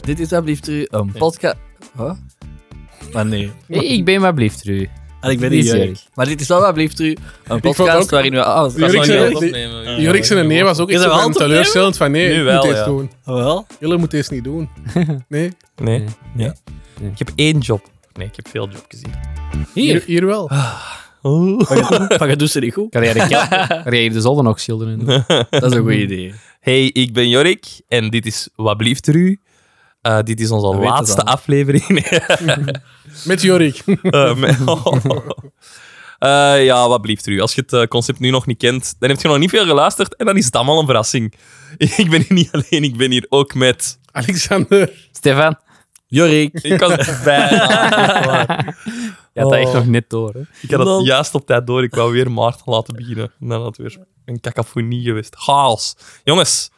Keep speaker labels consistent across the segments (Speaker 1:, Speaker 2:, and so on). Speaker 1: Dit is alsjeblieft een podcast... Huh? Maar nee.
Speaker 2: Hey, ik ben maar blieft, Ru.
Speaker 1: En ik ben
Speaker 2: Niet
Speaker 1: niet Jurk.
Speaker 2: Jurk.
Speaker 1: Maar dit is alsjeblieft een podcast
Speaker 3: ook-
Speaker 1: waarin we... Ah, alles.
Speaker 3: Jurk
Speaker 1: was nog
Speaker 3: zei-
Speaker 1: niet-
Speaker 4: opnemen.
Speaker 3: Jorik zijn nee was ook
Speaker 1: Is
Speaker 3: iets
Speaker 1: dat wel
Speaker 3: van
Speaker 1: te
Speaker 3: teleurstellend van nee,
Speaker 4: Nu
Speaker 3: je
Speaker 4: wel,
Speaker 3: moet
Speaker 4: ja.
Speaker 3: deze doen.
Speaker 1: Wel?
Speaker 3: Jullie moeten deze niet doen. Nee,
Speaker 4: Nee.
Speaker 2: Nee.
Speaker 4: Ja.
Speaker 2: Nee.
Speaker 4: Ik heb één job. Nee, ik heb veel jobjes hier.
Speaker 3: hier,
Speaker 2: Hier.
Speaker 3: hier wel.
Speaker 1: Maar je doet ze niet goed.
Speaker 2: Kan jij de, kel- kan jij de zolder nog schilderen?
Speaker 1: Dat is een goed idee.
Speaker 4: Hey, ik ben Jorik en dit is Wat blieft er u? Eh, dit is onze
Speaker 1: We weten
Speaker 4: laatste
Speaker 1: het al.
Speaker 4: aflevering. Nee,
Speaker 3: Met Jorik.
Speaker 4: eh, me- Eh, ja, wat blieft er u? Als je het eh, concept nu nog niet kent, dan heb je nog niet veel geluisterd en dan is het allemaal een verrassing. Ik ben hier niet alleen, ik ben hier ook met...
Speaker 3: Alexander.
Speaker 2: Stefan,
Speaker 1: Jorik.
Speaker 4: Ik was bijna...
Speaker 2: je had dat echt
Speaker 4: Oh.
Speaker 2: nog net door. Hè?
Speaker 4: Ik had
Speaker 1: Lol.
Speaker 4: het juist op tijd door. Ik wou weer Maarten laten beginnen. En dan had het weer een cacophonie geweest. Chaos. Jongens.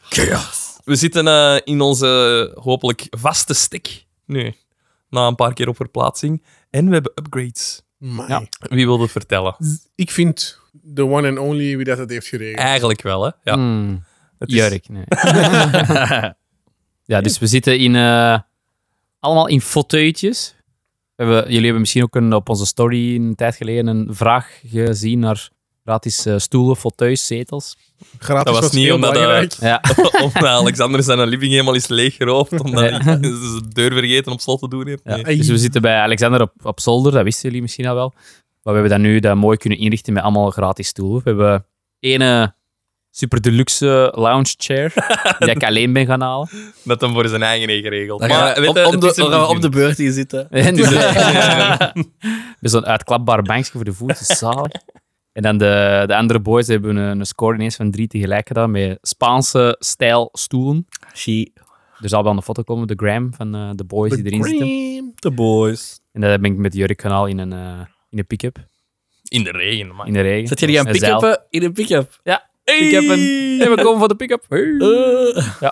Speaker 4: We zitten eh, in onze eh, hopelijk vaste stek nu. Na een paar keer op verplaatsing. En we hebben upgrades.
Speaker 3: Amai.
Speaker 2: Ja.
Speaker 4: Wie wil het vertellen?
Speaker 3: Ik vind de one and only wie dat het heeft geregeld.
Speaker 4: Eigenlijk wel, hè? Ja.
Speaker 1: Mm,
Speaker 2: Hmm,
Speaker 4: Het is-
Speaker 2: Jurk, nee. ja, dus we zitten in, eh, allemaal in fauteuiltjes. We hebben, jullie hebben misschien ook een, op onze story een tijd geleden een vraag gezien naar gratis eh, stoelen, fauteuils, zetels.
Speaker 3: Gratis
Speaker 4: Dat was niet
Speaker 3: heel
Speaker 4: omdat, eh,
Speaker 3: belangrijk.
Speaker 2: Ja,
Speaker 4: Of nou, Alexander zijn living helemaal is leeggeroofd. Omdat hij de deur vergeten op slot te doen heeft.
Speaker 2: Ja.
Speaker 4: Nee.
Speaker 2: Dus we zitten bij Alexander op, op zolder, dat wisten jullie misschien al wel. Maar we hebben dat nu dat mooi kunnen inrichten met allemaal gratis stoelen. We hebben ene super deluxe eh, lounge chair, die ik alleen ben gaan halen.
Speaker 4: Dat hem voor zijn eigen heeft geregeld.
Speaker 1: Dan gaan we
Speaker 4: weet
Speaker 1: op,
Speaker 4: je,
Speaker 1: om
Speaker 4: het
Speaker 1: de,
Speaker 4: is hem
Speaker 1: dan gaan we op
Speaker 4: gegund.
Speaker 1: de beurt hier zitten.
Speaker 2: En dus, eh, met zo'n uitklapbaar bankje voor de voeten, zalig. En dan de, de andere boys hebben een, een score ineens van drie tegelijk gedaan met Spaanse stijl stoelen.
Speaker 1: She.
Speaker 2: Er zal wel een foto komen, de gram van eh, de boys die erin zitten.
Speaker 1: The boys.
Speaker 2: En dat ben ik met Jurk gaan halen in een, eh, in een pick-up,
Speaker 4: In de regen, man.
Speaker 2: in de regen.
Speaker 1: Zet jullie aan
Speaker 2: Een zeil.
Speaker 1: pick-uppen? In een pick-up.
Speaker 2: Ja,
Speaker 1: Hey.
Speaker 2: ik heb een. Ja, we komen voor de pick-up. Hey.
Speaker 1: Eh.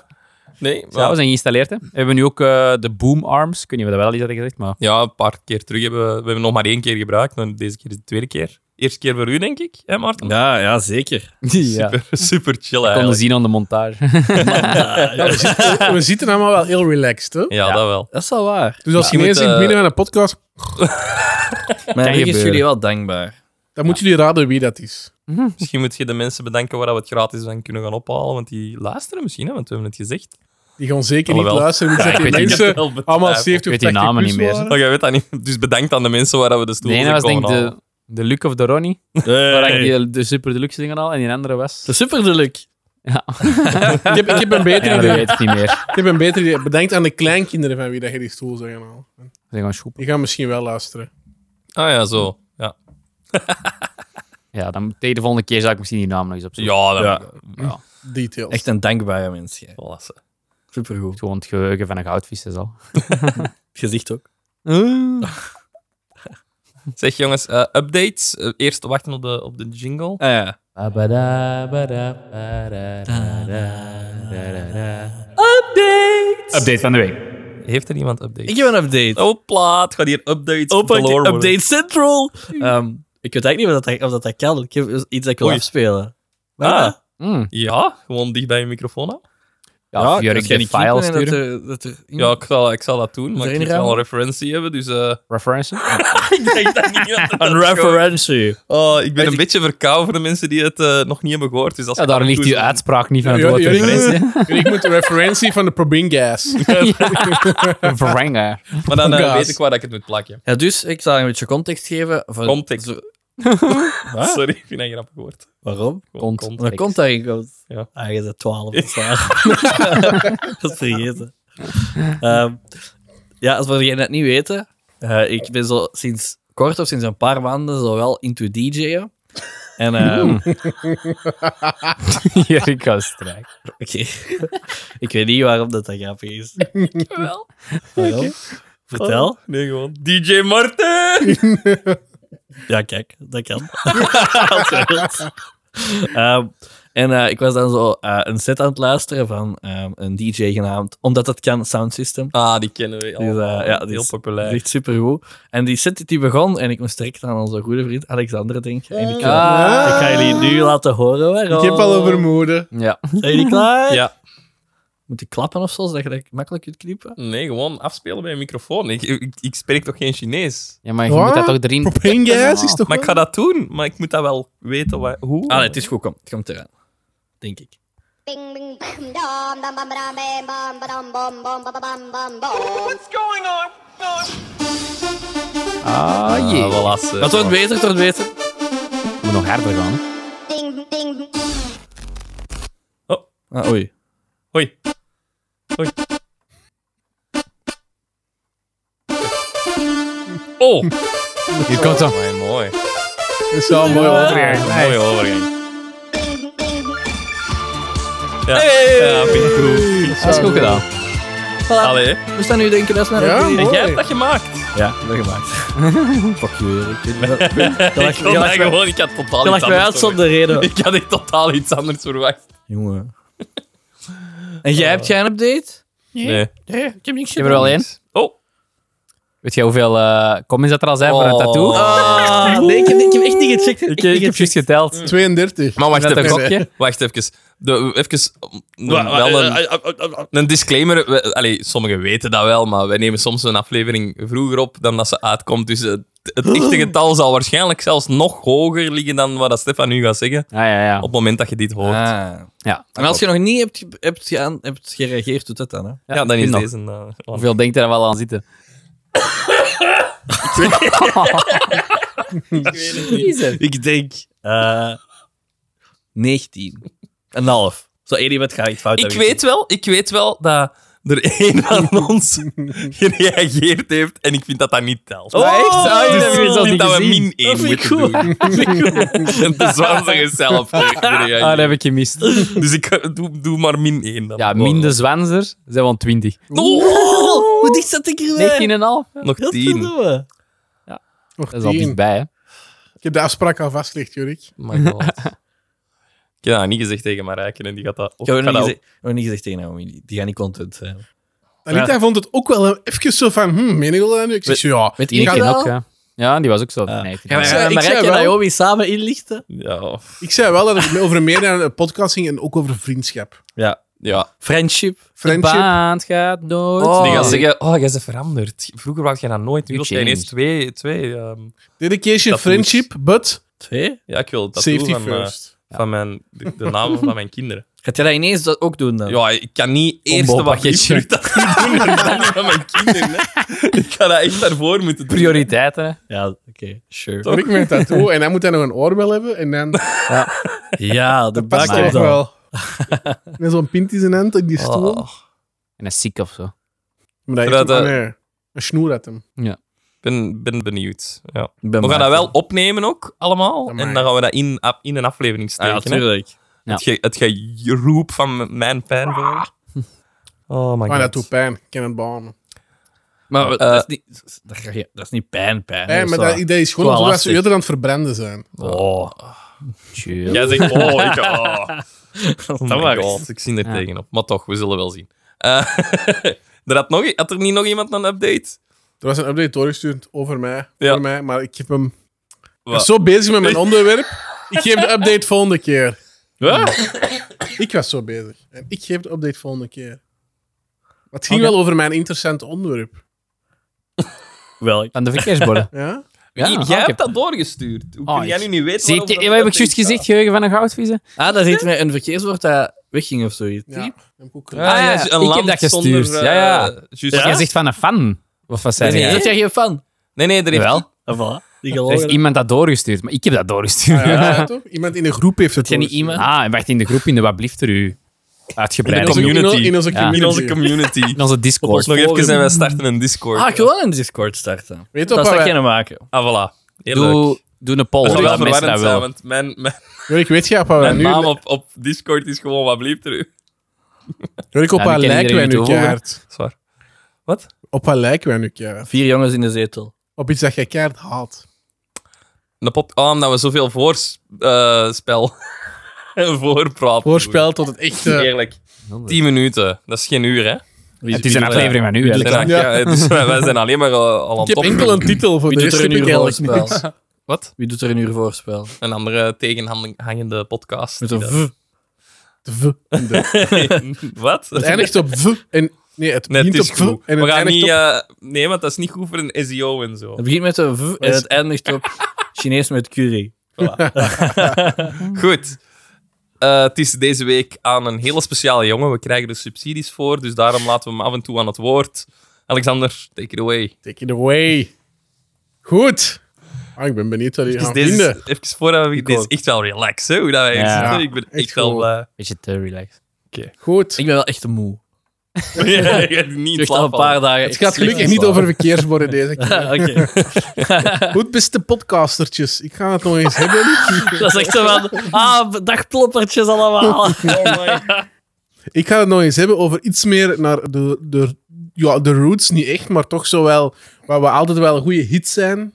Speaker 4: Nee,
Speaker 2: Ja, we zijn geïnstalleerd. Hè. We hebben nu ook eh, de boom arms. Ik weet niet of we dat wel eens hadden gezegd, maar
Speaker 4: Ja, een paar keer terug hebben we, we hebben nog maar één keer gebruikt. En deze keer is het de tweede keer. Eerste keer voor u, denk ik, hè, Maarten?
Speaker 1: Ja, ja, zeker.
Speaker 2: ja.
Speaker 4: Super, super chill
Speaker 2: we konden
Speaker 4: eigenlijk.
Speaker 2: zien aan de montage.
Speaker 3: Ja, we, zitten, we zitten allemaal wel heel relaxed. Hè?
Speaker 4: Ja,
Speaker 2: dus- Ja.
Speaker 4: dat wel.
Speaker 1: Dat is wel waar.
Speaker 3: Dus
Speaker 4: Ja.
Speaker 3: als je
Speaker 4: Je
Speaker 3: ineens
Speaker 4: moet,
Speaker 3: in het
Speaker 4: eh,
Speaker 3: midden van een podcast,
Speaker 1: Mijn rug is
Speaker 2: gebeuren.
Speaker 1: jullie wel dankbaar.
Speaker 3: dan moeten jullie raden wie dat is.
Speaker 4: Misschien moet je de mensen bedanken waar we het gratis van kunnen gaan ophalen. Want die luisteren misschien, hè, want we hebben het gezegd.
Speaker 3: Die gaan zeker niet
Speaker 4: Alhoewel.
Speaker 3: luisteren. Ik
Speaker 2: Ja,
Speaker 3: zeg
Speaker 2: ik
Speaker 3: die
Speaker 2: weet niet,
Speaker 3: mensen
Speaker 4: ik heb het wel
Speaker 3: allemaal
Speaker 4: betwijfeld.
Speaker 3: 70
Speaker 2: Ik weet
Speaker 3: of
Speaker 2: die
Speaker 3: 80
Speaker 2: namen
Speaker 3: plus
Speaker 2: niet meer,
Speaker 3: waren.
Speaker 4: Oh, jij weet dat niet. Dus bedankt aan de mensen waar we de
Speaker 2: De
Speaker 4: stoel
Speaker 2: ene
Speaker 4: zijn
Speaker 2: was denk
Speaker 4: komen
Speaker 2: ik
Speaker 4: halen.
Speaker 2: de, de Luke of de Ronnie. Waar ik die, de super deluxe dingen al. En die andere was.
Speaker 1: De super deluxe.
Speaker 2: Ja,
Speaker 3: Ik heb, ik heb een beter
Speaker 2: ja dat
Speaker 3: idee.
Speaker 2: weet ik niet meer. Dat
Speaker 3: Ik heb een beter idee. Bedenk aan de kleinkinderen van wie dat je die stoel zou gaan halen.
Speaker 2: zijn gewoon schoepen.
Speaker 3: Die gaan misschien wel luisteren.
Speaker 4: Ah ja, zo. Ja,
Speaker 2: Ja, dan tegen de volgende keer zal ik misschien die naam nog eens opzoeken.
Speaker 4: ja, dat
Speaker 1: Ja.
Speaker 4: ja.
Speaker 3: Details.
Speaker 1: Echt een dankbare mens. jij.
Speaker 4: Klasse.
Speaker 1: Supergoed.
Speaker 2: Gewoon het geheugen van een goudvis is al.
Speaker 1: Gezicht ook.
Speaker 4: Zeg jongens, eh, updates. Eh, eerst wachten op de, op de
Speaker 1: Ah,
Speaker 4: jingle.
Speaker 1: ja.
Speaker 2: Update van de week.
Speaker 4: Heeft er iemand updates?
Speaker 1: Ik heb een update.
Speaker 4: Oh, plaat. Gaat hier updates
Speaker 1: Opa,
Speaker 4: galore worden.
Speaker 1: update Central. Ehm, ik weet eigenlijk niet of dat, of dat, dat kan. Ik heb iets dat ik wil
Speaker 4: Oei.
Speaker 1: afspelen.
Speaker 4: Ah,
Speaker 2: Mm.
Speaker 4: ja, gewoon dicht bij je microfoon aan.
Speaker 2: Ja, of Jurk de file
Speaker 1: Dat
Speaker 2: sturen.
Speaker 1: er, dat er in-
Speaker 4: Ja, ik zal, ik zal dat doen, maar ik moet
Speaker 1: inruimen?
Speaker 4: wel een referentie hebben, dus... eh
Speaker 2: Referentie?
Speaker 4: ik denk dat niet dat dat
Speaker 1: een referentie.
Speaker 4: gewoon- Oh, ik ben
Speaker 1: Weet
Speaker 4: een beetje verkouden voor de mensen die het eh, nog niet hebben gehoord. Dus als
Speaker 2: Ja,
Speaker 4: je
Speaker 2: daar
Speaker 4: af en
Speaker 2: ligt
Speaker 4: toe
Speaker 2: die
Speaker 4: zo-
Speaker 2: uitspraak niet van het
Speaker 3: Ja,
Speaker 2: woord
Speaker 3: jullie-
Speaker 2: referentie.
Speaker 3: Jullie- Ik moet de referentie van de Probingas.
Speaker 2: Verrengen.
Speaker 4: Maar dan eh,
Speaker 3: Gaas.
Speaker 4: weet ik waar dat ik het moet plakken.
Speaker 1: Ja, dus ik zal een beetje context geven. Van,
Speaker 4: Context.
Speaker 1: zo- Wat?
Speaker 4: Sorry, ik vind dat een grappig woord.
Speaker 1: Waarom?
Speaker 4: Gewoon
Speaker 2: Cont.
Speaker 4: cont.
Speaker 1: Want dat komt daarin. Komt.
Speaker 4: Ja.
Speaker 1: Ah, je bent 12. Dat is waar. dat is vergeten. Ehm, ja, als voor degenen dat niet weten, eh, ik ben zo sinds kort of sinds een paar maanden zo wel into DJ'en. En ehm,
Speaker 2: Hmm. Jurk gaat strijk.
Speaker 1: Oké. ik weet niet waarom dat, dat grappig is.
Speaker 4: Wel.
Speaker 1: Waarom? Vertel.
Speaker 4: Oh, nee, gewoon. DJ Martin!
Speaker 1: Ja, kijk, dat kan. Als je wilt. Ehm, en eh, ik was dan zo eh, een set aan het luisteren van ehm, een DJ genaamd, omdat dat kan, Sound System.
Speaker 4: Ah, die kennen we al.
Speaker 1: Dus, eh, ja, die
Speaker 4: heel
Speaker 1: is-
Speaker 4: populair.
Speaker 1: Echt supergoed. En die set die begon, en ik moest direct aan onze goede vriend Alexander denken. En ik, ga-
Speaker 3: Ah.
Speaker 1: ik ga jullie nu laten horen waarom.
Speaker 3: Ik heb al een vermoeden.
Speaker 2: Ja.
Speaker 1: Zijn jullie klaar?
Speaker 4: Ja.
Speaker 1: Moet ik klappen of zo, zodat je dat makkelijk kunt knippen?
Speaker 4: Nee, gewoon afspelen bij een microfoon. Ik, ik, ik spreek toch geen Chinees?
Speaker 2: Ja, maar je
Speaker 3: Wat?
Speaker 2: moet dat toch erin...
Speaker 3: Propane gas is toch...
Speaker 4: Maar ik ga dat doen, maar ik moet dat wel weten wa- hoe.
Speaker 1: Ah, nee, het is goed, kom. Het komt eraan. Denk ik.
Speaker 5: Bing bing bam dom dum bum bam bam bam bam bom bom bam bam bam bom.
Speaker 2: Ah, jee.
Speaker 4: Ah, voilà, ze-
Speaker 1: Dat wordt beter, het wordt beter.
Speaker 2: moet nog harder gaan.
Speaker 5: Ding ding.
Speaker 4: Oh.
Speaker 1: Ah, oei.
Speaker 4: Hoi. Hoi.
Speaker 2: Oh! Hier komt hem.
Speaker 4: Amai, mooi.
Speaker 3: Dat is wel een mooie overgang.
Speaker 4: Mooie overgang. Ja, ja vind ik goed.
Speaker 2: Dat is goed gedaan.
Speaker 4: Allee.
Speaker 1: We staan nu denken, dat is maar
Speaker 3: Ja, mooi.
Speaker 4: Jij hebt dat gemaakt.
Speaker 1: ja, dat gemaakt. Fuck you, Erik. Je lacht- Je lacht-
Speaker 4: Ik kon
Speaker 1: je
Speaker 4: dat
Speaker 1: lacht mij-
Speaker 4: gewoon, ik had totaal
Speaker 1: je
Speaker 4: iets
Speaker 1: lacht mij uit
Speaker 4: anders
Speaker 1: zonder
Speaker 4: verwacht.
Speaker 1: reden.
Speaker 4: Ik had echt totaal iets anders verwacht.
Speaker 1: Jongen. En jij, hebt jij een update?
Speaker 4: Nee.
Speaker 1: Nee, ik heb niks
Speaker 2: Je hebt er wel één.
Speaker 4: Oh.
Speaker 2: Weet jij hoeveel eh comments dat er al zijn voor een
Speaker 4: Oh.
Speaker 2: tattoo?
Speaker 1: Ah, nee, ik heb, ik heb echt niet gecheckt.
Speaker 2: Ik, ik heb juist geteld.
Speaker 3: 32.
Speaker 4: Maar wacht
Speaker 2: Met een
Speaker 4: even.
Speaker 2: gokje.
Speaker 4: Wacht even. De, even mm, wel een, een disclaimer. We- allee, sommigen weten dat wel, maar wij nemen soms een aflevering vroeger op dan dat ze uitkomt. Dus eh, het echte getal zal waarschijnlijk zelfs nog hoger liggen dan wat dat Stefan nu gaat zeggen.
Speaker 2: Ah, ja, ja.
Speaker 4: Op het moment dat je dit hoort.
Speaker 1: Ah.
Speaker 2: ja.
Speaker 1: En als je nog niet hebt, ge- hebt, geaan- hebt gereageerd, doet dat dan. Hè?
Speaker 4: ja, dan
Speaker 2: ik
Speaker 4: is
Speaker 2: vind
Speaker 4: deze. eh, wel-
Speaker 2: Hoeveel denkt er wel aan zitten?
Speaker 1: Ik denk eh 19. Een half. Zo één iemand gaat iets fout
Speaker 4: ik
Speaker 1: hebben
Speaker 4: weet wel, ik weet wel dat er een van ons gereageerd heeft en ik vind dat dat niet telt.
Speaker 1: Oh, echt? Ah, ik
Speaker 4: dus
Speaker 1: heb het
Speaker 4: ik
Speaker 1: al
Speaker 4: vind
Speaker 1: niet
Speaker 4: dat we
Speaker 1: gezien.
Speaker 4: min 1
Speaker 1: Dat vind ik
Speaker 4: moeten
Speaker 1: goed.
Speaker 4: doen. En de zwanzige zelf.
Speaker 2: Ah, dat heb ik gemist.
Speaker 4: Dus ik eh, doe, doe maar min 1 dan.
Speaker 2: Ja, min de zwanzer zijn we aan 20. 19,5.
Speaker 1: Oh, hoe dicht zat ik erbij?
Speaker 4: Nog
Speaker 1: Heel
Speaker 4: 10.
Speaker 1: verdomme.
Speaker 3: Nog
Speaker 2: Dat is al
Speaker 3: tien.
Speaker 2: dichtbij, hè.
Speaker 3: Ik heb de afspraak al vastgelegd, Jurik.
Speaker 4: My god. Ik heb dat niet gezegd tegen Marijken en die gaat dat...
Speaker 1: Ik heb nog
Speaker 4: ik ga
Speaker 1: niet,
Speaker 4: dat
Speaker 1: gezegd- ik heb nog niet gezegd tegen Naomi. Die- Die gaan niet content zijn.
Speaker 3: Anita vond het ook wel even zo van, hm, meen ik wel dat nu? Ik zeg, ja.
Speaker 1: Met
Speaker 2: Die
Speaker 1: ik
Speaker 2: ken
Speaker 1: wel?
Speaker 2: ook, ja. Ja, die was ook zo.
Speaker 1: Ja.
Speaker 2: Nee, ik vind
Speaker 1: Gaan
Speaker 2: het
Speaker 1: wij- gaan
Speaker 2: niet.
Speaker 3: zei- ik
Speaker 1: Marijke
Speaker 3: zei
Speaker 1: en
Speaker 3: wel-
Speaker 1: Naomi samen inlichten?
Speaker 4: Ja.
Speaker 3: Ik zei wel dat het over meer dan een podcast ging en ook over vriendschap.
Speaker 1: Ja.
Speaker 4: ja.
Speaker 1: Friendship.
Speaker 2: de
Speaker 3: Friendship.
Speaker 2: band gaat nooit.
Speaker 1: Oh.
Speaker 4: Die gaan zeggen, oh, jij bent veranderd. Vroeger was je dat nooit. Nu
Speaker 2: You
Speaker 4: wil jij ineens
Speaker 2: changed.
Speaker 4: twee... twee ehm,
Speaker 3: Dedication,
Speaker 4: Dat
Speaker 3: friendship, but
Speaker 1: Twee.
Speaker 4: ja, ik wil dat
Speaker 3: safety
Speaker 4: van, eh,
Speaker 3: first.
Speaker 4: van mijn, de, de namen van mijn kinderen.
Speaker 1: Gaat jij dat ineens dat ook doen dan?
Speaker 4: Ja, ik kan niet eerst de
Speaker 2: Combo-pakketje.
Speaker 4: pakketje dat doen en dan van mijn kinderen. hè. Ik ga dat echt daarvoor moeten doen.
Speaker 2: Prioriteiten, hè.
Speaker 1: Ja, oké. Sure.
Speaker 3: Toen ik mijn tattoo en dan moet hij nog een oorbel hebben en dan dat
Speaker 1: Ja, de
Speaker 3: past
Speaker 1: bak
Speaker 3: toch
Speaker 1: op dan.
Speaker 3: wel. Met zo'n pint in zijn hand in die stoel.
Speaker 4: Oh,
Speaker 2: En een ziek of zo.
Speaker 3: Maar dat
Speaker 4: Zodat,
Speaker 3: heeft hem,
Speaker 4: eh,
Speaker 3: ah, nee, een snoer uit hem.
Speaker 4: Ik ben, ben benieuwd. Ja.
Speaker 1: Ik ben
Speaker 4: We gaan
Speaker 1: Maarten.
Speaker 4: dat wel opnemen ook, allemaal.
Speaker 3: Amai.
Speaker 4: En dan gaan we dat in, ap- in een aflevering
Speaker 1: Ah,
Speaker 4: steken.
Speaker 1: ja,
Speaker 4: hè.
Speaker 1: natuurlijk.
Speaker 2: Ja.
Speaker 4: Het, ge, het geroep van mijn fan. Oh my god.
Speaker 3: Maar Ah, dat doet pijn. Ik ken het beamen.
Speaker 1: Maar we-
Speaker 4: Eh,
Speaker 1: dat, is niet, dat ga je- dat is niet pijn, pijn.
Speaker 3: Nee, maar
Speaker 1: dat is
Speaker 3: dat, dat is
Speaker 1: wel
Speaker 3: gewoon omdat ze
Speaker 1: lastig.
Speaker 3: eerder aan het verbranden zijn.
Speaker 1: wel- Oh,
Speaker 2: Chill.
Speaker 4: Jij zegt, oh, ik... Oh,
Speaker 1: dat
Speaker 4: Oh my
Speaker 1: mag.
Speaker 4: god, ik zie er
Speaker 2: Ja.
Speaker 4: tegenop. Maar toch, we zullen wel zien. Eh, er had, nog, had er niet nog iemand een update?
Speaker 3: Er was een update doorgestuurd over mij,
Speaker 4: Ja.
Speaker 3: voor mij maar ik heb hem... Ik was
Speaker 4: Wat?
Speaker 3: zo bezig met mijn onderwerp. Ik geef de update volgende keer. Ik was zo bezig. En ik geef de update volgende keer. Maar het ging wel over mijn interessant onderwerp.
Speaker 1: Welk?
Speaker 2: Aan de verkeersborden.
Speaker 3: Ja?
Speaker 2: Ja,
Speaker 4: Jij-
Speaker 2: ah,
Speaker 4: jij hebt
Speaker 2: ik heb-
Speaker 4: dat doorgestuurd. Hoe
Speaker 2: Oh,
Speaker 4: kun jij
Speaker 2: ik-
Speaker 4: nu niet weten
Speaker 2: Zie
Speaker 4: waarover
Speaker 2: ik,
Speaker 4: dat
Speaker 2: wat heb ik
Speaker 4: update
Speaker 2: juist
Speaker 4: gaat?
Speaker 2: gezegd? Geheugen van een goudviezen?
Speaker 1: Ah, daar zit een verkeerswoord dat wegging of zoiets.
Speaker 3: Ja. Dat heb ik ook gedaan.
Speaker 4: Ah, ja,
Speaker 2: Ah, ja,
Speaker 4: een
Speaker 2: ik
Speaker 4: land
Speaker 2: heb dat
Speaker 4: zonder,
Speaker 2: gestuurd.
Speaker 4: eh,
Speaker 2: Ja, ja.
Speaker 4: juist.
Speaker 2: Jij zegt van een fan. Of wat zei
Speaker 1: Nee,
Speaker 2: jij?
Speaker 1: dat jij geen fan.
Speaker 4: Nee, nee, er heeft...
Speaker 2: Wel.
Speaker 1: Ah, voilà. Die
Speaker 2: Er heeft
Speaker 1: gelogen.
Speaker 2: iemand dat doorgestuurd, maar ik heb dat doorgestuurd.
Speaker 3: Ah, ja, ja, toch? Iemand in de groep heeft het
Speaker 1: jij niet
Speaker 3: doorgestuurd.
Speaker 1: iemand?
Speaker 2: Ah, en werd in de groep in de Wat blieft er u
Speaker 3: In
Speaker 2: uitgebreid.
Speaker 3: onze
Speaker 4: de
Speaker 2: In Nou,
Speaker 4: community.
Speaker 3: community. In onze
Speaker 2: Ja.
Speaker 3: community.
Speaker 4: In onze community.
Speaker 2: onze Discord.
Speaker 4: Nog even en wij starten een Discord.
Speaker 1: Ah, gewoon een Discord starten.
Speaker 3: Weet
Speaker 1: Dat
Speaker 3: je wat
Speaker 1: zou ik
Speaker 3: wij-
Speaker 1: kunnen maken.
Speaker 4: Ah, voilà. Heel leuk.
Speaker 2: Doe, doe een poll.
Speaker 4: Dat zou
Speaker 2: of
Speaker 4: wel
Speaker 2: dat mensen
Speaker 4: verwarrend zijn,
Speaker 2: dat willen.
Speaker 4: want mijn, mijn,
Speaker 3: Jorik, weet je op wat wij
Speaker 4: mijn
Speaker 3: nu...
Speaker 4: naam op, op Discord is gewoon wat blieft er.
Speaker 3: Jorik, op
Speaker 2: Ja,
Speaker 3: wat
Speaker 2: die kennen
Speaker 3: lijken wij
Speaker 2: iedereen
Speaker 3: nu
Speaker 2: niet over.
Speaker 3: keihard?
Speaker 4: Zwaar.
Speaker 3: Op wat lijken wij nu keihard?
Speaker 1: Vier jongens in de zetel.
Speaker 3: Op iets dat jij keihard haat.
Speaker 4: Een pop... Ah, omdat we zoveel eh, voorspel... Voorpraat.
Speaker 3: Voorspel tot het
Speaker 1: eh,
Speaker 3: echte...
Speaker 4: Eerlijk. 10 minuten. Dat is geen uur, hè?
Speaker 1: Wie
Speaker 2: Het is een aflevering van u.
Speaker 4: Ja,
Speaker 2: hè.
Speaker 4: dat- ja. dus wij, wij zijn alleen maar eh, al aan
Speaker 3: Ik heb
Speaker 4: top.
Speaker 3: enkel een titel voor
Speaker 1: Wie
Speaker 3: de
Speaker 1: doet
Speaker 3: rest
Speaker 1: er een
Speaker 3: heb ik
Speaker 1: uur
Speaker 3: eigenlijk
Speaker 1: voorspel?
Speaker 3: niks.
Speaker 4: Wat?
Speaker 1: Wie doet er een uur voorspel?
Speaker 4: Een andere tegenhangende podcast.
Speaker 1: Met
Speaker 4: die
Speaker 1: een
Speaker 4: dat-
Speaker 1: v.
Speaker 3: De v. en de.
Speaker 4: Wat?
Speaker 3: Het eindigt op v en... Nee, het
Speaker 4: Nee,
Speaker 3: begint
Speaker 4: het is
Speaker 3: op v
Speaker 4: goed.
Speaker 3: en
Speaker 4: We
Speaker 3: het
Speaker 4: gaan
Speaker 3: eindigt
Speaker 4: niet,
Speaker 3: op...
Speaker 4: eh, nee, want dat is niet goed voor een SEO en zo.
Speaker 1: Het begint met een v en het eindigt op Chinees met curry.
Speaker 4: Goed. Eh, het is deze week aan een hele speciale jongen. We krijgen er subsidies voor, dus daarom laten we hem af en toe aan het woord. Alexander, take it away.
Speaker 3: Take it away. Goed. Ah, ik ben benieuwd wat jullie
Speaker 4: Dus
Speaker 3: gaan
Speaker 4: deze is-
Speaker 3: vinden.
Speaker 4: even voordat we... Dit is echt wel relaxed, hè, hoe dat wij hier
Speaker 2: Ja.
Speaker 4: zitten. Ik eh, ben echt,
Speaker 3: echt
Speaker 4: wel
Speaker 3: cool.
Speaker 4: blij.
Speaker 2: Beetje te relaxed.
Speaker 3: Goed.
Speaker 1: Ik ben wel echt moe.
Speaker 4: Ja, je hebt niet in
Speaker 1: Ik al een
Speaker 4: slaap
Speaker 1: paar
Speaker 4: vallen.
Speaker 1: dagen.
Speaker 3: Het gaat gelukkig niet over verkeersborden deze keer.
Speaker 1: Oké.
Speaker 3: Goed, beste podcastertjes. Ik ga het nog eens hebben.
Speaker 1: Dat is echt zo van... Ah, dagploppertjes allemaal.
Speaker 3: Ik ga het nog eens hebben over iets meer naar de, de, ja, de roots. Niet echt, maar toch zo wel... Waar we altijd wel een goede hit zijn.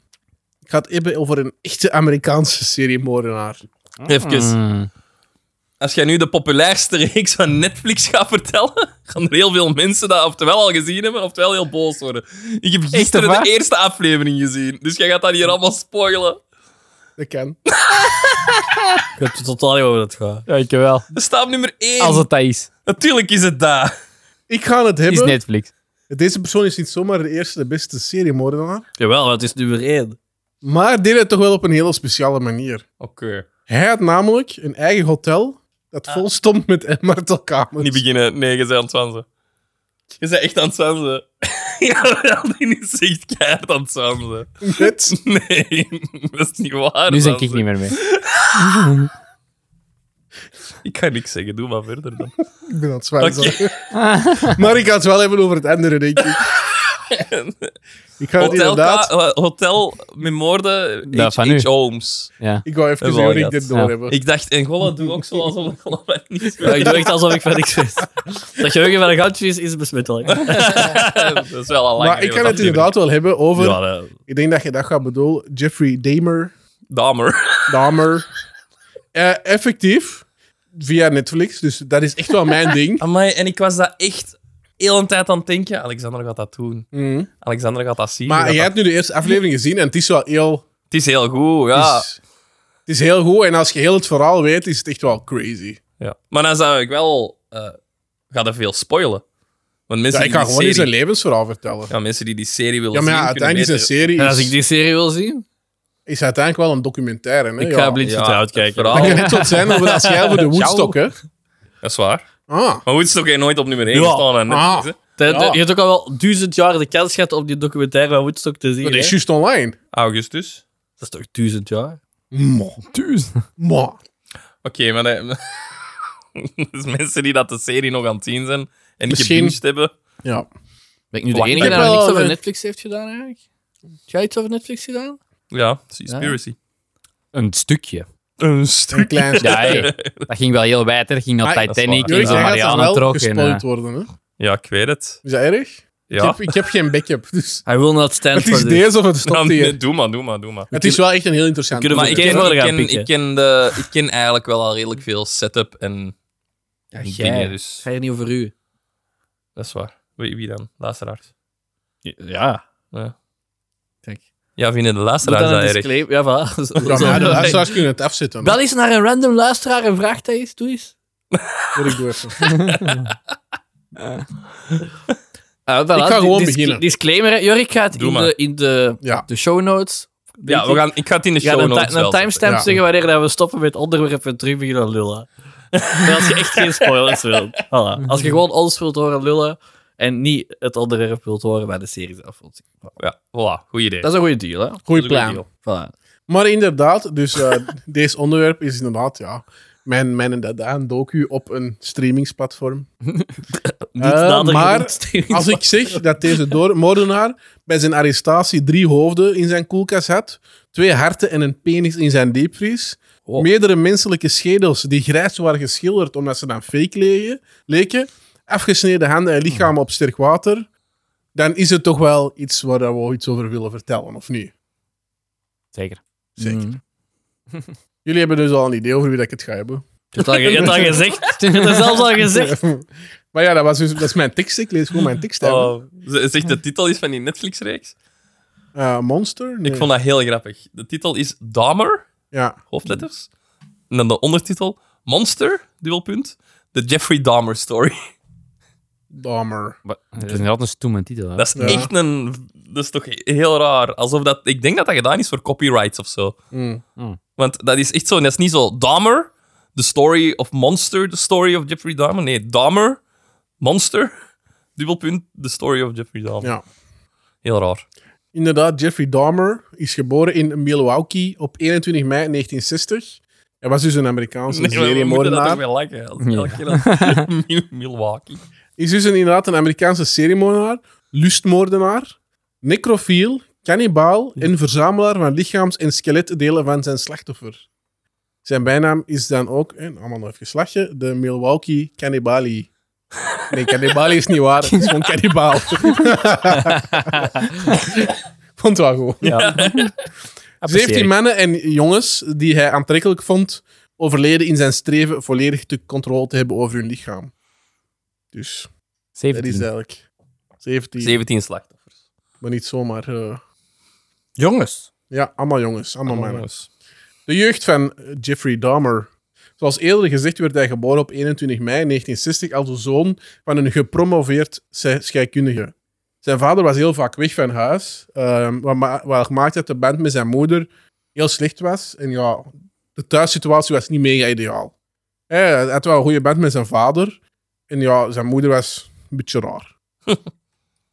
Speaker 3: Ik ga het hebben over een echte Amerikaanse serie moordenaar.
Speaker 4: Even.
Speaker 2: Mm.
Speaker 4: Als jij nu de populairste reeks van Netflix gaat vertellen, gaan er heel veel mensen dat oftewel al gezien hebben, oftewel heel boos worden. Ik heb gisteren
Speaker 2: waar?
Speaker 4: de eerste aflevering gezien, dus jij gaat dat hier allemaal spoilen.
Speaker 3: Dat kan.
Speaker 1: Ik weet totaal niet over het gaat.
Speaker 2: Ja, ik wel.
Speaker 4: Er staat op nummer 1.
Speaker 2: Als het dat is.
Speaker 4: Natuurlijk is het daar.
Speaker 3: Ik ga het
Speaker 2: Is
Speaker 3: hebben...
Speaker 2: Netflix.
Speaker 3: Deze persoon is niet zomaar de eerste, de beste seriemoordenaar.
Speaker 1: Jawel, het is nummer één.
Speaker 3: Maar deed het toch wel op een hele speciale manier.
Speaker 4: Oké.
Speaker 3: Hij had namelijk een eigen hotel dat vol stond met martelkamers.
Speaker 4: Ah. Niet beginnen. Nee, je bent aan het zwansen. Je bent echt aan het zwansen. Jawel, die is echt keihard aan het zwansen.
Speaker 3: Net.
Speaker 4: Nee, dat is niet waar.
Speaker 2: Nu zijn ik
Speaker 4: Zanzen.
Speaker 2: niet meer mee.
Speaker 4: Ik ga niks zeggen, doe maar verder dan.
Speaker 3: Ik ben aan het zwijgen. Maar ik ga het wel hebben over het andere, denk ik. Ik ga het
Speaker 4: Hotel,
Speaker 3: inderdaad...
Speaker 4: Ka- eh, hotel met moorden,
Speaker 2: Ja,
Speaker 4: H.
Speaker 2: van u.
Speaker 4: H. Holmes.
Speaker 2: Ja.
Speaker 3: Ik wou even
Speaker 4: Hebben we al
Speaker 3: zien hoe ik
Speaker 4: gehad.
Speaker 3: dit doorhebben.
Speaker 4: Oh, Ik dacht, en Golla, doe ook zo alsof Golla mij niet
Speaker 1: Ja, ik doe echt alsof ik van niks weet. Dat geheugen van een goudje is, is besmettelijk.
Speaker 4: Dat is wel al lang
Speaker 3: Maar
Speaker 4: geleden,
Speaker 3: ik kan het
Speaker 4: dat
Speaker 3: inderdaad wel hebben over...
Speaker 1: Ja, dat-
Speaker 3: Ik denk dat je dat gaat bedoelen. Jeffrey Dahmer.
Speaker 4: Dahmer.
Speaker 3: Dahmer. Eh, effectief. Via Netflix. Dus dat is echt wel mijn ding.
Speaker 4: Amai, en ik was dat echt heel een tijd aan het denken. Alexander gaat dat doen.
Speaker 3: Mhm.
Speaker 4: Alexander gaat dat zien. Die
Speaker 3: Maar
Speaker 4: gaat
Speaker 3: jij
Speaker 4: dat-
Speaker 3: hebt nu de eerste aflevering gezien en het is wel heel...
Speaker 4: Het is heel goed,
Speaker 3: Het
Speaker 4: ja.
Speaker 3: is, het is heel goed en als je heel het verhaal weet, is het echt wel crazy.
Speaker 4: ja. Maar dan zou ik wel... eh ga er veel spoilen. Want mensen
Speaker 3: Ja, ik
Speaker 4: die
Speaker 3: ga
Speaker 4: die
Speaker 3: gewoon eens een
Speaker 4: serie,
Speaker 3: levensverhaal vertellen. Ja,
Speaker 4: ja, mensen die die serie willen
Speaker 3: maar
Speaker 4: zien...
Speaker 3: ja,
Speaker 4: kunnen
Speaker 3: uiteindelijk is een
Speaker 4: weten-
Speaker 3: serie
Speaker 1: En als ik
Speaker 3: is,
Speaker 1: die serie wil zien,
Speaker 3: is uiteindelijk wel een documentaire. Hè?
Speaker 1: ik ga
Speaker 3: ja.
Speaker 1: blind
Speaker 4: Ja,
Speaker 1: vertrouwd
Speaker 4: het
Speaker 1: kijken.
Speaker 4: verhaal.
Speaker 3: Dat kan net wat zijn over dat jij voor de Woodstock, hè?
Speaker 4: Dat is waar.
Speaker 3: Ah,
Speaker 4: Maar Woodstock heeft nooit op nummer 1
Speaker 1: Ja.
Speaker 4: gestaan. aan
Speaker 3: Ah.
Speaker 4: Netflix, hè.
Speaker 1: De- de-
Speaker 3: Ja.
Speaker 1: Je hebt ook al wel duizend jaar de kans gehad om die documentaire van Woodstock te zien.
Speaker 3: dat is
Speaker 1: hè?
Speaker 3: juist online.
Speaker 4: Augustus.
Speaker 1: Dat is toch duizend jaar?
Speaker 3: Mo. Mo.
Speaker 4: Oké, maar... dat- dus mensen die dat de serie nog aan het zien zijn en die
Speaker 3: Misschien-
Speaker 4: gebinged hebben...
Speaker 3: Ja.
Speaker 1: Ben ik nu de
Speaker 4: Lang-
Speaker 1: enige
Speaker 3: Ik
Speaker 1: die nog
Speaker 3: heb wel eh,
Speaker 1: niks over
Speaker 3: een-
Speaker 1: Netflix heeft gedaan eigenlijk? Heb jij iets over Netflix gedaan?
Speaker 4: Ja, Seaspiracy.
Speaker 2: Een stukje.
Speaker 4: Een
Speaker 3: Een
Speaker 4: stuk.
Speaker 3: klein
Speaker 2: Ja, hey. dat ging wel heel wijd. hè. Dat ging naar
Speaker 3: Maar-
Speaker 2: Titanic.
Speaker 4: dat is waar.
Speaker 3: Jullie
Speaker 2: en
Speaker 4: Zo
Speaker 3: zeggen dat
Speaker 2: Mariana
Speaker 3: ze wel
Speaker 2: trok. En,
Speaker 3: gespoild
Speaker 2: eh,
Speaker 3: worden, hè?
Speaker 4: Ja, ik weet het.
Speaker 3: Is dat erg? Ik,
Speaker 4: Ja.
Speaker 3: heb, ik heb geen backup, dus...
Speaker 1: I will not stand
Speaker 3: Het
Speaker 1: for
Speaker 3: is
Speaker 1: this.
Speaker 3: deze of het
Speaker 4: Nou,
Speaker 3: stopt
Speaker 4: nee,
Speaker 3: hier.
Speaker 4: doe maar, doe maar, doe maar.
Speaker 3: Het is wel echt een heel interessant
Speaker 1: kunnen
Speaker 4: Maar
Speaker 1: we
Speaker 4: ik
Speaker 3: onderwerp.
Speaker 1: meteen
Speaker 4: ken,
Speaker 1: verder
Speaker 4: ik,
Speaker 1: gaan
Speaker 4: ken,
Speaker 1: pikken.
Speaker 4: ik, ken de, ik ken eigenlijk wel al redelijk veel setup en
Speaker 1: Ja,
Speaker 4: en
Speaker 1: jij.
Speaker 4: dingen,
Speaker 1: Het
Speaker 4: dus
Speaker 1: gaat hier niet over u.
Speaker 4: dat is waar. Wie, wie dan? Luisteraars.
Speaker 1: Ja.
Speaker 4: Ja.
Speaker 1: Kijk.
Speaker 4: Ja, vinden de
Speaker 1: Doe
Speaker 4: luisteraars
Speaker 1: dan
Speaker 4: dat
Speaker 1: een
Speaker 4: erg?
Speaker 1: disclaimer. Ja, voilà. Zo-
Speaker 3: Ja,
Speaker 1: zo-
Speaker 3: maar de luisteraars kunnen het afzetten. hè.
Speaker 1: Bel eens naar een random luisteraar en vraag dat eens. Doe eens.
Speaker 3: Hoor ik doe even.
Speaker 1: Ah, voilà.
Speaker 3: Ik ga gewoon
Speaker 1: Dis-
Speaker 3: beginnen.
Speaker 1: Disclaimer. hè. Jorik gaat
Speaker 4: Doe
Speaker 1: in
Speaker 4: maar.
Speaker 1: de, in de,
Speaker 3: Ja.
Speaker 1: de show notes.
Speaker 4: Ja, we gaan, ik ga het in de
Speaker 1: Ja,
Speaker 4: show
Speaker 1: een,
Speaker 4: notes
Speaker 1: ti- een
Speaker 4: wel
Speaker 1: timestamp
Speaker 3: Ja.
Speaker 1: zeggen wanneer dat we stoppen met onderwerpen en terug beginnen lullen. Maar als je echt geen spoilers wilt. Voilà. Als je gewoon ons wilt horen lullen en niet het onderwerp wilt horen bij de serie zelf. wilt zien. Voilà.
Speaker 4: zetten. Ja, voilà, goed idee.
Speaker 1: Dat is een goede deal, hè?
Speaker 3: Goeie
Speaker 4: Dat is een
Speaker 3: plan.
Speaker 4: goed
Speaker 1: Voilà.
Speaker 3: Maar inderdaad, dus eh deze onderwerp is inderdaad, ja, mijn, mijn en dat aan docu op een streamingsplatform.
Speaker 1: Niet
Speaker 3: Eh,
Speaker 1: nader
Speaker 3: maar
Speaker 1: genoemd.
Speaker 3: Als ik zeg dat deze door- moordenaar bij zijn arrestatie drie hoofden in zijn koelkast had, twee harten en een penis in zijn diepvries,
Speaker 1: Wow.
Speaker 3: meerdere menselijke schedels die grijs waren geschilderd omdat ze dan fake leken, leken afgesneden handen en lichamen op sterk water, dan is het toch wel iets waar we iets over willen vertellen, of niet?
Speaker 2: Zeker.
Speaker 3: Zeker.
Speaker 1: Mm.
Speaker 3: Mhm. Jullie hebben dus al een idee over wie dat ik het ga hebben.
Speaker 1: Je hebt al, je hebt al gezegd. Je hebt het zelfs al gezegd.
Speaker 3: maar ja, dat, was dus, dat is mijn tekst. Ik lees gewoon mijn tekst. hè.
Speaker 4: Oh, z- zeg, de titel is van die Netflix-reeks.
Speaker 3: Eh, Monster? Nee.
Speaker 4: Ik vond dat heel grappig. De titel is Dahmer,
Speaker 3: Ja.
Speaker 4: hoofdletters. En dan de ondertitel Monster, dubbelpunt. De Jeffrey Dahmer story.
Speaker 3: Dahmer.
Speaker 2: Maar Het is inderdaad een stoeme titel. Hè?
Speaker 4: Dat is
Speaker 3: Ja.
Speaker 4: echt een... Dat is toch heel raar. Alsof dat... Ik denk dat dat gedaan is voor copyrights of zo.
Speaker 3: Mm.
Speaker 4: Want dat is echt zo... Dat is niet zo Dahmer, The Story of Monster, The Story of Jeffrey Dahmer. Nee, Dahmer, Monster, dubbelpunt, The Story of Jeffrey Dahmer.
Speaker 3: Ja.
Speaker 4: Heel raar.
Speaker 3: Inderdaad, Jeffrey Dahmer is geboren in Milwaukee op 21 mei 1960. Hij was dus een Amerikaanse
Speaker 4: Nee, maar we moeten dat toch
Speaker 3: seriemoordenaar.
Speaker 4: wel lachen. Als elke keer dat- Mil- Milwaukee.
Speaker 3: Is dus een, inderdaad een Amerikaanse seriemoordenaar, lustmoordenaar, necrofiel, kannibaal en verzamelaar van lichaams- en skeletdelen van zijn slachtoffer. Zijn bijnaam is dan ook, en allemaal nog even slagje, de Milwaukee Cannibali. Nee, cannibali is niet waar, het is gewoon kannibaal. Vond het wel goed.
Speaker 2: Ja.
Speaker 3: 17 mannen en jongens die hij aantrekkelijk vond, overleden in zijn streven volledig de controle te hebben over hun lichaam. Dus dat is
Speaker 2: 17.
Speaker 3: eigenlijk 17,
Speaker 4: 17 slachtoffers.
Speaker 3: maar niet zomaar. eh,
Speaker 2: Jongens.
Speaker 3: ja, allemaal jongens, allemaal
Speaker 4: Allemaal
Speaker 3: mannen.
Speaker 4: jongens.
Speaker 3: De jeugd van eh, Jeffrey Dahmer. Zoals eerder gezegd werd hij geboren op 21 mei 1960 als de zoon van een gepromoveerd schei- scheikundige. Zijn vader was heel vaak weg van huis, ehm, wat, ma- wat maakte dat de band met zijn moeder heel slecht was. En ja, de thuissituatie was niet mega ideaal. Hij hij had wel een goede band met zijn vader. En ja, zijn moeder was een beetje raar.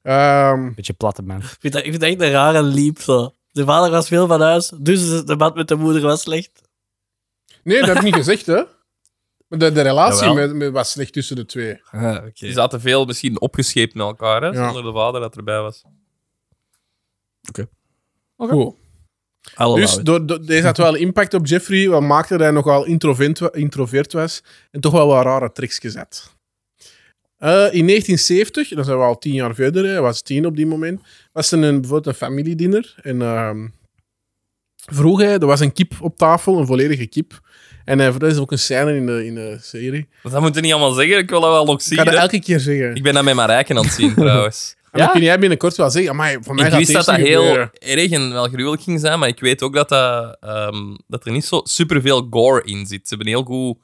Speaker 3: Ehm,
Speaker 2: Beetje platte man.
Speaker 1: Ik vind, dat, ik vind dat echt een rare liep zo. De vader was veel van huis, dus de band met de moeder was slecht.
Speaker 3: nee, dat heb ik niet gezegd, hè. Maar De, de relatie
Speaker 1: Jawel.
Speaker 3: met, met, was slecht tussen de twee.
Speaker 4: Die zaten veel misschien opgescheept met elkaar, hè,
Speaker 3: Ja.
Speaker 4: zonder de vader dat erbij was.
Speaker 3: Goed.
Speaker 1: Allemaal.
Speaker 3: Dus door, door- deze had wel impact op Jeffrey, wat maakte dat hij nogal introvent, wa- introvert was en toch wel wat rare tricks gezet. Eh, in 1970, dan zijn we al tien jaar verder, hè, hij was tien op die moment, was er een, bijvoorbeeld een familiediner en ehm, vroeg hij, er was een kip op tafel, een volledige kip. En hij dat is ook een scène in de, in de serie.
Speaker 4: Dat moet je niet allemaal zeggen, ik wil dat wel nog
Speaker 3: Ik
Speaker 4: zien.
Speaker 3: ga dat
Speaker 4: hè.
Speaker 3: elke keer zeggen.
Speaker 4: Ik ben dat met mijn rijken aan het zien, trouwens.
Speaker 3: En dan
Speaker 2: Ja?
Speaker 3: kun jij binnenkort wel zeggen, maar voor mij
Speaker 4: Ik
Speaker 3: gaat
Speaker 4: wist dat
Speaker 3: deze
Speaker 4: dat
Speaker 3: niet
Speaker 4: heel
Speaker 3: gebeuren."
Speaker 4: erg en wel gruwelijk ging zijn, maar ik weet ook dat, dat, ehm, dat er niet zo superveel gore in zit. Ze hebben heel goed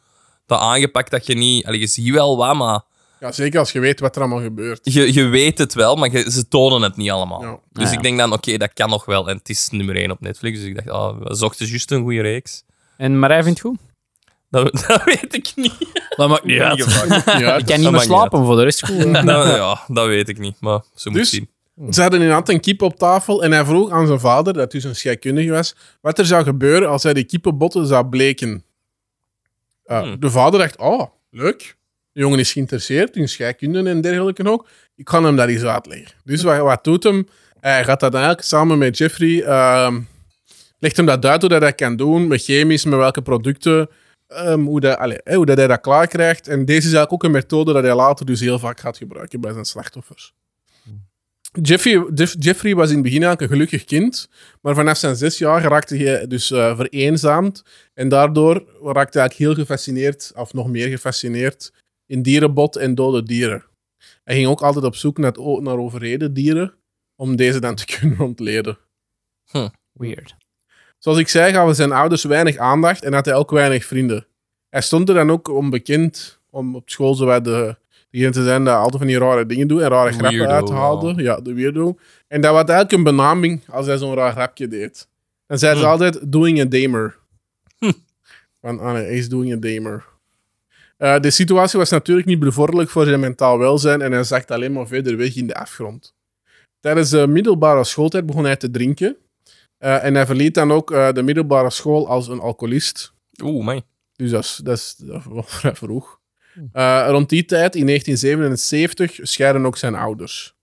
Speaker 4: dat aangepakt dat je niet... Allee, je ziet wel wat, maar
Speaker 3: Ja, zeker als je weet wat er allemaal gebeurt.
Speaker 4: je, je weet het wel, maar je- ze tonen het niet allemaal.
Speaker 3: Ja.
Speaker 4: Dus
Speaker 2: Ah, ja.
Speaker 4: ik denk dan, oké, dat kan nog wel. En het is nummer 1 op Netflix, dus ik dacht, ah, we zochten juist een goede reeks.
Speaker 2: En Marij vindt het goed?
Speaker 4: Dat, dat weet ik niet.
Speaker 1: dat maakt niet uit.
Speaker 3: Ja,
Speaker 2: Ik kan niet meer
Speaker 4: maakt niet
Speaker 2: slapen, voor de rest goed. hè.
Speaker 4: Dat, Nou, ja, dat weet ik niet, maar ze moet
Speaker 3: Dus-
Speaker 4: zien.
Speaker 3: Ze hadden inderdaad een kip op tafel en hij vroeg aan zijn vader, dat dus een scheikundige was, wat er zou gebeuren als hij die kippenbotten zou bleken. Uh,
Speaker 4: Hmm.
Speaker 3: De vader dacht, oh, leuk. De jongen is geïnteresseerd in scheikunde en dergelijke ook. Ik kan hem dat eens uitleggen. Dus wat, wat doet hem? Hij gaat dat eigenlijk samen met Jeffrey... ehm, legt hem dat uit hoe dat hij dat kan doen, met chemisch, met welke producten, ehm, hoe, dat, allee, hè, hoe dat hij dat klaar krijgt. En deze is eigenlijk ook een methode dat hij later dus heel vaak gaat gebruiken bij zijn slachtoffers. Jeffrey, Jeff- Jeffrey was in het begin eigenlijk een gelukkig kind, maar vanaf zijn zes jaar raakte hij dus eh, vereenzaamd. En daardoor raakte hij eigenlijk heel gefascineerd, of nog meer gefascineerd, in dierenbot en dode dieren. Hij ging ook altijd op zoek naar, het o- naar overreden dieren, om deze dan te kunnen ontleden.
Speaker 2: Weird.
Speaker 3: Zoals ik zei, gaven zijn ouders weinig aandacht en had hij ook weinig vrienden. Hij stond er dan ook onbekend om op school zo bij de, degene te zijn dat altijd van die rare dingen doet en rare
Speaker 4: Weirdo,
Speaker 3: grappen uithaalde. Ja, de weirdo. En dat was eigenlijk een benaming als hij zo'n raar grapje deed. Dan zei ze
Speaker 4: Hm.
Speaker 3: altijd doing a damer. Van, ah nee, hij is doing a damer. Eh, de situatie was natuurlijk niet bevorderlijk voor zijn mentaal welzijn en hij zakte alleen maar verder weg in de afgrond. Tijdens de middelbare schooltijd begon hij te drinken. Eh, en hij verliet dan ook eh, de middelbare school als een alcoholist.
Speaker 4: Oeh, man.
Speaker 3: Dus dat is, dat is dat is wel vrij vroeg. Eh, rond die tijd, in 1977, scheiden ook zijn ouders.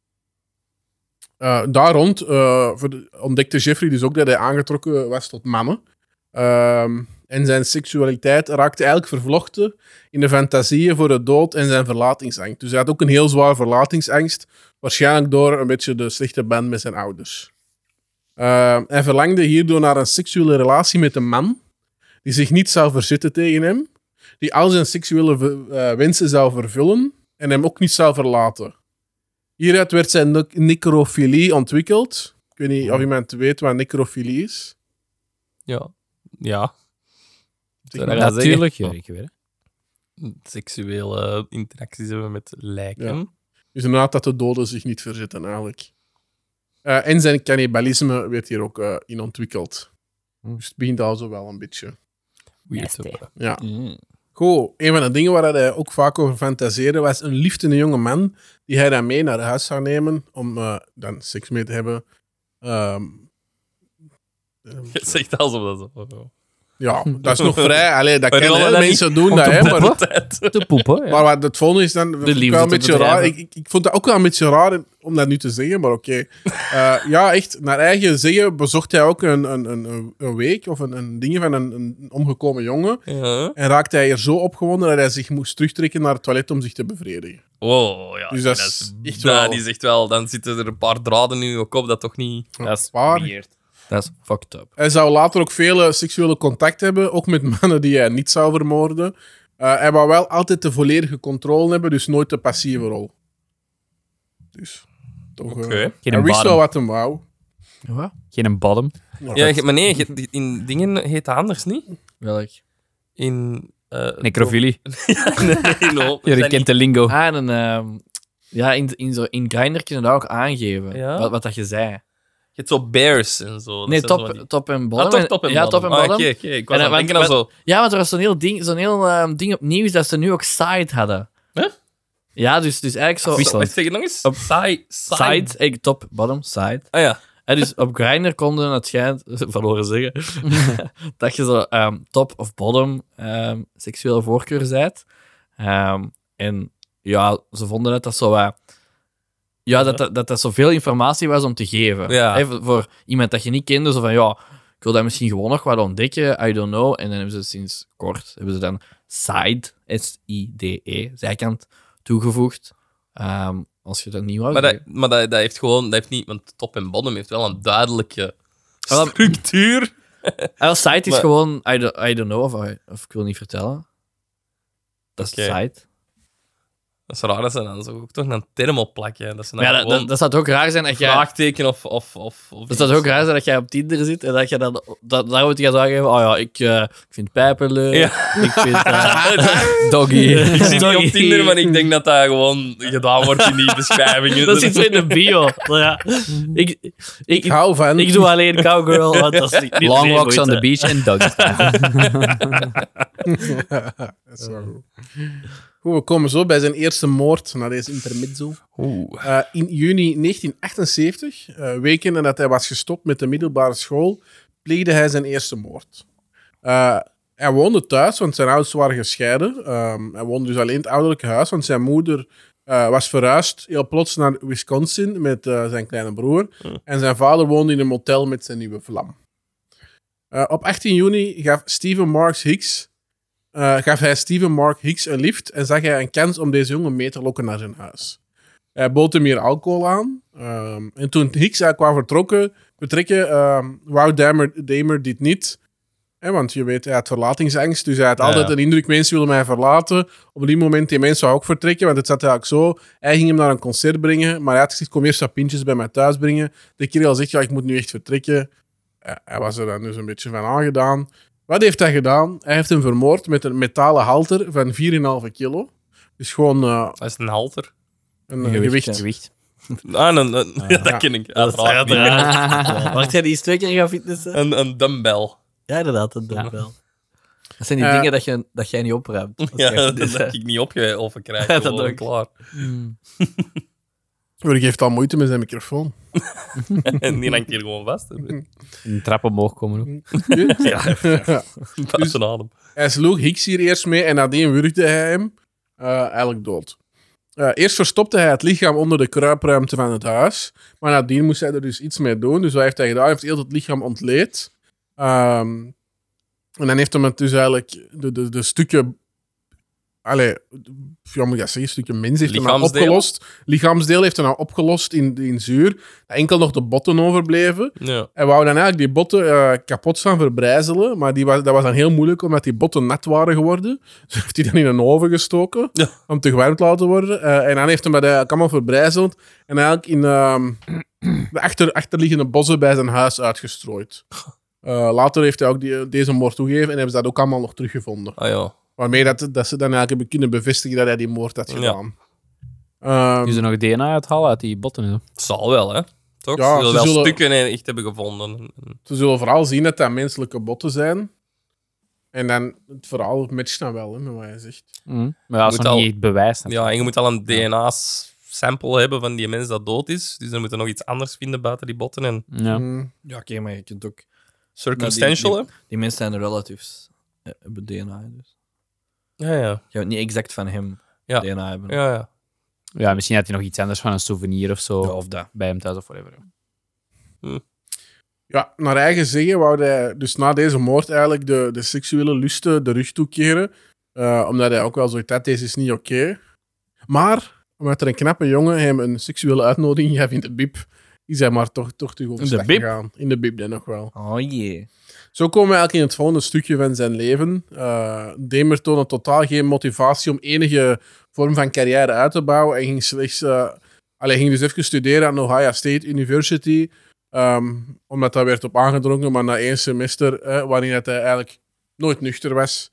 Speaker 3: Eh, daar rond eh, ver- ontdekte Jeffrey dus ook dat hij aangetrokken was tot mannen. Ehm, en zijn seksualiteit raakte eigenlijk vervlochten in de fantasieën voor de dood en zijn verlatingsangst. Dus hij had ook een heel zwaar verlatingsangst, waarschijnlijk door een beetje de slechte band met zijn ouders. Eh, hij verlangde hierdoor naar een seksuele relatie met een man die zich niet zou verzetten tegen hem, die al zijn seksuele v- eh, wensen zou vervullen en hem ook niet zou verlaten. Hieruit werd zijn ne- necrofilie ontwikkeld. Ik weet niet of iemand weet wat necrofilie is.
Speaker 4: Ja. Ja. Zou
Speaker 3: maar.
Speaker 4: dat gaan zeggen?
Speaker 2: Natuurlijk, Jurk. weer, hè.
Speaker 4: seksuele eh, interacties hebben met lijken.
Speaker 3: Ja. Dus inderdaad dat de doden zich niet verzetten, eigenlijk. Eh, en zijn cannibalisme werd hier ook eh, in ontwikkeld. Dus het begint al zo wel een beetje.
Speaker 4: Weird.
Speaker 6: Nasty.
Speaker 4: eh,
Speaker 3: Ja.
Speaker 1: Mm.
Speaker 3: Goed, een van de dingen waar hij ook vaak over fantaseerde was een liefdende jonge man die hij dan mee naar huis zou nemen om eh, dan seks mee te hebben. Ehm, ehm,
Speaker 4: Je zegt alsof dat zo. oh, oh.
Speaker 3: ja, dat is nog vrij. Allee, dat
Speaker 4: Maar
Speaker 3: kunnen
Speaker 4: rollen
Speaker 3: heel
Speaker 4: dat
Speaker 3: mensen doen, dat, hè, maar,
Speaker 4: Op de tijd.
Speaker 2: Te poepen.
Speaker 3: maar wat het volgende is dan dat vond ik
Speaker 1: liefde
Speaker 3: wel een
Speaker 1: te
Speaker 3: beetje raar. Ik,
Speaker 1: bedrijven.
Speaker 3: ik, ik vond dat ook wel een beetje raar om dat nu te zeggen, maar oké. Eh, ja, echt, naar eigen zeggen bezocht hij ook een, een, een, een week of een, een ding van een, een omgekomen jongen
Speaker 4: Ja.
Speaker 3: en raakte hij er zo opgewonden dat hij zich moest terugtrekken naar het toilet om zich te bevredigen.
Speaker 4: Wow, Oh, ja.
Speaker 3: Dus dat
Speaker 4: nee,
Speaker 3: is echt
Speaker 4: dat
Speaker 3: wel-
Speaker 4: is echt wel. Dan zitten er een paar draden in je kop dat toch niet.
Speaker 1: Dat is
Speaker 3: Waar?
Speaker 1: Dat is fucked up.
Speaker 3: Hij zou later ook vele seksuele contact hebben, ook met mannen die hij niet zou vermoorden. Eh, hij wou wel altijd de volledige controle hebben, dus nooit de passieve rol. Dus, toch... eh,
Speaker 4: Oké.
Speaker 2: Geen
Speaker 3: hij
Speaker 2: een
Speaker 3: wist
Speaker 2: bottom.
Speaker 3: wel wat hem wou.
Speaker 1: Wat?
Speaker 2: Geen een bottom.
Speaker 4: Ja, je- maar nee, je- in dingen heet dat anders niet.
Speaker 1: Welk?
Speaker 4: In. eh,
Speaker 2: Necrofilie.
Speaker 4: Nee, no.
Speaker 2: Je kent de lingo.
Speaker 1: Ah, en een, ehm, ja, in, in, zo, in Grindr kun je dat ook aangeven,
Speaker 4: Ja?
Speaker 1: wat, wat dat je zei.
Speaker 4: Je hebt zo bears en zo. Dat
Speaker 1: Nee,
Speaker 4: zijn zo
Speaker 1: top,
Speaker 4: van die-
Speaker 1: top en
Speaker 4: Ah,
Speaker 1: bottom.
Speaker 4: top, top en
Speaker 1: Ja, top en
Speaker 4: Ah,
Speaker 1: bottom.
Speaker 4: oké, oké. Ik was
Speaker 1: En,
Speaker 4: aan
Speaker 1: eh,
Speaker 4: het denken aan
Speaker 1: want-
Speaker 4: zo...
Speaker 1: Ja, want er was zo'n heel ding, zo'n heel, ehm, ding op nieuws dat ze nu ook side hadden.
Speaker 4: Huh?
Speaker 1: Ja, dus, dus eigenlijk zo...
Speaker 4: Wacht, Zeg het nog eens. Side. Side.
Speaker 1: Side, eh, top, bottom, side.
Speaker 4: Ah ja.
Speaker 1: En dus op Grindr konden het schijnt, van horen zeggen, dat je zo ehm, top of bottom ehm, seksuele voorkeur zijt. Ehm, en ja, ze vonden dat dat zo wat- Ja, dat dat, dat dat zoveel informatie was om te geven.
Speaker 4: Ja.
Speaker 1: Hè, voor- voor iemand dat je niet kende, zo van ja, ik wil dat misschien gewoon nog wat ontdekken, I don't know. En dan hebben ze sinds kort, hebben ze dan side, S-I-D-E, E, zijkant, toegevoegd. Ehm, als je dat niet wou.
Speaker 4: Maar,
Speaker 1: zeggen.
Speaker 4: dat, maar dat, dat heeft gewoon... Dat heeft niet... Want top en bottom heeft wel een duidelijke
Speaker 1: Ah, wel-
Speaker 4: structuur.
Speaker 1: Ah, wel, site is
Speaker 4: Maar-
Speaker 1: gewoon, I don't, I don't know, of, I- of ik wil niet vertellen. Dat is
Speaker 4: Oké.
Speaker 1: site.
Speaker 4: Dat is raar dat ze dan zo ook toch een term opplakken. Dat ze dan
Speaker 1: Maar ja, dat,
Speaker 4: gewoon
Speaker 1: dat, dat zou toch ook raar zijn dat jij...
Speaker 4: vraagteken of... of, of, of
Speaker 1: Dat zou toch ook raar zijn dat jij op Tinder zit en dat je dan... Dat, daar moet je gaan zeggen, oh ja, ik, eh, ik vind pijpen leuk, ik vind... eh,
Speaker 2: Doggy.
Speaker 4: Ik zit niet
Speaker 1: Sorry.
Speaker 4: op Tinder, maar ik denk dat dat gewoon gedaan wordt in die beschrijvingen.
Speaker 1: dat zit zo in de bio. Maar ja, ik, ik,
Speaker 3: Ik hou van...
Speaker 1: ik doe alleen cowgirl, want dat is niet niet eh.
Speaker 2: Long
Speaker 1: meer
Speaker 2: walks
Speaker 1: moeite.
Speaker 2: on the beach en doggy.
Speaker 3: dat is wel goed. Goed, we komen zo bij zijn eerste moord na deze intermezzo.
Speaker 4: Oeh.
Speaker 3: Eh, in juni 1978, eh, weken nadat hij was gestopt met de middelbare school, pleegde hij zijn eerste moord. Eh, hij woonde thuis, want zijn ouders waren gescheiden. Ehm, hij woonde dus alleen in het ouderlijke huis, want zijn moeder eh, was verhuisd heel plots naar Wisconsin met eh, zijn kleine broer. En zijn vader woonde in een motel met zijn nieuwe vlam. Eh, op 18 juni gaf Steven Marks Hicks eh, gaf hij Steven Mark Hicks een lift en zag hij een kans om deze jongen mee te lokken naar zijn huis. Hij bood hem hier alcohol aan. ehm, en toen Hicks daar kwam vertrokken, betrekken, ehm wou Damer, Damer dit niet. Hè, want je weet, hij had verlatingsangst. Dus hij had altijd
Speaker 4: ja.
Speaker 3: een indruk, mensen willen mij verlaten. Op die moment, die mensen zou ook vertrekken, want het zat eigenlijk zo. Hij ging hem naar een concert brengen, maar hij had gezegd, kom eerst wat pintjes bij mij thuis brengen. De kerel zegt, ja, ik moet nu echt vertrekken. Eh, hij was er dan dus een beetje van aangedaan. Wat heeft hij gedaan? Hij heeft hem vermoord met een metalen halter van 4,5 kilo. Dus gewoon eh,
Speaker 4: Dat is een halter.
Speaker 3: een eh, gewicht.
Speaker 2: Gewicht.
Speaker 4: Ah, een, een- ja, dat ken ik. Uiteraard. niet.
Speaker 1: Wacht, jij die eens twee keer gaan fitnessen?
Speaker 4: Een, een dumbbell.
Speaker 1: Ja, inderdaad, dat doe ik wel. Dat zijn die
Speaker 3: Eh.
Speaker 1: dingen dat, je, dat dus, jij niet opruimt. als jij
Speaker 4: Ja, dat
Speaker 1: fitness
Speaker 4: heb ik niet opgeofferd krijg.
Speaker 1: Ja, dat
Speaker 4: gewoon
Speaker 1: ook.
Speaker 4: klaar.
Speaker 3: Hij geeft al moeite met zijn microfoon.
Speaker 4: En die hangt hier gewoon vast.
Speaker 1: Dus-
Speaker 4: hè.
Speaker 2: Een trap omhoog komen ook.
Speaker 3: Ja.
Speaker 4: Buiten adem.
Speaker 3: Hij sloeg Hicks hier eerst mee en nadien wurgde hij hem eh, eigenlijk dood. Eh, eerst verstopte hij het lichaam onder de kruipruimte van het huis. Maar nadien moest hij er dus iets mee doen. Dus wat heeft hij gedaan? Hij heeft heel het lichaam ontleed. Ehm, en dan heeft hem het dus eigenlijk de, de, de stukken... Allee, ja, moet ik dat zeggen? Stukken mens heeft hij nou
Speaker 4: Lichaamsdelen?
Speaker 3: opgelost. Lichaamsdeel heeft hij nou opgelost in, in zuur. Enkel nog de botten overbleven.
Speaker 4: Ja.
Speaker 3: En wou dan eigenlijk die botten eh, kapot gaan verbrijzelen. Maar die was, dat was dan heel moeilijk, omdat die botten nat waren geworden. Dus heeft hij dan in een oven gestoken
Speaker 4: Ja.
Speaker 3: om te gewarmd te laten worden. Eh, en dan heeft hem dat eigenlijk allemaal verbrijzeld. En eigenlijk in ehm, de achter, achterliggende bossen bij zijn huis uitgestrooid. Eh, later heeft hij ook die, deze moord toegegeven en hebben ze dat ook allemaal nog teruggevonden.
Speaker 4: Ah ja.
Speaker 3: Waarmee dat, dat ze dan eigenlijk hebben kunnen bevestigen dat hij die moord had gedaan. Ehm, Ja,
Speaker 2: Nu ze nog DNA uithalen uit die botten. en zo.
Speaker 4: Het zal wel, hè? Toch?
Speaker 3: Ja,
Speaker 4: ze zullen
Speaker 3: ze
Speaker 4: wel
Speaker 3: zullen-
Speaker 4: stukken en echt hebben gevonden.
Speaker 3: ze zullen vooral zien dat dat menselijke botten zijn. En dan het verhaal matcht dan wel, hè, met wat hij zegt.
Speaker 2: Mhm. Maar ja, dat
Speaker 4: Moet
Speaker 2: is nog
Speaker 4: al-
Speaker 2: niet echt bewijs.
Speaker 4: Ja, en je moet al een DNA-sample hebben van die mens dat dood is. Dus dan moeten we nog iets anders vinden buiten die botten. En
Speaker 2: Ja.
Speaker 3: Mm.
Speaker 1: Ja, oké, maar je kunt ook...
Speaker 4: circumstantial,
Speaker 1: Maar Die mensen zijn relatives. eh, Hebben DNA, dus.
Speaker 4: hè? Ja, ja.
Speaker 1: Je hebt niet exact van hem
Speaker 4: Ja.
Speaker 1: DNA hebben.
Speaker 4: ja, ja.
Speaker 2: ja, misschien had hij nog iets anders van een souvenir of zo.
Speaker 1: Ja, Of dat.
Speaker 2: Bij hem thuis of whatever.
Speaker 3: Ja, naar eigen zeggen wou hij dus na deze moord eigenlijk de, de seksuele lusten de rug toekeren. Eh, omdat hij ook wel zoiets had, deze is niet oké. Maar, omdat er een knappe jongen hem een seksuele uitnodiging gaf in de bib, is hij maar toch, toch terug op
Speaker 1: In de
Speaker 3: slag
Speaker 1: bib?
Speaker 3: gegaan. In de bib dan nog wel.
Speaker 1: Oh jee.
Speaker 3: Zo komen we eigenlijk in het volgende stukje van zijn leven. Eh Demer toonde totaal geen motivatie om enige vorm van carrière uit te bouwen. En ging slechts. eh allee, ging dus even studeren aan Ohio State University. ehm, omdat daar werd op aangedrongen, maar na één semester, eh, waarin dat hij eigenlijk nooit nuchter was,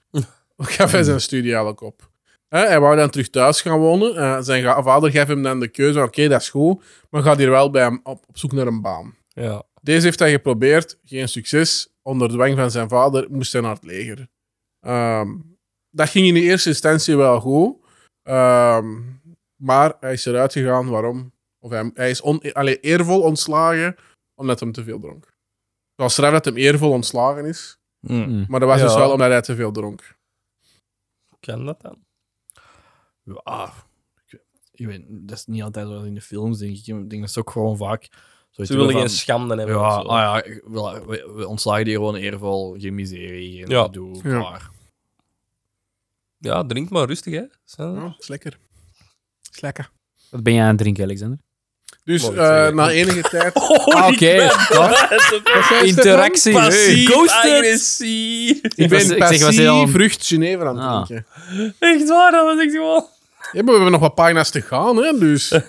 Speaker 3: gaf hij zijn studie eigenlijk op. Eh, hij wou dan terug thuis gaan wonen. Eh, zijn ga- vader gaf hem dan de keuze: oké, dat is goed, maar gaat hier wel bij hem op, op zoek naar een baan.
Speaker 4: ja.
Speaker 3: Deze heeft hij geprobeerd, geen succes. Onder dwang van zijn vader moest hij naar het leger. Ehm, dat ging in de eerste instantie wel goed. Ehm, maar hij is eruit gegaan. Waarom? Of hij, hij is on, allee, eervol ontslagen omdat hij te veel dronk. Het was straf dat hem eervol ontslagen is.
Speaker 2: Mm.
Speaker 1: Hm.
Speaker 3: Maar dat was dus
Speaker 4: Ja.
Speaker 3: wel omdat hij te veel dronk.
Speaker 4: Kan dat dan?
Speaker 1: Ja, Ah, ik weet- ik weet, dat is niet altijd wel in de films, denk ik. Ik denk dat ze ook gewoon vaak... zoiets
Speaker 4: Ze willen
Speaker 1: hebben
Speaker 4: geen
Speaker 1: van-
Speaker 4: schande hebben.
Speaker 1: Ja,
Speaker 4: of zo.
Speaker 1: ah ja ik- we, we- we ontslagen die gewoon eervol. Geen miserie, geen
Speaker 4: Ja.
Speaker 1: gedoe,
Speaker 3: Ja.
Speaker 1: klaar.
Speaker 4: Ja, drink maar rustig, hè. Zo.
Speaker 3: Ja, is lekker. Is lekker.
Speaker 2: Wat ben je aan het drinken, Alexander?
Speaker 3: Dus
Speaker 4: Mooi,
Speaker 3: eh,
Speaker 4: zeg.
Speaker 3: na enige tijd.
Speaker 2: Ah,
Speaker 4: Oh,
Speaker 2: Oké, toch? interactie. hey.
Speaker 4: Passief,
Speaker 3: Ghosted.
Speaker 4: agressief.
Speaker 3: Ik
Speaker 2: was-
Speaker 3: ben
Speaker 2: ik zeg, was
Speaker 3: passief
Speaker 2: hij al-
Speaker 3: vrucht Geneve aan het
Speaker 2: Ah.
Speaker 3: drinken.
Speaker 4: Echt waar,
Speaker 1: Ah,
Speaker 4: dat was echt wel...
Speaker 3: Ja, maar we hebben nog wat pagina's te gaan, hè? Dus.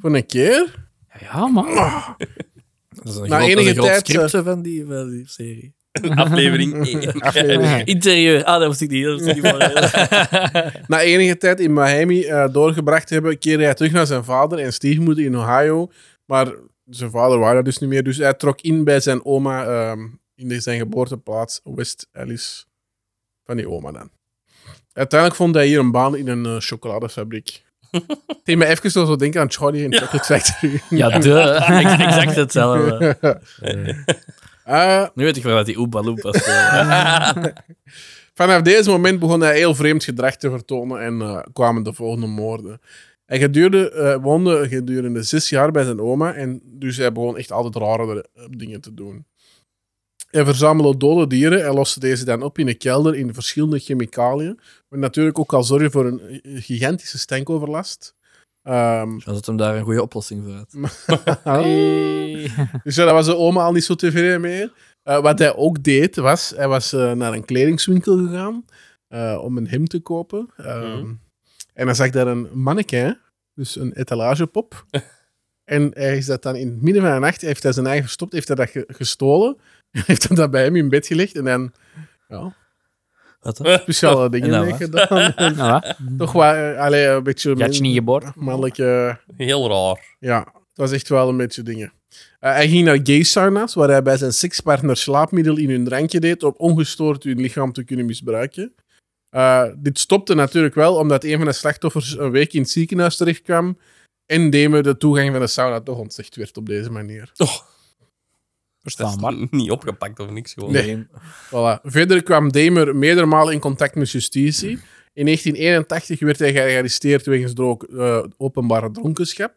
Speaker 3: voor een keer.
Speaker 2: Ja, man.
Speaker 1: Dat is een
Speaker 3: Na
Speaker 1: groot, dat is
Speaker 3: enige
Speaker 1: een groot
Speaker 3: tijd, eh,
Speaker 1: script hè, van die, van die serie.
Speaker 4: Aflevering 1.
Speaker 3: Aflevering.
Speaker 1: Interieur. Ah, dat was ik niet. Dat was ik niet van.
Speaker 3: Na enige tijd in Miami eh, doorgebracht hebben, keerde hij terug naar zijn vader en stiefmoeder in Ohio. Maar zijn vader was dat dus niet meer. Dus hij trok in bij zijn oma ehm, in de- zijn geboorteplaats, West Alice. Van die oma dan. Uiteindelijk vond hij hier een baan in een eh, chocoladefabriek. Het deed me even zo denken aan Charlie in Chocolate Factory.
Speaker 2: Ja, de.
Speaker 1: Ex- exact hetzelfde.
Speaker 3: Eh,
Speaker 1: Nu weet ik wel wat die Oompa Loompa is.
Speaker 3: Vanaf deze moment begon hij heel vreemd gedrag te vertonen en eh, kwamen de volgende moorden. Hij gedurende, eh, woonde gedurende zes jaar bij zijn oma en dus hij begon echt altijd rare eh, dingen te doen. Hij verzamelde dode dieren en loste deze dan op in een kelder in verschillende chemicaliën. Wat natuurlijk ook al zorgen voor een eh, gigantische stankoverlast. Ehm,
Speaker 1: Dan zet hem daar een goede oplossing voor uit.
Speaker 3: dus ja, daar was de oma al niet zo tevreden mee. Eh, wat hij ook deed, was... Hij was eh, naar een kledingswinkel gegaan eh, om een hemd te kopen. Ehm, En dan zag daar een mannequin, dus een etalagepop. en hij is dat dan in het midden van de nacht... Heeft hij zijn eigen verstopt, heeft hij dat ge- gestolen. heeft hij dat bij hem in bed gelegd. En dan... Ja,
Speaker 1: Wat dan?
Speaker 3: speciale dingen
Speaker 1: nou,
Speaker 3: mee
Speaker 1: hè?
Speaker 3: gedaan. En
Speaker 2: Nou, hè?
Speaker 3: Toch wel eh, allee, een beetje...
Speaker 2: je had je niet geboord?
Speaker 3: Mannelijke...
Speaker 4: Heel raar.
Speaker 3: Ja, het was echt wel een beetje dingen. Eh, hij ging naar gay sauna's, waar hij bij zijn sekspartner slaapmiddel in hun drankje deed om ongestoord hun lichaam te kunnen misbruiken. Eh, dit stopte natuurlijk wel omdat een van de slachtoffers een week in het ziekenhuis terechtkwam en Deme de toegang van de sauna toch ontzegd werd op deze manier.
Speaker 4: Dat is
Speaker 2: Verstaan, maar.
Speaker 4: niet opgepakt of niks gewoon.
Speaker 3: Nee. Voilà. Verder kwam Demer meerdere malen in contact met justitie. In 1981 werd hij gearresteerd wegens dro- eh, openbare dronkenschap.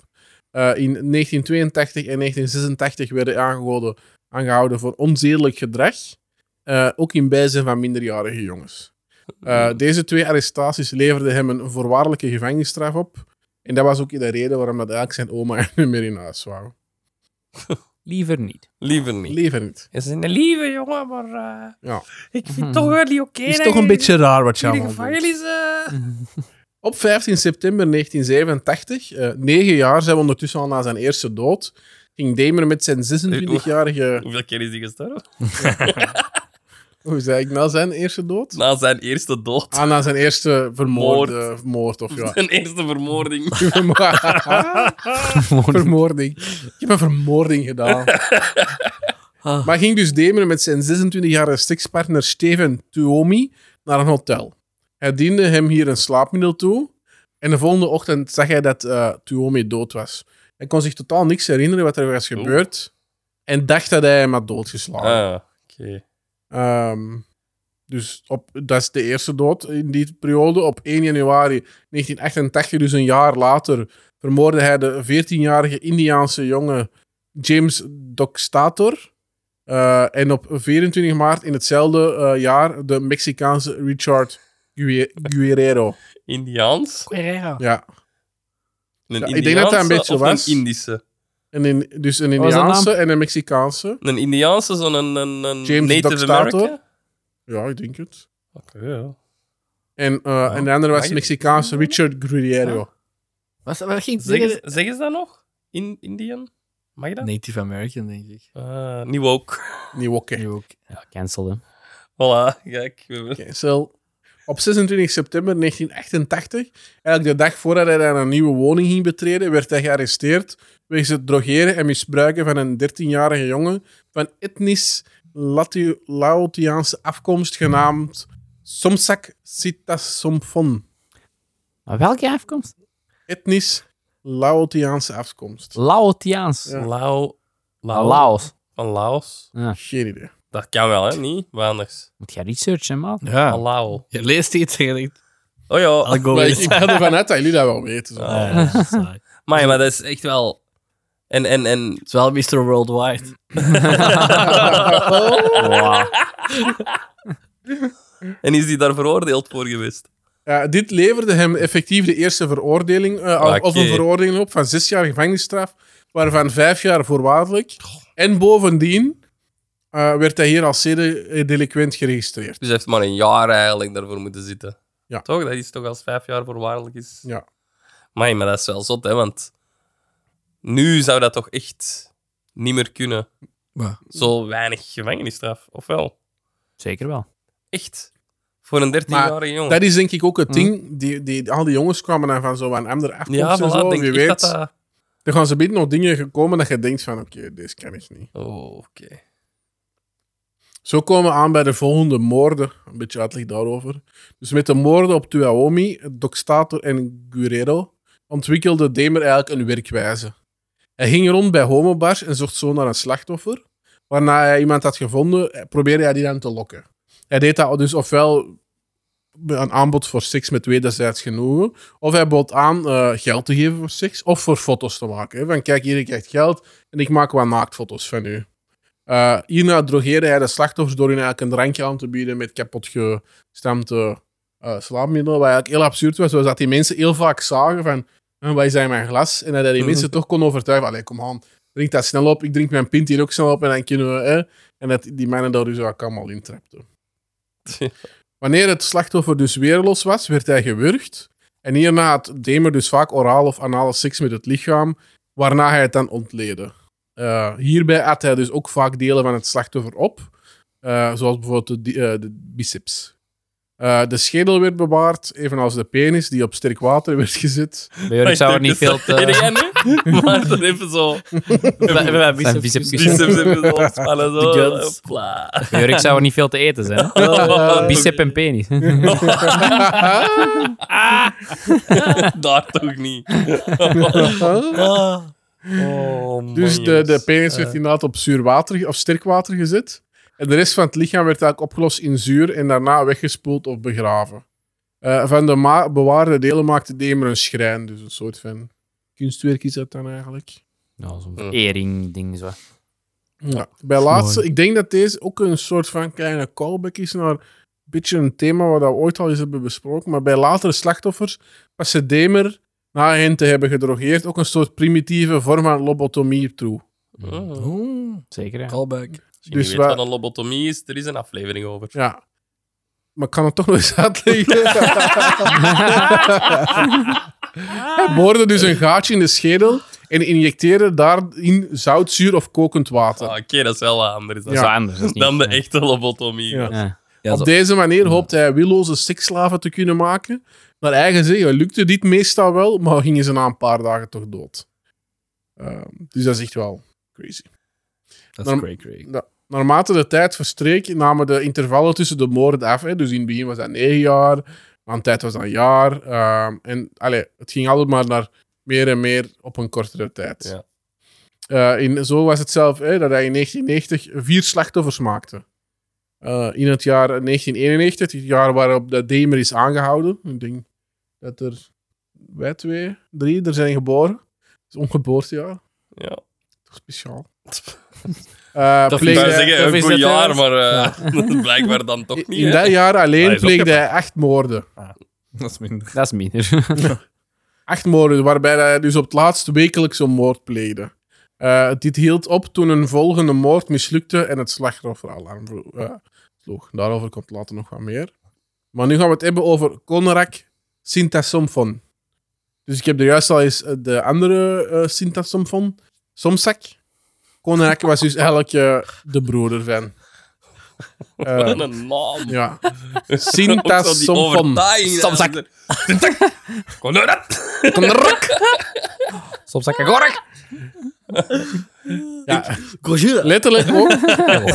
Speaker 3: Eh, in 1982 en 1986 werd hij aangehouden, aangehouden voor onzedelijk gedrag. eh, ook in bijzijn van minderjarige jongens. Eh, Deze twee arrestaties leverden hem een voorwaardelijke gevangenisstraf op. En dat was ook de reden waarom dat eigenlijk zijn oma er niet meer in huis wou.
Speaker 2: Liever niet.
Speaker 4: Liever niet.
Speaker 3: Liever niet.
Speaker 4: Ze zijn een lieve jongen, maar eh,
Speaker 3: Ja.
Speaker 4: ik vind toch wel niet oké.
Speaker 3: Is
Speaker 4: dat
Speaker 3: toch een
Speaker 4: je-
Speaker 3: beetje raar wat je
Speaker 4: dat je
Speaker 3: allemaal doet.
Speaker 4: gevangen is. eh.
Speaker 3: Op 15 september 1987, eh, negen jaar zijn we ondertussen al na zijn eerste dood, ging Damer met zijn 26-jarige...
Speaker 4: Hoeveel keer is die gestorven?
Speaker 3: Hoe zei ik? Na zijn eerste dood?
Speaker 4: Na zijn eerste dood.
Speaker 3: Ah, na zijn eerste vermoorde moord, of ja.
Speaker 4: Zijn eerste vermoording.
Speaker 3: vermoording. Ik heb een vermoording gedaan.
Speaker 1: Ah.
Speaker 3: Maar ging dus Demeren met zijn 26-jarige sekspartner Steven Tuomi naar een hotel. Hij diende hem hier een slaapmiddel toe. En de volgende ochtend zag hij dat eh Tuomi dood was. Hij kon zich totaal niks herinneren wat er was gebeurd. En dacht dat hij hem had doodgeslagen.
Speaker 4: Ah, oké.
Speaker 3: Ehm, dus op, dat is de eerste dood in die periode. Op 1 januari 1988, dus een jaar later, vermoordde hij de 14-jarige Indiaanse jongen James Dockstator. Eh, en op 24 maart in hetzelfde eh, jaar de Mexicaanse Richard Gue- Guerrero.
Speaker 4: Indiaans?
Speaker 3: Ja.
Speaker 4: Een
Speaker 3: Ja, ik denk dat dat een
Speaker 4: Indiaanse
Speaker 3: beetje
Speaker 4: of
Speaker 3: was.
Speaker 4: Een Indische.
Speaker 3: En in, dus een
Speaker 2: was de naam?
Speaker 3: Indiaanse en een Mexicaanse.
Speaker 4: Een Indiaanse, zo'n een, een, een
Speaker 3: James
Speaker 4: Native
Speaker 3: Dockstator.
Speaker 4: American?
Speaker 3: Ja, ik denk het.
Speaker 4: Oké, ja.
Speaker 3: En, eh, en de andere was de Mexicaanse Richard Guerrero.
Speaker 1: Wat, wat ging
Speaker 4: Zeggen ze- zeggen ze dat nog? In Indian? Mag je dat?
Speaker 1: Native American, denk ik.
Speaker 4: Ah, niet woke.
Speaker 3: Niet oké.
Speaker 1: Die ook.
Speaker 2: Ja, cancel hem.
Speaker 4: Voilà, kijk. we hebben-
Speaker 3: Cancel. Op 26 september 1988, eigenlijk de dag voordat hij naar een nieuwe woning ging betreden, werd hij gearresteerd wegens het drogeren en misbruiken van een 13-jarige jongen van etnisch Latu- Laotiaanse afkomst genaamd Somsak Sitasomphon.
Speaker 2: Maar welke afkomst?
Speaker 3: Etnisch Laotiaanse afkomst.
Speaker 2: Laotiaans.
Speaker 3: Ja.
Speaker 4: Lao.
Speaker 2: Ah,
Speaker 4: Lao.
Speaker 2: Laos.
Speaker 4: Van Laos.
Speaker 3: Geen idee.
Speaker 4: Dat kan wel, hè? Niet? Wat anders?
Speaker 2: Moet je researchen, man.
Speaker 1: Ja.
Speaker 4: Van Lao.
Speaker 1: Je leest iets en je denkt,
Speaker 4: Oh ja.
Speaker 1: I'll go
Speaker 3: Maar
Speaker 1: with
Speaker 3: ik,
Speaker 1: it.
Speaker 3: ik ga ervan uit dat jullie dat wel weten. zo.
Speaker 4: Ah.
Speaker 1: Ja, dat is saai. Het
Speaker 4: Maar, maar dat is echt wel... En, en, en...
Speaker 1: is wel Mr. Worldwide.
Speaker 2: Wow.
Speaker 4: En is die daar veroordeeld voor geweest?
Speaker 3: Ja, dit leverde hem effectief de eerste veroordeling, eh, al-
Speaker 4: Oké.
Speaker 3: of een veroordeling op van zes jaar gevangenisstraf, waarvan vijf jaar voorwaardelijk. En bovendien eh, werd hij hier als zedendelinquent geregistreerd.
Speaker 4: Dus hij heeft maar een jaar eigenlijk daarvoor moeten zitten.
Speaker 3: Ja.
Speaker 4: Toch? Dat is toch als vijf jaar voorwaardelijk is?
Speaker 3: Ja.
Speaker 4: Amai, maar dat is wel zot, hè? Want nu zou dat toch echt niet meer kunnen.
Speaker 1: Ja.
Speaker 4: Zo weinig gevangenisstraf, of wel?
Speaker 2: Zeker wel.
Speaker 4: Echt. Voor een 13-jarige jongen.
Speaker 3: Dat is denk ik ook het ding. Die, die, al die jongens kwamen dan van zo'n andere afkomst
Speaker 4: ja,
Speaker 3: en
Speaker 4: voilà,
Speaker 3: zo.
Speaker 4: denk
Speaker 3: Je
Speaker 4: ik
Speaker 3: weet,
Speaker 4: dat dat...
Speaker 3: er gaan ze binnen nog dingen gekomen dat je denkt van oké, deze kan ik niet.
Speaker 4: Oh, oké.
Speaker 3: Zo komen we aan bij de volgende moorden. Een beetje uitleg daarover. Dus met de moorden op Tuaomi, Doxtator en Guerrero ontwikkelde Demer eigenlijk een werkwijze. Hij ging rond bij homobars en zocht zo naar een slachtoffer. Waarna hij iemand had gevonden, eh, probeerde hij die dan te lokken. Hij deed dat dus ofwel een aanbod voor seks met wederzijds genoegen, of hij bood aan eh, geld te geven voor seks, of voor foto's te maken. Hè. Van kijk, hier, je krijgt geld en ik maak wat naaktfoto's van u. Eh, hierna drogeerde hij de slachtoffers door hun eigenlijk een drankje aan te bieden met kapotgestampte eh slaapmiddelen. Wat eigenlijk heel absurd was, was dat die mensen heel vaak zagen van, "Hm, wat is dat in mijn glas? En dat hij die mensen toch kon overtuigen, allee, kom aan, drink dat snel op, ik drink mijn pint hier ook snel op en dan kunnen we... Hè? En dat die mannen daar dus ook allemaal intrapten. Wanneer het slachtoffer dus weerloos was, werd hij gewurgd. En hierna had Demer dus vaak oraal of anale seks met het lichaam, waarna hij het dan ontleedde. Eh, hierbij at hij dus ook vaak delen van het slachtoffer op, eh, zoals bijvoorbeeld de, di- eh, de biceps. Eh, de schedel werd bewaard, evenals de penis, die op sterk water werd gezet.
Speaker 2: Bij jullie zou er niet veel
Speaker 4: Weet
Speaker 2: te...
Speaker 4: jij nu? Maar dat even zo...
Speaker 1: Bij bij
Speaker 2: Zijn
Speaker 1: biceps-
Speaker 2: biceps-
Speaker 4: Biceps even zo ontspannen. Zo.
Speaker 1: De guns.
Speaker 4: Hopla.
Speaker 2: Bij jullie zou er niet veel te eten zijn. hè?
Speaker 1: Oh.
Speaker 2: Bicep en penis. Nou,
Speaker 4: Daar toch niet.
Speaker 1: Ah,
Speaker 4: Oh,
Speaker 3: dus
Speaker 4: man,
Speaker 3: de, de
Speaker 4: jongens.
Speaker 3: penis werd inderdaad op zuur water ge- of sterk water gezet. En de rest van het lichaam werd eigenlijk opgelost in zuur en daarna weggespoeld of begraven. Eh, van de ma- bewaarde delen maakte Demer een schrijn, dus een soort van kunstwerk is dat dan eigenlijk.
Speaker 2: Nou, zo'n vereering ding zo.
Speaker 3: Ja. Bij laatste, ik denk dat deze ook een soort van kleine callback is naar een beetje een thema wat we ooit al eens hebben besproken. Maar bij latere slachtoffers was ze Demer, na hen te hebben gedrogeerd, ook een soort primitieve vorm van lobotomie toe.
Speaker 4: Oh.
Speaker 1: Oeh,
Speaker 2: Zeker, ja.
Speaker 1: callback.
Speaker 4: Als je dus
Speaker 3: Dus
Speaker 4: niet weet
Speaker 3: waar-
Speaker 4: wat een lobotomie is, er is een aflevering over.
Speaker 3: Ja. Maar ik kan het toch nog eens uitleggen. Hij boorde dus een gaatje in de schedel en injecteerde daarin zout, zuur of kokend water.
Speaker 4: Ah, Oké, dat is wel wat anders dan,
Speaker 2: Dat is
Speaker 3: Ja.
Speaker 2: anders. dat is niet-
Speaker 4: dan de
Speaker 2: ja.
Speaker 4: echte lobotomie.
Speaker 3: Ja.
Speaker 2: Ja.
Speaker 1: Ja, zo.
Speaker 3: Op deze manier hoopt hij willoze seksslaven te kunnen maken. Naar eigen zeggen lukte dit meestal wel, maar gingen ze na een paar dagen toch dood. Ehm, dus dat is echt wel crazy.
Speaker 1: Dat is
Speaker 3: Maar-
Speaker 1: cray cray.
Speaker 3: Na- naarmate de tijd verstreek, namen de intervallen tussen de moorden af. Hè. Dus in het begin was dat negen jaar, aan de tijd was dat een jaar. ehm, en allee, het ging altijd maar naar meer en meer op een kortere tijd.
Speaker 4: Ja.
Speaker 3: Eh, in, zo was het zelf hè, dat hij in 1990 vier slachtoffers maakte. Eh, in het jaar 1991, het jaar waarop de Demer is aangehouden. Ik denk dat er wij twee, drie er zijn geboren. Het is ongeboortejaar.
Speaker 4: Ja.
Speaker 3: Toch speciaal. Eh,
Speaker 1: Dat
Speaker 4: Ik
Speaker 1: Leeg,
Speaker 4: zou
Speaker 1: eh,
Speaker 4: zeggen,
Speaker 1: of
Speaker 4: een
Speaker 1: is
Speaker 4: goed
Speaker 1: dat, eh,
Speaker 4: jaar, maar eh, blijkbaar dan toch
Speaker 3: in
Speaker 4: niet.
Speaker 3: in
Speaker 4: hè.
Speaker 3: dat jaar
Speaker 4: Hij
Speaker 3: alleen
Speaker 4: is
Speaker 3: pleegde hij
Speaker 4: opgepakt.
Speaker 3: acht moorden.
Speaker 1: Dat is minder.
Speaker 2: Dat is minder.
Speaker 3: Acht moorden, waarbij hij dus op het laatst wekelijks een moord pleegde. Eh, dit hield op toen een volgende moord mislukte en het slachtofferalarm vlo- eh, sloeg. Daarover komt later nog wat meer. Maar nu gaan we het hebben over Konrak Sintasomfon. Dus ik heb er juist al eens eh, de andere eh Sintasomfon, Somsak. Konrak was dus eigenlijk eh, de broeder van. Eh,
Speaker 4: Wat een naam.
Speaker 3: ja.
Speaker 4: Ook zo die
Speaker 3: Sintasomfon.
Speaker 4: overtuiging, hè.
Speaker 3: Somsak.
Speaker 4: Kom door dat.
Speaker 3: Konrak.
Speaker 2: Soms zeg ik gorg.
Speaker 3: Ja,
Speaker 1: Gojira.
Speaker 3: letterlijk ook.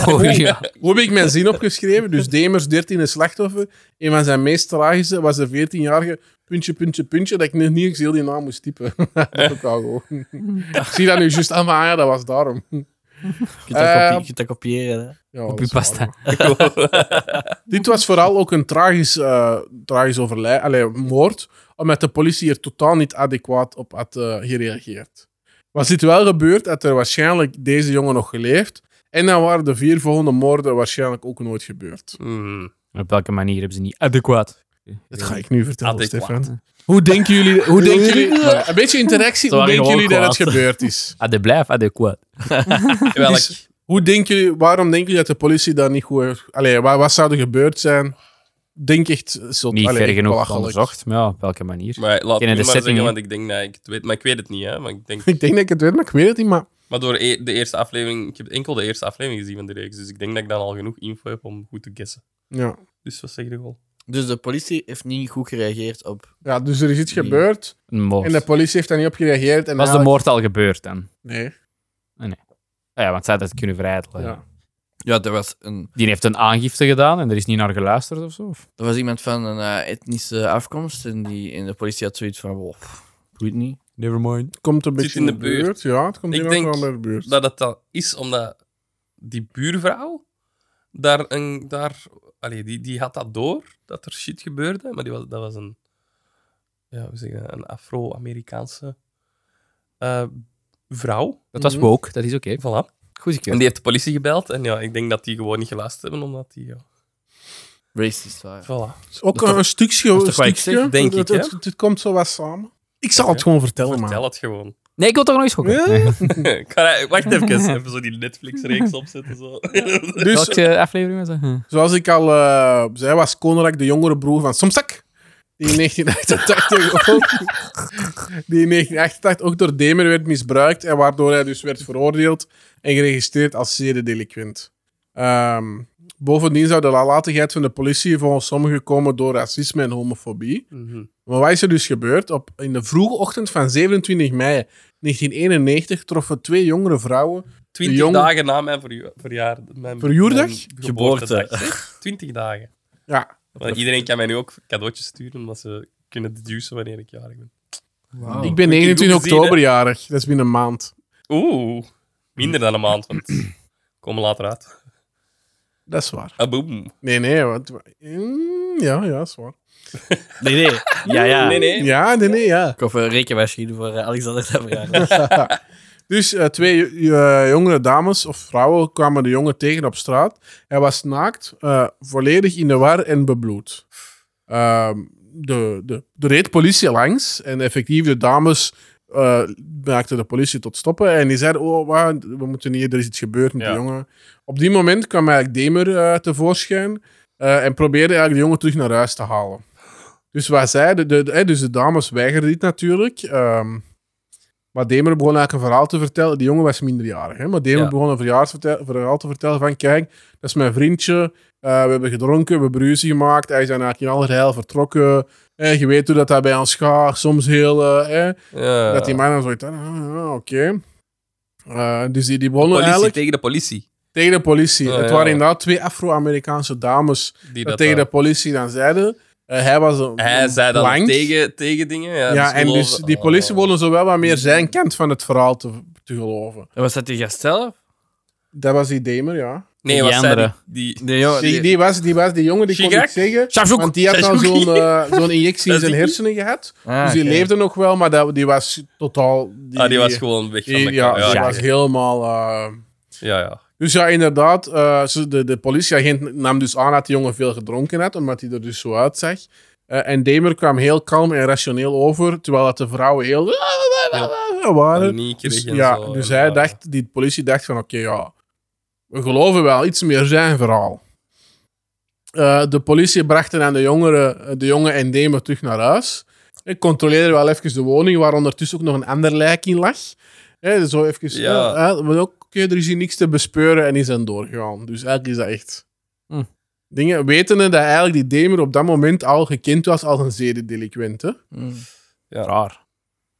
Speaker 2: Oh, ja.
Speaker 3: Hoe heb ik mijn zin opgeschreven? Dus Demers, 13e slachtoffer. Een van zijn meest tragische was de 14-jarige puntje, puntje, puntje. Dat ik nog niet eens heel die naam moest typen. dat is ook wel gewoon. ik zie dat nu juist aan, maar ah ja, dat was daarom.
Speaker 1: Je kunt dat, kopie-
Speaker 3: Eh,
Speaker 1: je kunt dat kopiëren. Hè.
Speaker 3: Ja,
Speaker 2: Op
Speaker 3: dat
Speaker 2: uw
Speaker 3: is waar,
Speaker 2: pasta.
Speaker 3: maar. Dit was vooral ook een tragisch, eh, tragisch overlijden, allee, moord, omdat de politie er totaal niet adequaat op had eh, gereageerd. Was dit wel gebeurd, had er waarschijnlijk deze jongen nog geleefd. En dan waren de vier volgende moorden waarschijnlijk ook nooit gebeurd.
Speaker 1: Hmm.
Speaker 2: Op welke manier hebben ze niet adequaat?
Speaker 3: Dat ga ik nu vertellen,
Speaker 4: Adequaat.
Speaker 3: Stefan. Hoe denken jullie... Hoe denken jullie een beetje interactie.
Speaker 1: Ze
Speaker 3: Hoe
Speaker 1: waren
Speaker 3: denken
Speaker 1: gewoon
Speaker 3: jullie dat het
Speaker 1: kwaad.
Speaker 3: gebeurd is?
Speaker 2: Ade blijf adequaat.
Speaker 4: Welk?
Speaker 3: Dus hoe denken jullie... Waarom denken jullie dat de politie daar niet goed... heeft- Allee, wat, wat zou er gebeurd zijn? Denk echt... Zo,
Speaker 2: Niet
Speaker 3: allee,
Speaker 2: ver genoeg
Speaker 3: belachelijk.
Speaker 2: onderzocht, maar ja, op welke manier?
Speaker 4: Maar laat
Speaker 2: Kennen
Speaker 4: me maar
Speaker 2: de setting,
Speaker 4: zeggen,
Speaker 2: hè?
Speaker 4: want ik denk dat ik het weet. Maar ik weet het niet, hè. Maar ik denk...
Speaker 3: Ik denk dat ik het weet, maar ik weet het niet. Maar
Speaker 4: Maar door e- de eerste aflevering... Ik heb enkel de eerste aflevering gezien van de reeks, dus ik denk dat ik dan al genoeg info heb om goed te gissen.
Speaker 3: ja.
Speaker 4: Dus wat zeg je wel?
Speaker 1: Dus de politie heeft niet goed gereageerd op.
Speaker 3: ja, dus er is iets
Speaker 1: Nee.
Speaker 3: gebeurd.
Speaker 2: Een moord.
Speaker 3: En de politie heeft daar niet op gereageerd.
Speaker 2: Was
Speaker 3: En
Speaker 2: de
Speaker 3: eigenlijk-
Speaker 2: moord al gebeurd dan?
Speaker 3: Nee.
Speaker 2: Ah Ja, want zij had het kunnen verijdelen.
Speaker 3: Oh Ja.
Speaker 1: Ja, er was, een,
Speaker 2: Die heeft een aangifte gedaan en er is niet naar geluisterd of zo. Of?
Speaker 1: er was iemand van een eh, etnische afkomst en, die, en de politie had zoiets van: wow, boeit niet.
Speaker 3: Het komt een
Speaker 4: Zit
Speaker 3: beetje
Speaker 4: in de buurt.
Speaker 3: Ja, het komt
Speaker 4: Ik
Speaker 3: iemand
Speaker 4: denk
Speaker 3: wel bij de buurt.
Speaker 4: Dat het dan is omdat die buurvrouw daar een... Daar, allee, die, die had dat door, dat er shit gebeurde. Maar die was, dat was een... Ja, hoe zeg je dat? Een Afro-Amerikaanse eh, vrouw.
Speaker 2: Dat was
Speaker 1: Mm.
Speaker 3: Mhm.
Speaker 2: woke, dat is oké.
Speaker 4: Voilà.
Speaker 2: Goed
Speaker 4: En
Speaker 2: gekeurd.
Speaker 4: die heeft de politie gebeld. En ja, ik denk dat die gewoon niet geluisterd hebben, omdat die... Ja,
Speaker 1: Racist waren.
Speaker 4: voilà.
Speaker 3: Ook
Speaker 1: dat is
Speaker 3: een stukje.
Speaker 1: dat is toch wat ik
Speaker 3: stukje.
Speaker 1: zeg,
Speaker 4: denk
Speaker 3: Het-
Speaker 4: ik, hè?
Speaker 3: Het, het, komt zo wat samen. Ik zal
Speaker 4: Oké.
Speaker 3: het gewoon vertellen, man.
Speaker 4: Vertel het gewoon.
Speaker 2: Nee, ik wil toch nog eens gokken.
Speaker 3: Ja.
Speaker 2: Nee.
Speaker 4: Ik ga dat- wacht even, even zo die Netflix-reeks opzetten. Zo. Mhm.
Speaker 3: Dus
Speaker 2: Welke aflevering was dat? Hm.
Speaker 3: Zoals ik al eh, zei, was Konrak de jongere broer van Somsak. Die in 1988 ook, die in 1988 ook door Demer werd misbruikt. En waardoor hij dus werd veroordeeld en geregistreerd als zedendelinquent. Ehm, bovendien zou de nalatigheid van de politie volgens sommigen komen door racisme en homofobie. Maar wat is er dus gebeurd? Op, in de vroege ochtend van 27 mei 1991 troffen twee jongere vrouwen
Speaker 4: Twintig
Speaker 3: Jong-
Speaker 4: dagen na mijn verju- verjaar... Mijn,
Speaker 3: Verjoerdag?
Speaker 4: mijn geboortedag. zeg. Twintig dagen.
Speaker 3: ja,
Speaker 4: Want iedereen kan mij nu ook cadeautjes sturen, omdat ze kunnen deducen wanneer ik jarig ben.
Speaker 1: Wow.
Speaker 3: Ik ben
Speaker 4: Oh, Moet je
Speaker 3: 29
Speaker 4: goed zien,
Speaker 3: oktober jarig. Dat is binnen een maand.
Speaker 4: Oeh, minder dan een maand, want ik kom later uit.
Speaker 3: Dat is waar.
Speaker 4: Aboom.
Speaker 3: Nee, nee. Want... Mm, Ja, ja, dat is waar.
Speaker 1: Nee, nee. Ja, ja.
Speaker 4: Nee, nee.
Speaker 3: Ja, nee, nee, ja.
Speaker 1: Ik hoop een rekenmachine voor eh, Alexander Savraar.
Speaker 3: Dus eh, twee eh, jongere dames of vrouwen kwamen de jongen tegen op straat. Hij was naakt, eh, volledig in de war en bebloed. Ehm, de, de, er reed politie langs en effectief de dames eh maakten de politie tot stoppen. En die zeiden, oh, wa- we moeten hier, er is iets gebeurd met
Speaker 4: Ja.
Speaker 3: de jongen. Op die moment kwam eigenlijk Demer eh, tevoorschijn eh, en probeerde eigenlijk de jongen terug naar huis te halen. Dus wat zij, de, de, de- hè, dus de dames weigerden dit natuurlijk. ehm, Maar Demer begon eigenlijk een verhaal te vertellen. Die jongen was minderjarig, hè? maar Demer
Speaker 1: Ja.
Speaker 3: begon een verjaarsvertel- verhaal te vertellen van kijk, dat is mijn vriendje. Eh, we hebben gedronken, we hebben ruzie gemaakt. Hij is dan eigenlijk in allerlei vertrokken. Eh, je weet hoe dat, dat bij ons gaat. Soms heel... eh, eh,
Speaker 4: Ja.
Speaker 3: Dat die man dan zoiets... Ah, ah, Oké. Eh, dus die, die begonnen
Speaker 4: politie,
Speaker 3: eigenlijk
Speaker 4: tegen de politie.
Speaker 3: tegen de politie.
Speaker 4: Ah,
Speaker 3: het
Speaker 4: ja.
Speaker 3: waren inderdaad twee Afro-Amerikaanse dames
Speaker 4: Die
Speaker 3: dat
Speaker 4: dat,
Speaker 3: tegen
Speaker 4: eh,
Speaker 3: de politie dan zeiden. Eh, hij was een
Speaker 4: Hij
Speaker 3: een
Speaker 4: zei dat
Speaker 3: blank.
Speaker 4: tegen, eh, tegen dingen. Ja,
Speaker 3: Ja, en dus
Speaker 4: geloven-
Speaker 3: die politie
Speaker 4: Oh.
Speaker 3: wilden zo wel wat meer zijn kant van het verhaal te, te geloven.
Speaker 1: En was dat die gast zelf?
Speaker 3: Dat was die Demer, ja.
Speaker 4: Nee,
Speaker 2: Die
Speaker 4: wat zei
Speaker 2: andere.
Speaker 4: die? die-
Speaker 1: Nee, joh,
Speaker 3: Die,
Speaker 1: die-
Speaker 3: die, was, die, was, die jongen, die kon
Speaker 4: Shigak?
Speaker 3: ik zeggen.
Speaker 2: Shazoek!
Speaker 3: Want die had al
Speaker 4: Shazoek.
Speaker 3: zo'n eh, zo'n injectie in
Speaker 4: Dat is
Speaker 3: zijn
Speaker 4: die-
Speaker 3: hersenen gehad.
Speaker 1: Ah,
Speaker 3: dus die
Speaker 1: oké.
Speaker 3: leefde nog wel, maar dat, die was totaal... Die,
Speaker 4: ah, die was gewoon weg van
Speaker 3: die-
Speaker 4: de
Speaker 3: ja,
Speaker 4: ja,
Speaker 3: die
Speaker 4: ja,
Speaker 3: was helemaal... eh,
Speaker 4: ja, ja.
Speaker 3: Dus ja, inderdaad. eh, ze- de, de politieagent nam dus aan dat die jongen veel gedronken had, omdat hij er dus zo uitzag. Eh, en Demer kwam heel kalm en rationeel over, terwijl dat de vrouwen heel... waren.
Speaker 4: Paniek
Speaker 3: Dus,
Speaker 4: kreeg en
Speaker 3: ja,
Speaker 4: zo,
Speaker 3: dus
Speaker 4: en,
Speaker 3: hij
Speaker 4: eh,
Speaker 3: dacht, die politie dacht van, oké, ja, we geloven wel iets meer zijn verhaal. Eh, de politie brachten aan de, jongeren, de jongen en Demer terug naar huis. Ik controleerde wel even de woning, waar ondertussen ook nog een ander lijk in lag. Hè, dus zo even,
Speaker 4: Ja.
Speaker 3: ja. hè, maar ook, oké, er is hier niks te bespeuren en is dan doorgegaan. Dus eigenlijk is dat echt...
Speaker 2: Hm.
Speaker 3: Dingen, wetende dat eigenlijk die Demer op dat moment al gekend was als een zedendelinquent. hè.
Speaker 1: Mm.
Speaker 2: Raar.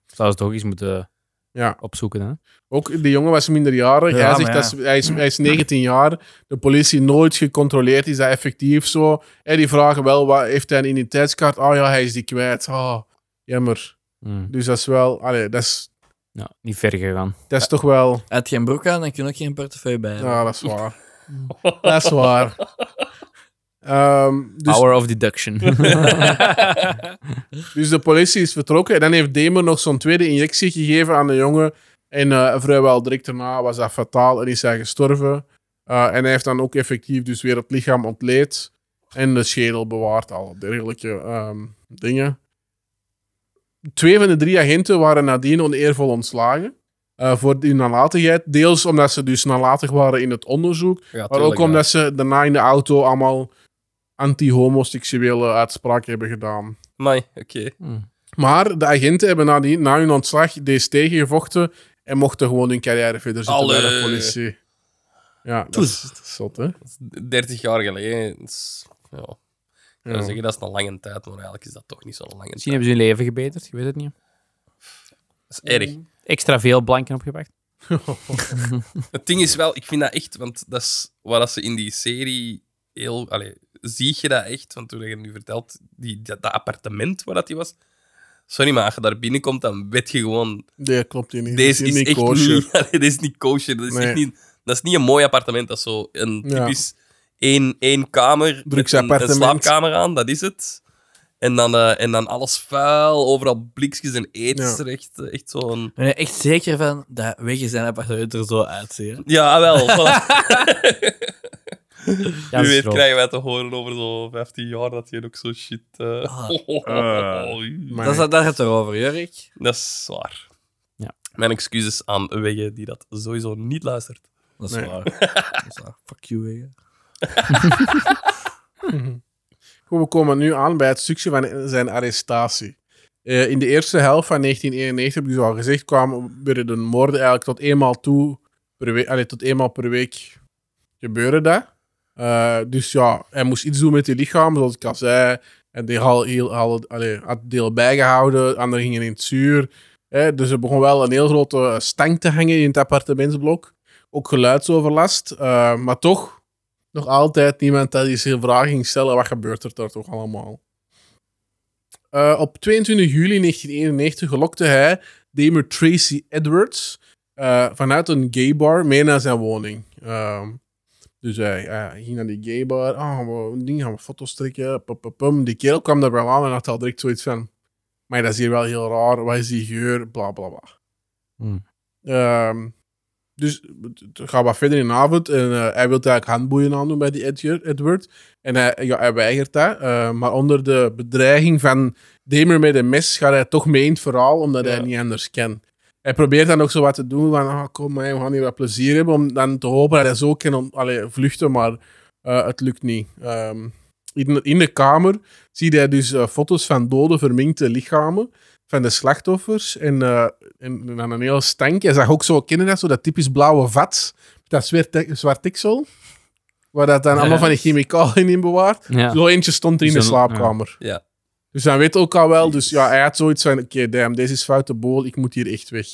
Speaker 2: Zou ze toch eens moeten
Speaker 3: Ja.
Speaker 2: opzoeken, hè?
Speaker 3: Ook die jongen was minderjarig.
Speaker 1: Ja,
Speaker 3: hij,
Speaker 1: maar
Speaker 3: zegt
Speaker 1: ja.
Speaker 3: dat ze- hij, is, hij is 19 jaar. De politie nooit gecontroleerd. Is dat effectief zo? En die vragen wel, wat, heeft hij een identiteitskaart? Ah ja, hij is die kwijt. Ah, jammer.
Speaker 2: Hm.
Speaker 3: Dus dat is wel... Allee, dat is,
Speaker 2: Ja, niet ver gegaan.
Speaker 3: dat is toch wel...
Speaker 1: Had geen broek aan, dan kun je ook geen portefeuille bij hebben.
Speaker 3: Ja, dat is waar. dat is waar. Ehm, dus,
Speaker 2: Power of deduction.
Speaker 3: dus de politie is vertrokken. En dan heeft Demer nog zo'n tweede injectie gegeven aan de jongen. En eh, vrijwel direct daarna was dat fataal en is hij gestorven. Uh, en hij heeft dan ook effectief dus weer het lichaam ontleed. En de schedel bewaard, al dergelijke ehm, dingen. Twee van de drie agenten waren nadien oneervol ontslagen. eh, voor die nalatigheid. Deels omdat ze dus nalatig waren in het onderzoek.
Speaker 4: ja,
Speaker 3: Maar
Speaker 4: tuurlijk,
Speaker 3: ook omdat ze daarna in de auto allemaal anti-homoseksuele uitspraken hebben gedaan.
Speaker 4: ja. Amai, oké.
Speaker 2: Hm.
Speaker 3: Maar de agenten hebben na, die, na hun ontslag deze tegengevochten. En mochten gewoon hun carrière verder zitten bij de
Speaker 4: Allee.
Speaker 3: politie. Ja, dat is, dat is zot, hè?
Speaker 4: Dat is 30 jaar geleden. dat is- ja. Ik zou
Speaker 3: Ja.
Speaker 4: zeggen, dat is een lange tijd, maar eigenlijk is dat toch niet zo'n lange
Speaker 2: Misschien
Speaker 4: tijd.
Speaker 2: hebben ze hun leven gebeterd, je weet het niet.
Speaker 4: Dat is erg.
Speaker 2: Extra veel blanken opgepakt.
Speaker 4: Het ding is wel, ik vind dat echt, want dat is wat dat ze in die serie heel. Allee, zie je dat echt? Want toen je het nu vertelt, die, dat, dat appartement waar dat die was. Sorry, maar als je daar binnenkomt, dan weet je gewoon.
Speaker 3: Nee, klopt hier niet.
Speaker 4: Deze
Speaker 3: Die
Speaker 4: is,
Speaker 3: niet
Speaker 4: echt
Speaker 3: kosher.
Speaker 4: niet. Allee, dit is niet kosher. Dat is,
Speaker 3: Nee.
Speaker 4: echt niet, dat is niet een mooi appartement. Dat is zo een
Speaker 3: Ja.
Speaker 4: typisch één, één kamer. met een- Een,
Speaker 3: Drugsappartement.
Speaker 4: slaapkamer aan, dat is het. En dan, eh, en dan alles vuil, overal blikjes en etens. Echt, eh, echt zo'n.
Speaker 1: Ik ben er echt zeker van dat wegen zijn appartement er zo uitzien.
Speaker 4: Ja, wel. voilà.
Speaker 2: Ja,
Speaker 4: Wie
Speaker 2: dat is
Speaker 4: weet
Speaker 2: wel-
Speaker 4: krijgen wij te horen over zo 15 jaar dat je ook zo shit... eh,
Speaker 1: Ah,
Speaker 3: Maar-
Speaker 1: Dat is, daar gaat het erover, Jurk.
Speaker 4: Dat is zwaar.
Speaker 2: Ja.
Speaker 4: Mijn excuses aan Wegge, die dat sowieso niet luistert.
Speaker 1: Dat is
Speaker 3: Nee.
Speaker 1: waar. Dat is waar. Fuck you, wegen.
Speaker 3: Goed, we komen nu aan bij het stukje van zijn arrestatie. Eh, in de eerste helft van 1991, heb ik dus al gezegd, kwamen werden de moorden eigenlijk tot eenmaal toe per week, allee, tot eenmaal per week gebeuren dat. Eh, dus ja, hij moest iets doen met die lichaam, zoals ik al zei. En die had, heel, had, allee, had deel bijgehouden, anderen gingen in het zuur. Eh, dus er begon wel een heel grote stank te hangen in het appartementsblok. Ook geluidsoverlast. Eh, maar toch, nog altijd niemand dat die zich vragen ging stellen wat gebeurt er daar toch allemaal. Eh, op 22 juli 1991 gelokte hij Damer Tracy Edwards eh, vanuit een gay bar mee naar zijn woning. Ehm, dus hij hij ging naar die gay bar. Ah, we ding gaan we foto's trekken. Pum, pum, pum. Die kerel kwam daar wel aan en had al direct zoiets van... Maar dat is hier wel heel raar. Wat is die geur? Bla, bla, bla.
Speaker 2: Hmm.
Speaker 3: Ehm, dus het- het gaat wat verder in de avond. En eh, hij wil eigenlijk handboeien aandoen bij die Edger- Edward. En hij, ja, hij weigert dat. eh, maar onder de bedreiging van Demer met een mes gaat hij toch mee in het verhaal, omdat hij
Speaker 4: Ja.
Speaker 3: niet anders kan. Hij probeert dan ook zo wat te doen van, ah, kom maar, we gaan hier wat plezier hebben, om dan te hopen dat hij zo kan on- allee, vluchten, maar eh, het lukt niet. Ehm, in, in de kamer ziet hij dus eh, foto's van dode, verminkte lichamen. van de slachtoffers. En, eh, en dan een heel stank. Hij zag ook zo, kennen dat zo, dat typisch blauwe vat. Dat zweer- te- zwart tiksel. Waar dat dan allemaal van die chemicaliën in bewaart.
Speaker 2: Ja.
Speaker 3: Zo eentje stond er in de
Speaker 2: Zo'n-
Speaker 3: slaapkamer.
Speaker 4: ja. Ja.
Speaker 3: Dus hij weet ook al wel. Dus ja, hij had zoiets van: oké, damn, deze is foute bol, ik moet hier echt weg.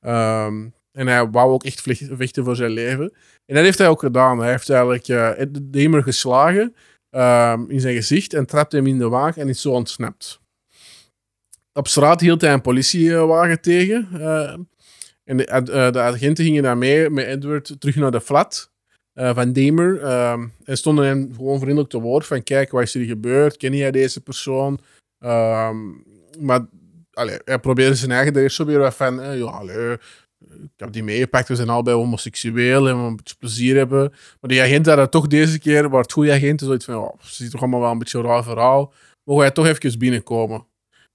Speaker 3: Ehm, en hij wou ook echt vlieg- vechten voor zijn leven. En dat heeft hij ook gedaan. Hij heeft eigenlijk eh, de demer geslagen ehm, in zijn gezicht en trapt hem in de wagen en is zo ontsnapt. Op straat hield hij een politiewagen tegen. eh, en de, ad- eh, de agenten gingen daar mee met Edward terug naar de flat eh, van Demer. ehm, en stonden hem gewoon vriendelijk te woord van kijk, wat is er hier gebeurd? Ken jij deze persoon? Ehm, maar allee, hij probeerde zijn eigen er eerst zo weer wat van, eh, ja, allee, ik heb die meegepakt, we zijn allebei homoseksueel en we een beetje plezier hebben. Maar die agent had dat toch deze keer, waar het goede agent is, zoiets van, ja, ze ziet toch allemaal wel een beetje een raar verhaal. Mogen wij toch even binnenkomen?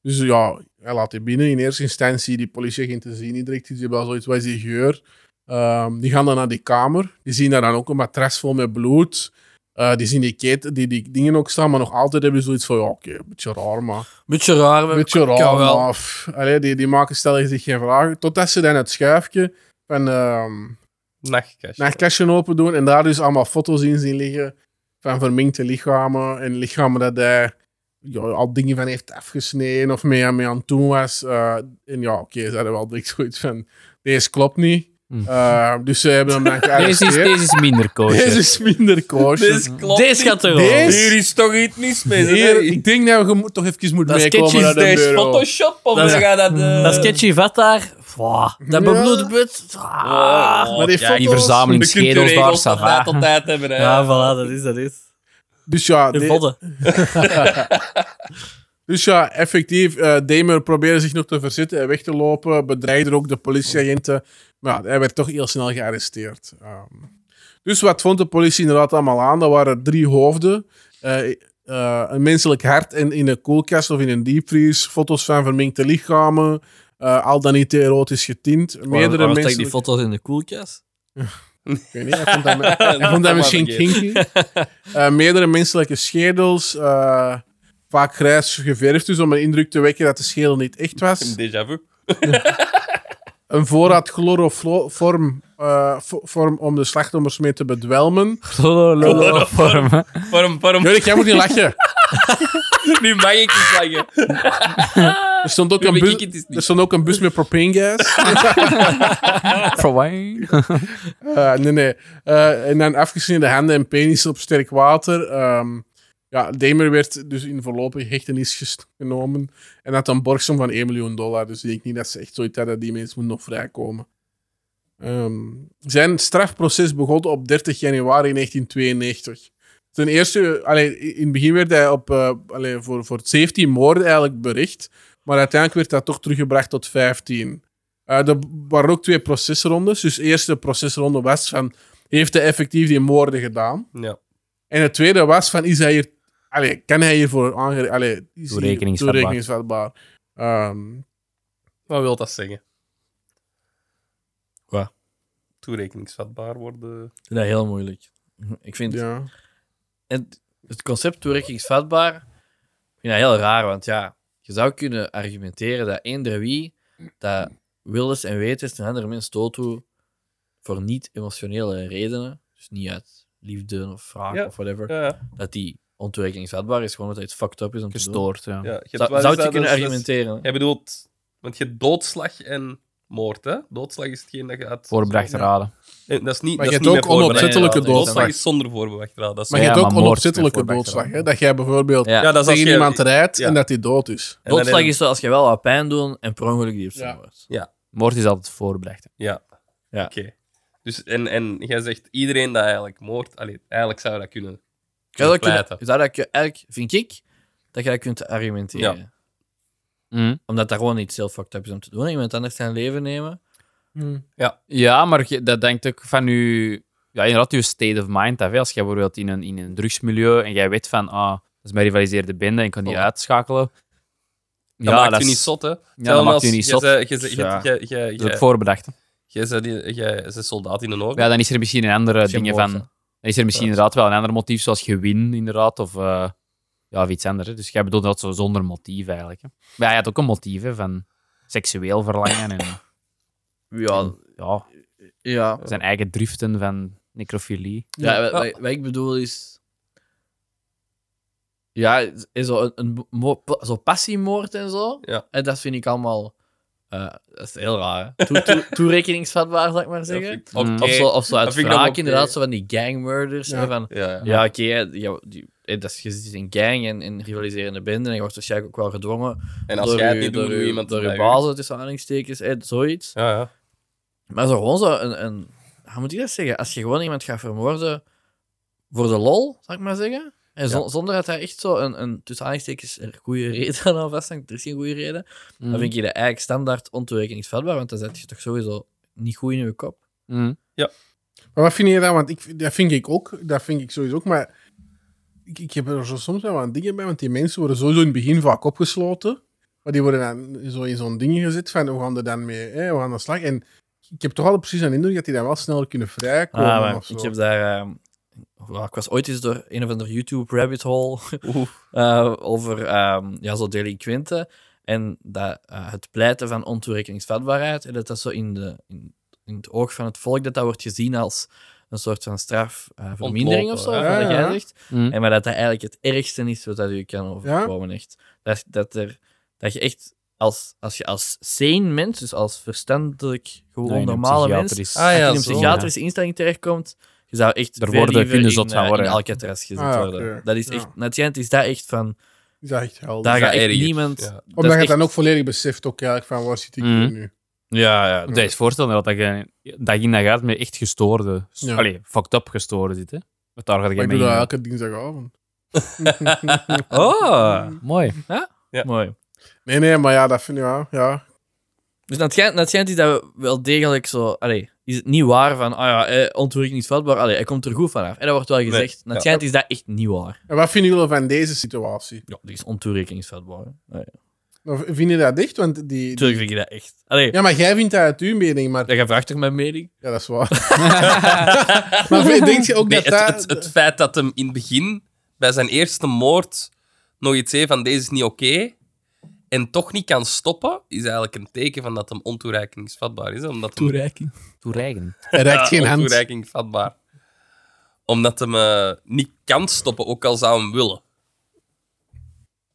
Speaker 3: Dus ja, hij laat die binnen. In eerste instantie, die politieagenten zien niet direct iets, die hebben wel zoiets, wat is die geur? Ehm, die gaan dan naar die kamer. Die zien daar dan ook een matras vol met bloed. Eh, die zien die, keten, die, die dingen ook staan, maar nog altijd hebben ze zoiets van: ja, oké, een beetje raar, maar.
Speaker 1: Beetje raar.
Speaker 3: Een
Speaker 1: maar-
Speaker 3: beetje raar,
Speaker 1: kan wel.
Speaker 3: maar. pff, Allee, die, die maken stellen zich geen vragen. Totdat ze dan het schuifje van ehm
Speaker 4: Nachtkastje.
Speaker 3: nachtkastje open doen en daar dus allemaal foto's in zien liggen van verminkte lichamen en lichamen dat hij ja, al dingen van heeft afgesneden of mee, mee aan het doen was. Eh, en ja, oké, ze hadden wel direct zoiets van: deze klopt niet.
Speaker 2: Hm.
Speaker 3: Eh, dus ze hebben hem dan
Speaker 2: Deze is,
Speaker 3: gearresteerd.
Speaker 2: deze is minder kosher.
Speaker 3: Deze is minder kosher.
Speaker 4: Dit klopt
Speaker 1: Deze
Speaker 4: niet.
Speaker 1: gaat er
Speaker 3: Deze-
Speaker 1: wel.
Speaker 4: Hier is toch iets mis mee.
Speaker 3: Hier,
Speaker 4: Hier,
Speaker 3: ik denk dat we moet- toch even moeten
Speaker 1: Dat
Speaker 3: meekomen
Speaker 1: sketchje
Speaker 3: naar
Speaker 4: is
Speaker 3: de
Speaker 4: deze
Speaker 3: bureau.
Speaker 4: Photoshop of
Speaker 1: Dat
Speaker 4: dat
Speaker 1: is-
Speaker 4: gaat dat... eh,
Speaker 1: Dat sketchy vet daar. Wow, dat
Speaker 3: Ja.
Speaker 1: bebloed put. Ah.
Speaker 4: Oh,
Speaker 3: Maar die
Speaker 4: ja,
Speaker 2: Die
Speaker 3: foto's-
Speaker 2: verzameling
Speaker 4: je kunt je
Speaker 2: schedels daar,
Speaker 4: regels van
Speaker 2: ça
Speaker 4: tijd
Speaker 2: va.
Speaker 4: tot tijd hebben. hè.
Speaker 1: Ja, voilà, dat is, dat is.
Speaker 3: Dus ja,
Speaker 1: Ah. De
Speaker 3: de-
Speaker 1: vodden.
Speaker 3: dus ja, effectief. eh Damer probeerde zich nog te verzetten en weg te lopen. Bedreigde ook de politieagenten. Maar ja, hij werd toch heel snel gearresteerd. Ehm, dus wat vond de politie inderdaad allemaal aan? Dat waren drie hoofden. eh, eh, een menselijk hart en in een koelkast of in een diepvries. Foto's van verminkte lichamen. eh, al dan niet erotisch getint. Meerdere
Speaker 1: Waarom stak ik
Speaker 3: mensen.
Speaker 1: die foto's in de koelkast?
Speaker 3: Ik weet niet, hij vond dat, hij vond dat misschien kinky. Eh, meerdere menselijke schedels, eh, vaak grijs geverfd, dus om een indruk te wekken dat de schedel niet echt was.
Speaker 4: Een déjà vu.
Speaker 3: Een voorraad chloroform eh, vo- vorm om de slachtoffers mee te bedwelmen.
Speaker 2: Chloroform.
Speaker 4: Waarom, waarom?
Speaker 3: Jorik, jij moet niet lachen.
Speaker 4: Nu mag ik niet lachen.
Speaker 3: Er stond ook,
Speaker 4: Nu
Speaker 3: een
Speaker 4: weet ik
Speaker 3: bus,
Speaker 4: het is
Speaker 3: er
Speaker 4: niet.
Speaker 3: stond ook een bus met propanegas.
Speaker 2: Verwijn.
Speaker 3: Eh, nee, nee. Eh, en dan afgesneden handen en penis op sterk water. Ehm, ja, Damer werd dus in voorlopige hechtenis gest- genomen. En had een borgsom van 1 miljoen dollar. Dus ik denk niet dat ze echt zoiets hadden. Die mensen moeten nog vrijkomen. Ehm, zijn strafproces begon op 30 januari 1992. Ten eerste, allee, in het begin werd hij op, eh, allee, voor, voor 17 moorden eigenlijk bericht. Maar uiteindelijk werd dat toch teruggebracht tot 15. Eh er waren ook twee procesrondes. Dus de eerste procesronde was van... Heeft hij effectief die moorden gedaan?
Speaker 4: Ja.
Speaker 3: En het tweede was van... Is hij hier... Allee, kan hij hiervoor aange... Allee, is hij
Speaker 2: Toerekeningsvatbaar.
Speaker 3: toerekeningsvatbaar? Ehm,
Speaker 4: Wat wil dat zeggen?
Speaker 1: Wat?
Speaker 4: Toerekeningsvatbaar worden.
Speaker 1: Ik vind dat heel moeilijk. Ik vind
Speaker 3: ja.
Speaker 1: en het concept toerekkingsvatbaar ik vind dat heel raar, want ja, je zou kunnen argumenteren dat eender wie dat wil is en weet is een andere mens dood doet voor niet-emotionele redenen, dus niet uit liefde of vraag
Speaker 4: Ja,
Speaker 1: of whatever,
Speaker 4: Ja, ja.
Speaker 1: dat die ontoerekeningsvatbaar is, gewoon omdat het fucked up is om te doen.
Speaker 2: Gestoord, ja.
Speaker 4: Je hebt
Speaker 1: Zou,
Speaker 4: wel
Speaker 1: zou
Speaker 4: eens
Speaker 1: het je
Speaker 4: dat
Speaker 1: kunnen
Speaker 4: als-
Speaker 1: argumenteren?
Speaker 4: Jij bedoelt... Want je hebt doodslag en moord, hè? Doodslag is hetgeen dat je uit...
Speaker 2: Voorbedacht raden.
Speaker 4: Eh, Dat is niet,
Speaker 3: Maar
Speaker 4: dat
Speaker 3: je
Speaker 4: is
Speaker 3: hebt
Speaker 4: niet
Speaker 3: ook
Speaker 4: met voorbedacht
Speaker 3: onopzettelijke
Speaker 4: raden.
Speaker 3: doodslag.
Speaker 4: is zonder voorbedacht raden. Dat is
Speaker 3: Maar
Speaker 4: ja,
Speaker 3: je hebt
Speaker 2: Ja,
Speaker 3: ook
Speaker 2: maar moord
Speaker 3: onopzettelijke
Speaker 2: met voorbedacht
Speaker 3: doodslag. Hè?
Speaker 2: eraan.
Speaker 3: Dat jij bijvoorbeeld
Speaker 1: Ja.
Speaker 4: dat is als
Speaker 3: tegen
Speaker 4: je-
Speaker 3: iemand rijdt
Speaker 4: ja.
Speaker 3: en dat hij dood is.
Speaker 4: en dan
Speaker 1: Doodslag
Speaker 4: heb-
Speaker 1: is zo als je wel wat pijn doet en per ongeluk die persoon
Speaker 3: Ja.
Speaker 1: wordt.
Speaker 2: Moord is altijd voorbedacht.
Speaker 4: Ja.
Speaker 1: Ja.
Speaker 4: Oké. Dus, en, en jij zegt iedereen dat eigenlijk moord... Allee, eigenlijk zou dat kunnen.
Speaker 1: Je zou dat
Speaker 4: Pleiten.
Speaker 1: kunnen- je zou dat kun- eigenlijk, vind ik, dat je dat kunt argumenteren.
Speaker 4: Ja.
Speaker 2: Mhm.
Speaker 1: Omdat dat gewoon niet heel fucked up is om te doen. Iemand anders zijn leven nemen.
Speaker 2: Ja, maar je- dat denkt ook van je... Ja, inderdaad, je state of mind. af, hè. Als jij bijvoorbeeld in een, in een drugsmilieu en jij weet van, ah, dat is mijn rivaliseerde bende en ik kan die
Speaker 4: Voilà.
Speaker 2: uitschakelen.
Speaker 4: Dat maakt je
Speaker 2: is-
Speaker 4: niet zot, hè?
Speaker 2: Ja, dat maakt je niet zot.
Speaker 4: Je bent
Speaker 1: Ja.
Speaker 2: Dat is het voorbedachte.
Speaker 4: een soldaat in een oorlog.
Speaker 2: Ja, dan is er misschien een andere
Speaker 1: Als je
Speaker 2: dingen
Speaker 1: moord,
Speaker 2: van...
Speaker 1: hè.
Speaker 2: Dan is er misschien inderdaad wel een ander motief, zoals gewin, inderdaad. Of eh, Ja, of iets anders. hè. Dus jij bedoelt dat zo zonder motief eigenlijk. Hè. Maar hij had ook een motief hè, van seksueel verlangen en
Speaker 1: Ja,
Speaker 2: ja,
Speaker 1: ja.
Speaker 2: zijn eigen driften van necrofilie.
Speaker 1: ja wat, wat- wat ik bedoel is... Ja, is zo, een, een mo- pa- zo passiemoord en zo.
Speaker 4: Ja.
Speaker 1: En dat vind ik allemaal... eh, dat is heel raar. hè. Toe- toe- toerekeningsvatbaar, zal ik maar
Speaker 4: Dat
Speaker 1: zeggen.
Speaker 4: vind ik- Oké.
Speaker 2: Mm.
Speaker 1: Of zo, of zo uit
Speaker 4: Dat vind ik dan
Speaker 1: wraak,
Speaker 4: oké.
Speaker 1: inderdaad, zo van die gangmurders.
Speaker 3: Ja.
Speaker 1: hè, Van,
Speaker 4: Ja, ja.
Speaker 1: ja, oké, hè, ja, die- eh, dat is je zit in gang en in rivaliserende benden en je wordt waarschijnlijk ook wel gedwongen
Speaker 4: En als
Speaker 1: door
Speaker 4: jij het
Speaker 1: je-
Speaker 4: niet doet,
Speaker 1: door
Speaker 4: doet
Speaker 1: je-
Speaker 4: iemand
Speaker 1: door
Speaker 4: het
Speaker 1: je
Speaker 4: bij u.
Speaker 1: bazen tussen aanhalingstekens, hè, zoiets.
Speaker 4: Ja, ja.
Speaker 1: Maar zo gewoon zo een, een... Hoe moet ik dat zeggen? Als je gewoon iemand gaat vermoorden voor de lol, zal ik maar zeggen. En zon- zonder dat hij echt zo een, een tussen aanhalingstekens een goede reden aan vasthangt. Er is geen goede reden. Dan vind je dat eigenlijk standaard ontoerekeningsvatbaar, want dan zet je toch sowieso niet goed in je kop.
Speaker 2: Mm.
Speaker 3: Maar wat vind je daar? Want ik, dat vind ik ook. Dat vind ik sowieso ook. Maar ik, ik heb er zo soms wel wat dingen bij. Want die mensen worden sowieso in het begin vaak opgesloten. Maar die worden dan zo in zo'n ding gezet van we gaan er dan mee, hè, we gaan aan de slag. En ik heb toch al precies een indruk dat die dan wel sneller kunnen vrijkomen.
Speaker 1: Ah, maar
Speaker 3: of zo.
Speaker 1: ik heb daar. ehm, wel, ik was ooit eens door een of ander YouTube rabbit hole eh, over ehm, ja, zo delinquenten en dat, eh, het pleiten van ontoerekeningsvatbaarheid. En dat dat zo in, de, in, in het oog van het volk dat dat wordt gezien als een soort van straf, eh, vermindering
Speaker 4: Ontlopen,
Speaker 1: of zo,
Speaker 4: hè?
Speaker 1: of wat
Speaker 3: Ja,
Speaker 1: jij
Speaker 3: ja.
Speaker 1: zegt.
Speaker 2: Mm.
Speaker 1: En maar dat dat eigenlijk het ergste is wat dat je kan overkomen, echt. Dat, dat, er, dat je echt als, als je als sane mens, dus als verstandelijk, gewoon
Speaker 2: Ja, in een
Speaker 1: normale mens,
Speaker 2: psychiatrisch-
Speaker 4: Ah,
Speaker 1: als
Speaker 4: ja,
Speaker 1: je in een
Speaker 4: zo.
Speaker 1: psychiatrische instelling terechtkomt, je zou echt
Speaker 2: Er
Speaker 1: veel
Speaker 2: worden
Speaker 1: liever
Speaker 2: kunnen
Speaker 1: in,
Speaker 2: zot van
Speaker 1: eh,
Speaker 2: worden,
Speaker 1: in
Speaker 2: ja.
Speaker 1: Alcatraz gezet
Speaker 3: Ah, ja,
Speaker 1: worden.
Speaker 3: oké.
Speaker 1: Dat is
Speaker 3: Ja.
Speaker 1: echt, na het eind is dat echt van,
Speaker 3: Is dat echt helder?
Speaker 1: daar
Speaker 4: dat
Speaker 1: gaat echt
Speaker 4: erger,
Speaker 1: niemand...
Speaker 4: ja.
Speaker 1: dat is
Speaker 3: Omdat je het
Speaker 1: echt-
Speaker 3: dan ook volledig beseft ook eigenlijk van waar zit ik
Speaker 2: Mhm.
Speaker 3: hier nu.
Speaker 1: Ja, ja.
Speaker 2: Dat is voorstellen dat je dag in dag uit met echt gestoorde,
Speaker 3: Ja.
Speaker 2: allee, fucked up gestoorde zit. Hè? Want daar ga
Speaker 3: Maar
Speaker 2: je
Speaker 3: ik
Speaker 2: mee.
Speaker 3: doe dat
Speaker 2: in.
Speaker 3: elke dinsdagavond.
Speaker 1: Oh,
Speaker 2: Mooi.
Speaker 4: Ja.
Speaker 1: mooi.
Speaker 3: Nee, nee, maar ja, dat vind ik ja, ja.
Speaker 1: Dus dat schijnt, dat schijnt is dat we wel degelijk zo... Allee, is het niet waar van, ah ja, eh, ontwikkelingsvatbaar, allee, hij komt er goed vanaf. En dat wordt wel gezegd.
Speaker 4: Nee,
Speaker 1: Na
Speaker 4: ja.
Speaker 1: het schijnt is dat echt niet waar.
Speaker 3: En wat vinden jullie van deze situatie?
Speaker 1: Ja, die is ontoerekeningsvatbaar. hè. Nee.
Speaker 3: Of Vind je dat echt? Want die,
Speaker 1: Tuurlijk vind je dat echt. Allee,
Speaker 3: Ja, maar jij vindt dat uit uw mening, maar...
Speaker 1: jij vraagt toch mijn mening?
Speaker 3: Ja, dat is waar. maar denk je ook
Speaker 4: Nee,
Speaker 3: dat
Speaker 4: het,
Speaker 3: dat...
Speaker 4: het, het feit dat hem in het begin, bij zijn eerste moord, nog iets zei van deze is niet oké, en toch niet kan stoppen, is eigenlijk een teken van dat hem ontoereikingsvatbaar is. hè, Omdat hem
Speaker 1: Toereiking.
Speaker 2: Toereigen.
Speaker 3: Hij reikt geen
Speaker 4: Ja,
Speaker 3: hand.
Speaker 4: ontoereiking vatbaar. Omdat hem eh, niet kan stoppen, ook al zou hem willen.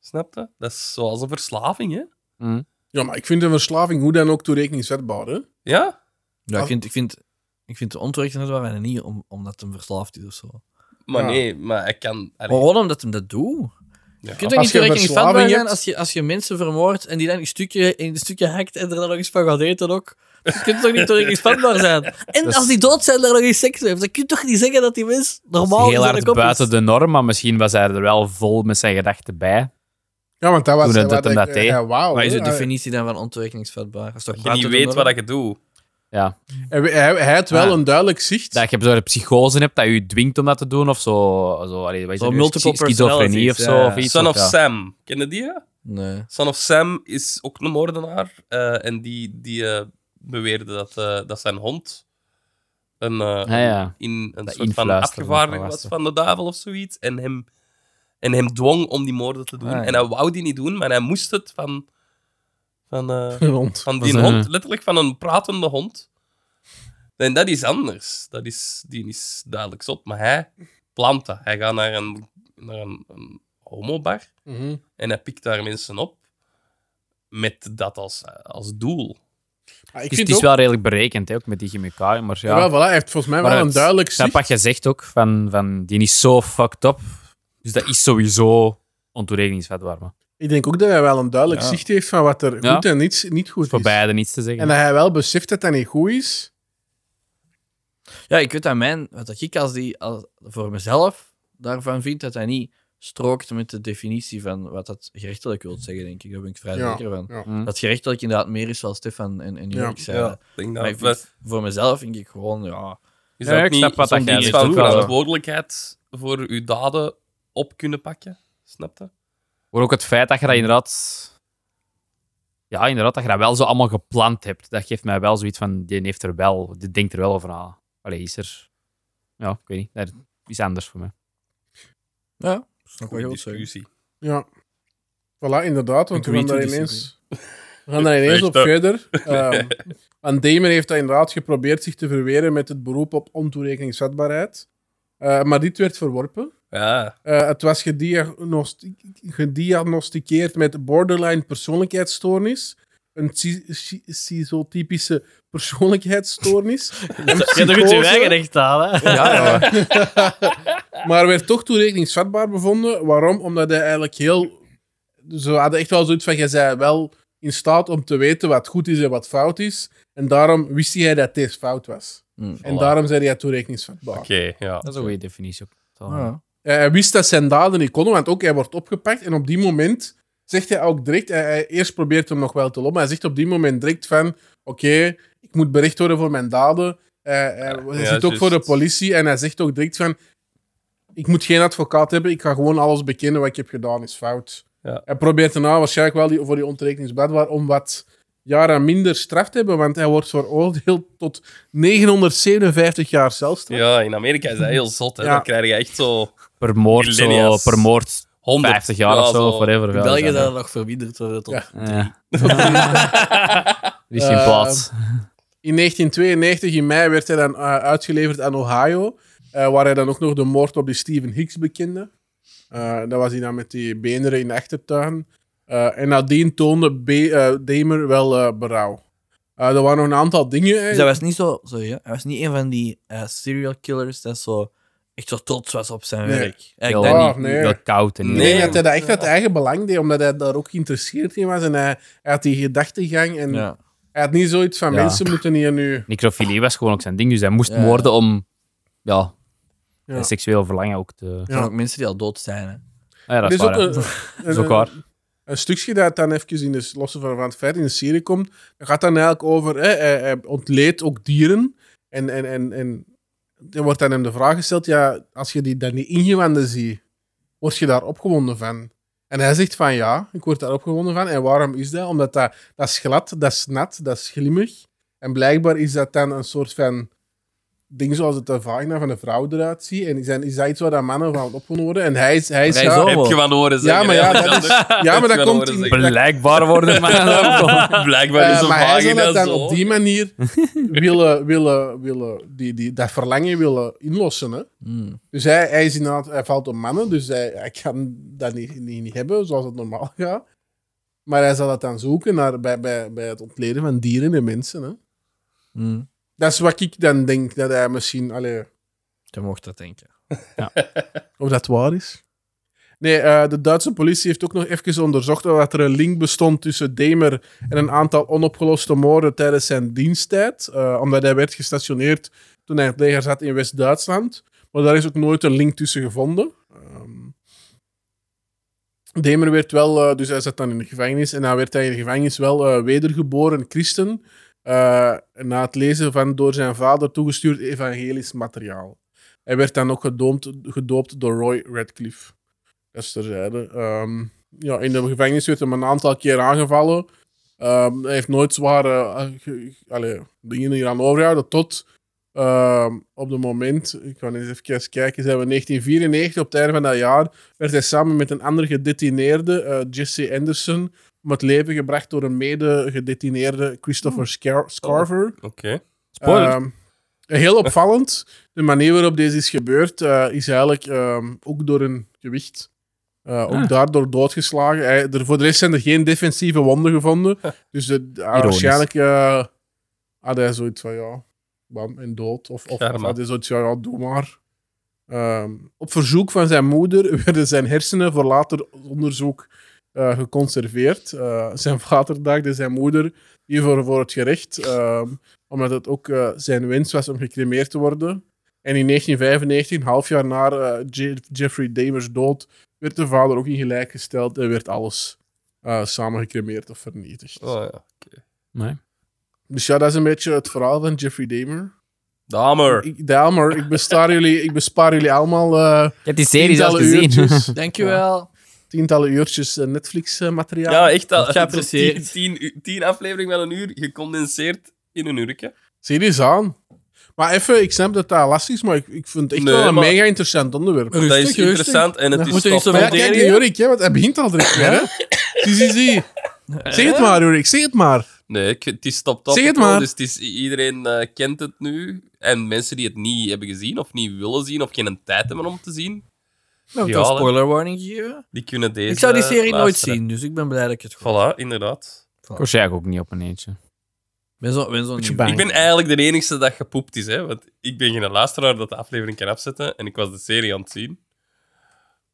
Speaker 4: Snap je? Dat is zoals een verslaving, hè?
Speaker 2: Mm.
Speaker 3: Ja, maar ik vind een verslaving hoe dan ook toerekeningsvatbaar, hè?
Speaker 4: Ja?
Speaker 1: Ja, ik vind, ik vind, ik vind het ontoerekeningsvatbaar en niet om, omdat hem verslaafd is of zo.
Speaker 4: Maar
Speaker 3: Ja.
Speaker 4: nee, maar hij kan... allee,
Speaker 1: Gewoon omdat hem dat doet. Je kunt
Speaker 3: Als je
Speaker 1: toch niet toerekeningsvatbaar
Speaker 3: verslaving
Speaker 1: zijn
Speaker 3: hebt-
Speaker 1: als je, als je mensen vermoordt en die dan een stukje, een stukje hakt en er dan nog eens van gaat eten ook. Je kunt toch niet toerekeningsvatbaar zijn? En als die dood zijn, daar nog eens seks mee heeft. Dan kun je toch niet zeggen dat die mens normaal
Speaker 2: heel
Speaker 1: in
Speaker 2: hard
Speaker 1: zijn kop is?
Speaker 2: buiten de norm, maar misschien was hij er wel vol met zijn gedachten bij.
Speaker 3: Ja, want dat was...
Speaker 2: Toen het
Speaker 3: wat
Speaker 2: dat hem
Speaker 3: ik-
Speaker 2: dat deed.
Speaker 3: Oh, ja, wauw,
Speaker 1: Wat is de
Speaker 3: hè? Hij-
Speaker 1: definitie dan van ontoerekeningsvatbaar? Dat is toch
Speaker 4: dat je niet weet wat je doet.
Speaker 2: Ja.
Speaker 3: Hij, hij, hij had wel
Speaker 2: Ah.
Speaker 3: een duidelijk zicht.
Speaker 2: Dat je zo'n psychose hebt dat je dwingt om dat te doen of zo. zo allee, wat is
Speaker 1: Zo
Speaker 2: dat nu?
Speaker 1: multiple
Speaker 2: Schi- schizofrenie of
Speaker 1: personalities,
Speaker 2: zo.
Speaker 1: ja.
Speaker 2: Of iets,
Speaker 4: Son of
Speaker 2: ja.
Speaker 4: Sam. Ken je die? hè?
Speaker 1: Nee.
Speaker 4: Son of Sam is ook een moordenaar. eh, en die, die eh, beweerde dat, eh, dat zijn hond een, eh,
Speaker 2: Ah, ja.
Speaker 4: in een soort
Speaker 2: Dat
Speaker 4: van
Speaker 2: influisteren van
Speaker 4: afgevaardigde was
Speaker 2: Alastair.
Speaker 4: van de duivel of zoiets. En hem, en hem dwong om die moorden te doen.
Speaker 1: Ah, ja.
Speaker 4: En hij wou die niet doen, maar hij moest het van, van, eh,
Speaker 3: Rond.
Speaker 4: van die
Speaker 2: Dat is een-
Speaker 4: hond. Letterlijk van een pratende hond. En dat is anders. Dat is, die is duidelijk zot. Maar hij plant dat. Hij gaat naar een, naar een, een homobar.
Speaker 3: Mhm.
Speaker 4: En hij pikt daar mensen op met dat als, als doel.
Speaker 3: Maar ik
Speaker 2: Dus het
Speaker 3: vind
Speaker 2: is
Speaker 3: ook...
Speaker 2: wel redelijk berekend, hè, ook met die chemicaliën. Maar ja,
Speaker 3: Jawel, voilà, hij heeft volgens mij
Speaker 2: Maar
Speaker 3: wel
Speaker 2: het-
Speaker 3: een duidelijk
Speaker 2: snap
Speaker 3: zicht.
Speaker 2: wat je zegt ook, van, van die is zo fucked up. Dus dat is sowieso ontoerekeningsvatbaar. maar
Speaker 3: Ik denk ook dat hij wel een duidelijk
Speaker 1: Ja.
Speaker 3: zicht heeft van wat er
Speaker 2: Ja.
Speaker 3: goed en niet, niet goed
Speaker 2: Het
Speaker 3: is.
Speaker 2: is voor beide niets te
Speaker 3: En
Speaker 2: zeggen.
Speaker 3: dat hij wel beseft dat dat niet goed is.
Speaker 1: Ja, ik weet aan mijn... Wat ik als die als, voor mezelf daarvan vind, dat hij niet strookt met de definitie van wat dat gerechtelijk wil zeggen, denk ik. Daar ben ik vrij
Speaker 3: Ja.
Speaker 1: zeker van.
Speaker 3: Ja.
Speaker 2: Hm.
Speaker 1: Dat gerechtelijk inderdaad meer is zoals Stefan en, en
Speaker 3: Ja.
Speaker 1: Jurk zeiden.
Speaker 4: denk
Speaker 1: Maar ik vind- voor mezelf vind ik gewoon, ja...
Speaker 4: is
Speaker 2: Ja,
Speaker 4: dat
Speaker 2: ik
Speaker 4: niet
Speaker 2: snap wat
Speaker 4: zo'n
Speaker 2: dat
Speaker 4: ding
Speaker 2: jij
Speaker 4: van
Speaker 2: zegt, wel.
Speaker 4: verantwoordelijkheid voor uw daden op kunnen pakken? Snap je?
Speaker 2: Maar ook het feit dat je dat inderdaad... Ja, inderdaad, dat je dat wel zo allemaal gepland hebt. Dat geeft mij wel zoiets van, die heeft er wel, die denkt er wel over na. Allee, is er... Ja, ik weet niet. Dat is anders voor mij.
Speaker 1: Ja, snap wat je
Speaker 4: Goeie
Speaker 1: wilt zeggen.
Speaker 4: discussie.
Speaker 3: Ja. Voilà, inderdaad, want
Speaker 1: Ik
Speaker 3: we gaan
Speaker 1: weet
Speaker 3: daar
Speaker 1: hoe die
Speaker 3: ineens, we gaan daar ineens op
Speaker 4: dus, Echt, hè?
Speaker 3: verder. Ehm want Damon heeft dat inderdaad geprobeerd zich te verweren met het beroep op ontoerekeningsvatbaarheid. Eh, maar dit werd verworpen.
Speaker 4: Ja.
Speaker 3: Eh, het was gediagnosti- gediagnosticeerd met borderline persoonlijkheidsstoornis. Een schi- schi- schizotypische persoonlijkheidsstoornis. Een
Speaker 1: Je doet je
Speaker 3: psychose,
Speaker 1: eigen echt aan, hè?
Speaker 3: maar werd toch toerekeningsvatbaar bevonden. Waarom? Omdat hij eigenlijk heel... Ze hadden echt wel zoiets van, jij bent wel in staat om te weten wat goed is en wat fout is. En daarom wist hij dat deze fout was.
Speaker 1: Hmm,
Speaker 3: en daarom zei hij toerekeningsvatbaar.
Speaker 4: Oké, ja.
Speaker 2: Dat is een goede definitie. Op het algemeen.
Speaker 1: Ja.
Speaker 3: Eh, hij wist dat zijn daden niet konden, want ook hij wordt opgepakt. En op die moment zegt hij ook direct... Hij, hij- eerst probeert hem nog wel te lopen, maar hij zegt op die moment direct van... Oké, ik moet bericht worden voor mijn daden. Eh, hij hij
Speaker 4: ja,
Speaker 3: zit ook voor de
Speaker 4: juist.
Speaker 3: politie en hij zegt ook direct van... Ik moet geen advocaat hebben, ik ga gewoon alles bekennen wat ik heb gedaan, is fout.
Speaker 4: Ja.
Speaker 3: Hij probeert daarna waarschijnlijk wel die, voor die ontrekeningsbedwaar om wat jaren minder straf te hebben, want hij wordt veroordeeld tot 957 jaar celstraf.
Speaker 4: Ja, in Amerika is dat heel zot. Hè.
Speaker 3: Ja.
Speaker 4: Dan krijg je echt zo
Speaker 2: Per moord, zo,
Speaker 4: Millennials.
Speaker 2: per moord
Speaker 4: 100.
Speaker 2: 50 jaar of
Speaker 4: Ja,
Speaker 2: zo, whatever.
Speaker 1: In
Speaker 2: wel, dus
Speaker 1: België
Speaker 2: zijn
Speaker 1: zou
Speaker 2: er.
Speaker 1: dat nog verminderd worden tot...
Speaker 3: Ja.
Speaker 2: Ja. Er is geen
Speaker 3: Eh,
Speaker 2: plaats.
Speaker 3: In 1992, in mei, werd hij dan eh, uitgeleverd aan Ohio, eh, waar hij dan ook nog de moord op die Stephen Hicks bekende. Eh, dat was hij dan met die benen in de achtertuin. Eh, en nadien toonde Be eh, Damer wel eh, berouw. Eh, er waren nog een aantal dingen.
Speaker 1: Dus
Speaker 3: eh.
Speaker 1: hij was niet zo... Sorry, hè. Hij was niet een van die eh, serial killers dat zo... Echt zo trots was op zijn
Speaker 3: Nee.
Speaker 1: werk.
Speaker 2: Heel,
Speaker 1: Eigenlijk dat
Speaker 3: waar.
Speaker 1: niet.
Speaker 3: Ah, nee.
Speaker 2: heel koud en
Speaker 3: Ik
Speaker 4: Nee,
Speaker 3: denk dat hij dat echt uit eigen belang deed, omdat hij daar ook geïnteresseerd in was. En hij, hij had die gedachtegang. En
Speaker 1: Ja.
Speaker 3: hij had niet zoiets van,
Speaker 2: Ja.
Speaker 3: mensen moeten hier nu...
Speaker 2: Necrofilie was gewoon ook zijn ding, dus hij moest
Speaker 1: Ja.
Speaker 2: moorden om ja,
Speaker 3: Ja.
Speaker 2: zijn seksueel verlangen ook te...
Speaker 1: Er zijn ook mensen die al dood zijn, hè.
Speaker 2: Ah ja, dat
Speaker 3: Er
Speaker 2: is, waar,
Speaker 3: is Dus ook
Speaker 2: hè.
Speaker 3: een-
Speaker 2: Dat is ook waar.
Speaker 3: een stukje dat dan even in de losse van, van het feit in de serie komt, dat gaat dan eigenlijk over, hè, hij, hij ontleedt ook dieren. En, en, en, en er wordt dan hem de vraag gesteld, ja, als je die dan die ingewanden ziet, word je daar opgewonden van? En hij zegt van ja, ik word daar opgewonden van. En waarom is dat? Omdat dat, dat is glad, dat is nat, dat is glimmig. En blijkbaar is dat dan een soort van ding zoals het de vagina van een vrouw eruit ziet. En is dat, is dat iets waar dan mannen van opgewonden worden? En hij is... Hij is,
Speaker 1: Hij
Speaker 3: ja,
Speaker 1: is ook-
Speaker 4: Heb je van horen zeggen.
Speaker 3: Oh. ja, maar ja, dat is, ja, maar
Speaker 4: Heb
Speaker 3: dat
Speaker 4: je
Speaker 3: komt
Speaker 4: wel
Speaker 3: in,
Speaker 4: horen
Speaker 2: Blijkbaar worden mannen
Speaker 4: Blijkbaar is
Speaker 3: eh,
Speaker 4: een
Speaker 3: maar hij zou
Speaker 4: vagina
Speaker 3: dat dan
Speaker 4: zo.
Speaker 3: op die manier willen, willen, willen die, die, dat verlangen willen inlossen. Hè?
Speaker 1: Hmm.
Speaker 3: Dus hij, hij, is inderdaad, hij valt op mannen, dus hij, hij kan dat niet, niet, niet hebben zoals het normaal gaat. Maar hij zal dat dan zoeken naar, bij, bij, bij het ontleden van dieren en mensen. Hè?
Speaker 1: Hmm.
Speaker 3: Dat is wat ik dan denk, dat hij misschien... Allee,
Speaker 1: Je mocht dat denken.
Speaker 3: Of dat waar is? Nee, eh, de Duitse politie heeft ook nog even onderzocht of dat er een link bestond tussen Demer en een aantal onopgeloste moorden tijdens zijn diensttijd. eh, omdat hij werd gestationeerd toen hij in het leger zat in West-Duitsland. Maar daar is ook nooit een link tussen gevonden. Ehm Demer werd wel, eh, dus hij zat dan in de gevangenis. En dan werd hij in de gevangenis wel eh, wedergeboren christen. eh, na het lezen van door zijn vader toegestuurd evangelisch materiaal. Hij werd dan ook gedoomd, gedoopt door Roy Radcliffe. Dat is terzijde. Ehm, ja, in de gevangenis werd hem een aantal keer aangevallen. Ehm, hij heeft nooit zware eh, ge- ge- allee, dingen hier aan overgehouden. Tot ehm, op het moment, ik ga eens even kijken, zijn we in 1994, op het einde van dat jaar, werd hij samen met een andere gedetineerde, eh, Jesse Anderson, om het leven gebracht door een mede-gedetineerde Christopher Scar- Scarver.
Speaker 4: Oké.
Speaker 2: Spoiler.
Speaker 3: Ehm, heel opvallend. De manier waarop deze is gebeurd eh, is eigenlijk ehm, ook door een gewicht. eh, ook
Speaker 2: Ah.
Speaker 3: daardoor doodgeslagen. Hij- er, voor de rest zijn er geen defensieve wonden gevonden. Dus de, de- waarschijnlijk eh, had hij zoiets van ja, bam, en dood. Of, of, of
Speaker 4: Karma.
Speaker 3: had hij zoiets van ja, doe maar. Ehm, op verzoek van zijn moeder werden zijn hersenen voor later onderzoek eh, geconserveerd. Eh, zijn vader daagde zijn moeder hiervoor voor het gerecht. ehm, omdat het ook eh, zijn wens was om gecremeerd te worden. En in 1995, een half jaar na eh, Je- Jeffrey Damer's dood, werd de vader ook in gelijk gesteld en werd alles eh samen gecremeerd of vernietigd.
Speaker 4: Oh, ja.
Speaker 2: Nee.
Speaker 3: Dus ja, dat is een beetje het verhaal van Jeffrey Dahmer.
Speaker 4: Damer.
Speaker 3: Ik, Dahmer, ik, bespaar jullie, ik bespaar jullie allemaal eh,
Speaker 2: Je hebt die serie zelf gezien.
Speaker 3: uurtjes,
Speaker 1: Dankjewel.
Speaker 3: tientallen uurtjes eh, Netflix-materiaal.
Speaker 4: Ja, echt. Dat,
Speaker 1: Geapprecieerd.
Speaker 4: Tien, tien, u- tien afleveringen van een uur, gecondenseerd in een uurtje.
Speaker 3: Zie je die eens aan? Maar even, ik snap dat dat lastig is, maar ik, ik vind het echt
Speaker 4: Nee,
Speaker 3: wel een
Speaker 4: maar-
Speaker 3: mega interessant onderwerp.
Speaker 4: dat is interessant en het
Speaker 1: Moet
Speaker 4: is
Speaker 1: er niet
Speaker 4: tof.
Speaker 1: zoveel
Speaker 3: Maar ja, kijk, die
Speaker 1: verdedigen?
Speaker 3: Jorik, hè, want hij begint al direct weer. Hè? Zie, zie, zie. Zeg het maar, Jorik, zeg het maar.
Speaker 4: Nee, ik- het is top top.
Speaker 3: Zeg het maar.
Speaker 4: Dus het is, iedereen eh, kent het nu. En mensen die het niet hebben gezien of niet willen zien of geen tijd hebben om te zien,
Speaker 1: Nou,
Speaker 4: Ja,
Speaker 1: ja,
Speaker 4: hè.
Speaker 1: spoiler warning gegeven.
Speaker 4: die kunnen deze
Speaker 1: Ik zou die serie nooit
Speaker 4: luisteren.
Speaker 1: zien, dus ik ben blij dat ik het gewoon.
Speaker 4: Voilà, inderdaad.
Speaker 2: Ik was eigenlijk ook niet op een eentje.
Speaker 1: Ben zo, ben zo nieuw.
Speaker 3: bang.
Speaker 4: Ik ben eigenlijk de enige dat gepoept is, hè. Want ik ben geen luisteraar dat de aflevering kan afzetten en ik was de serie aan het zien.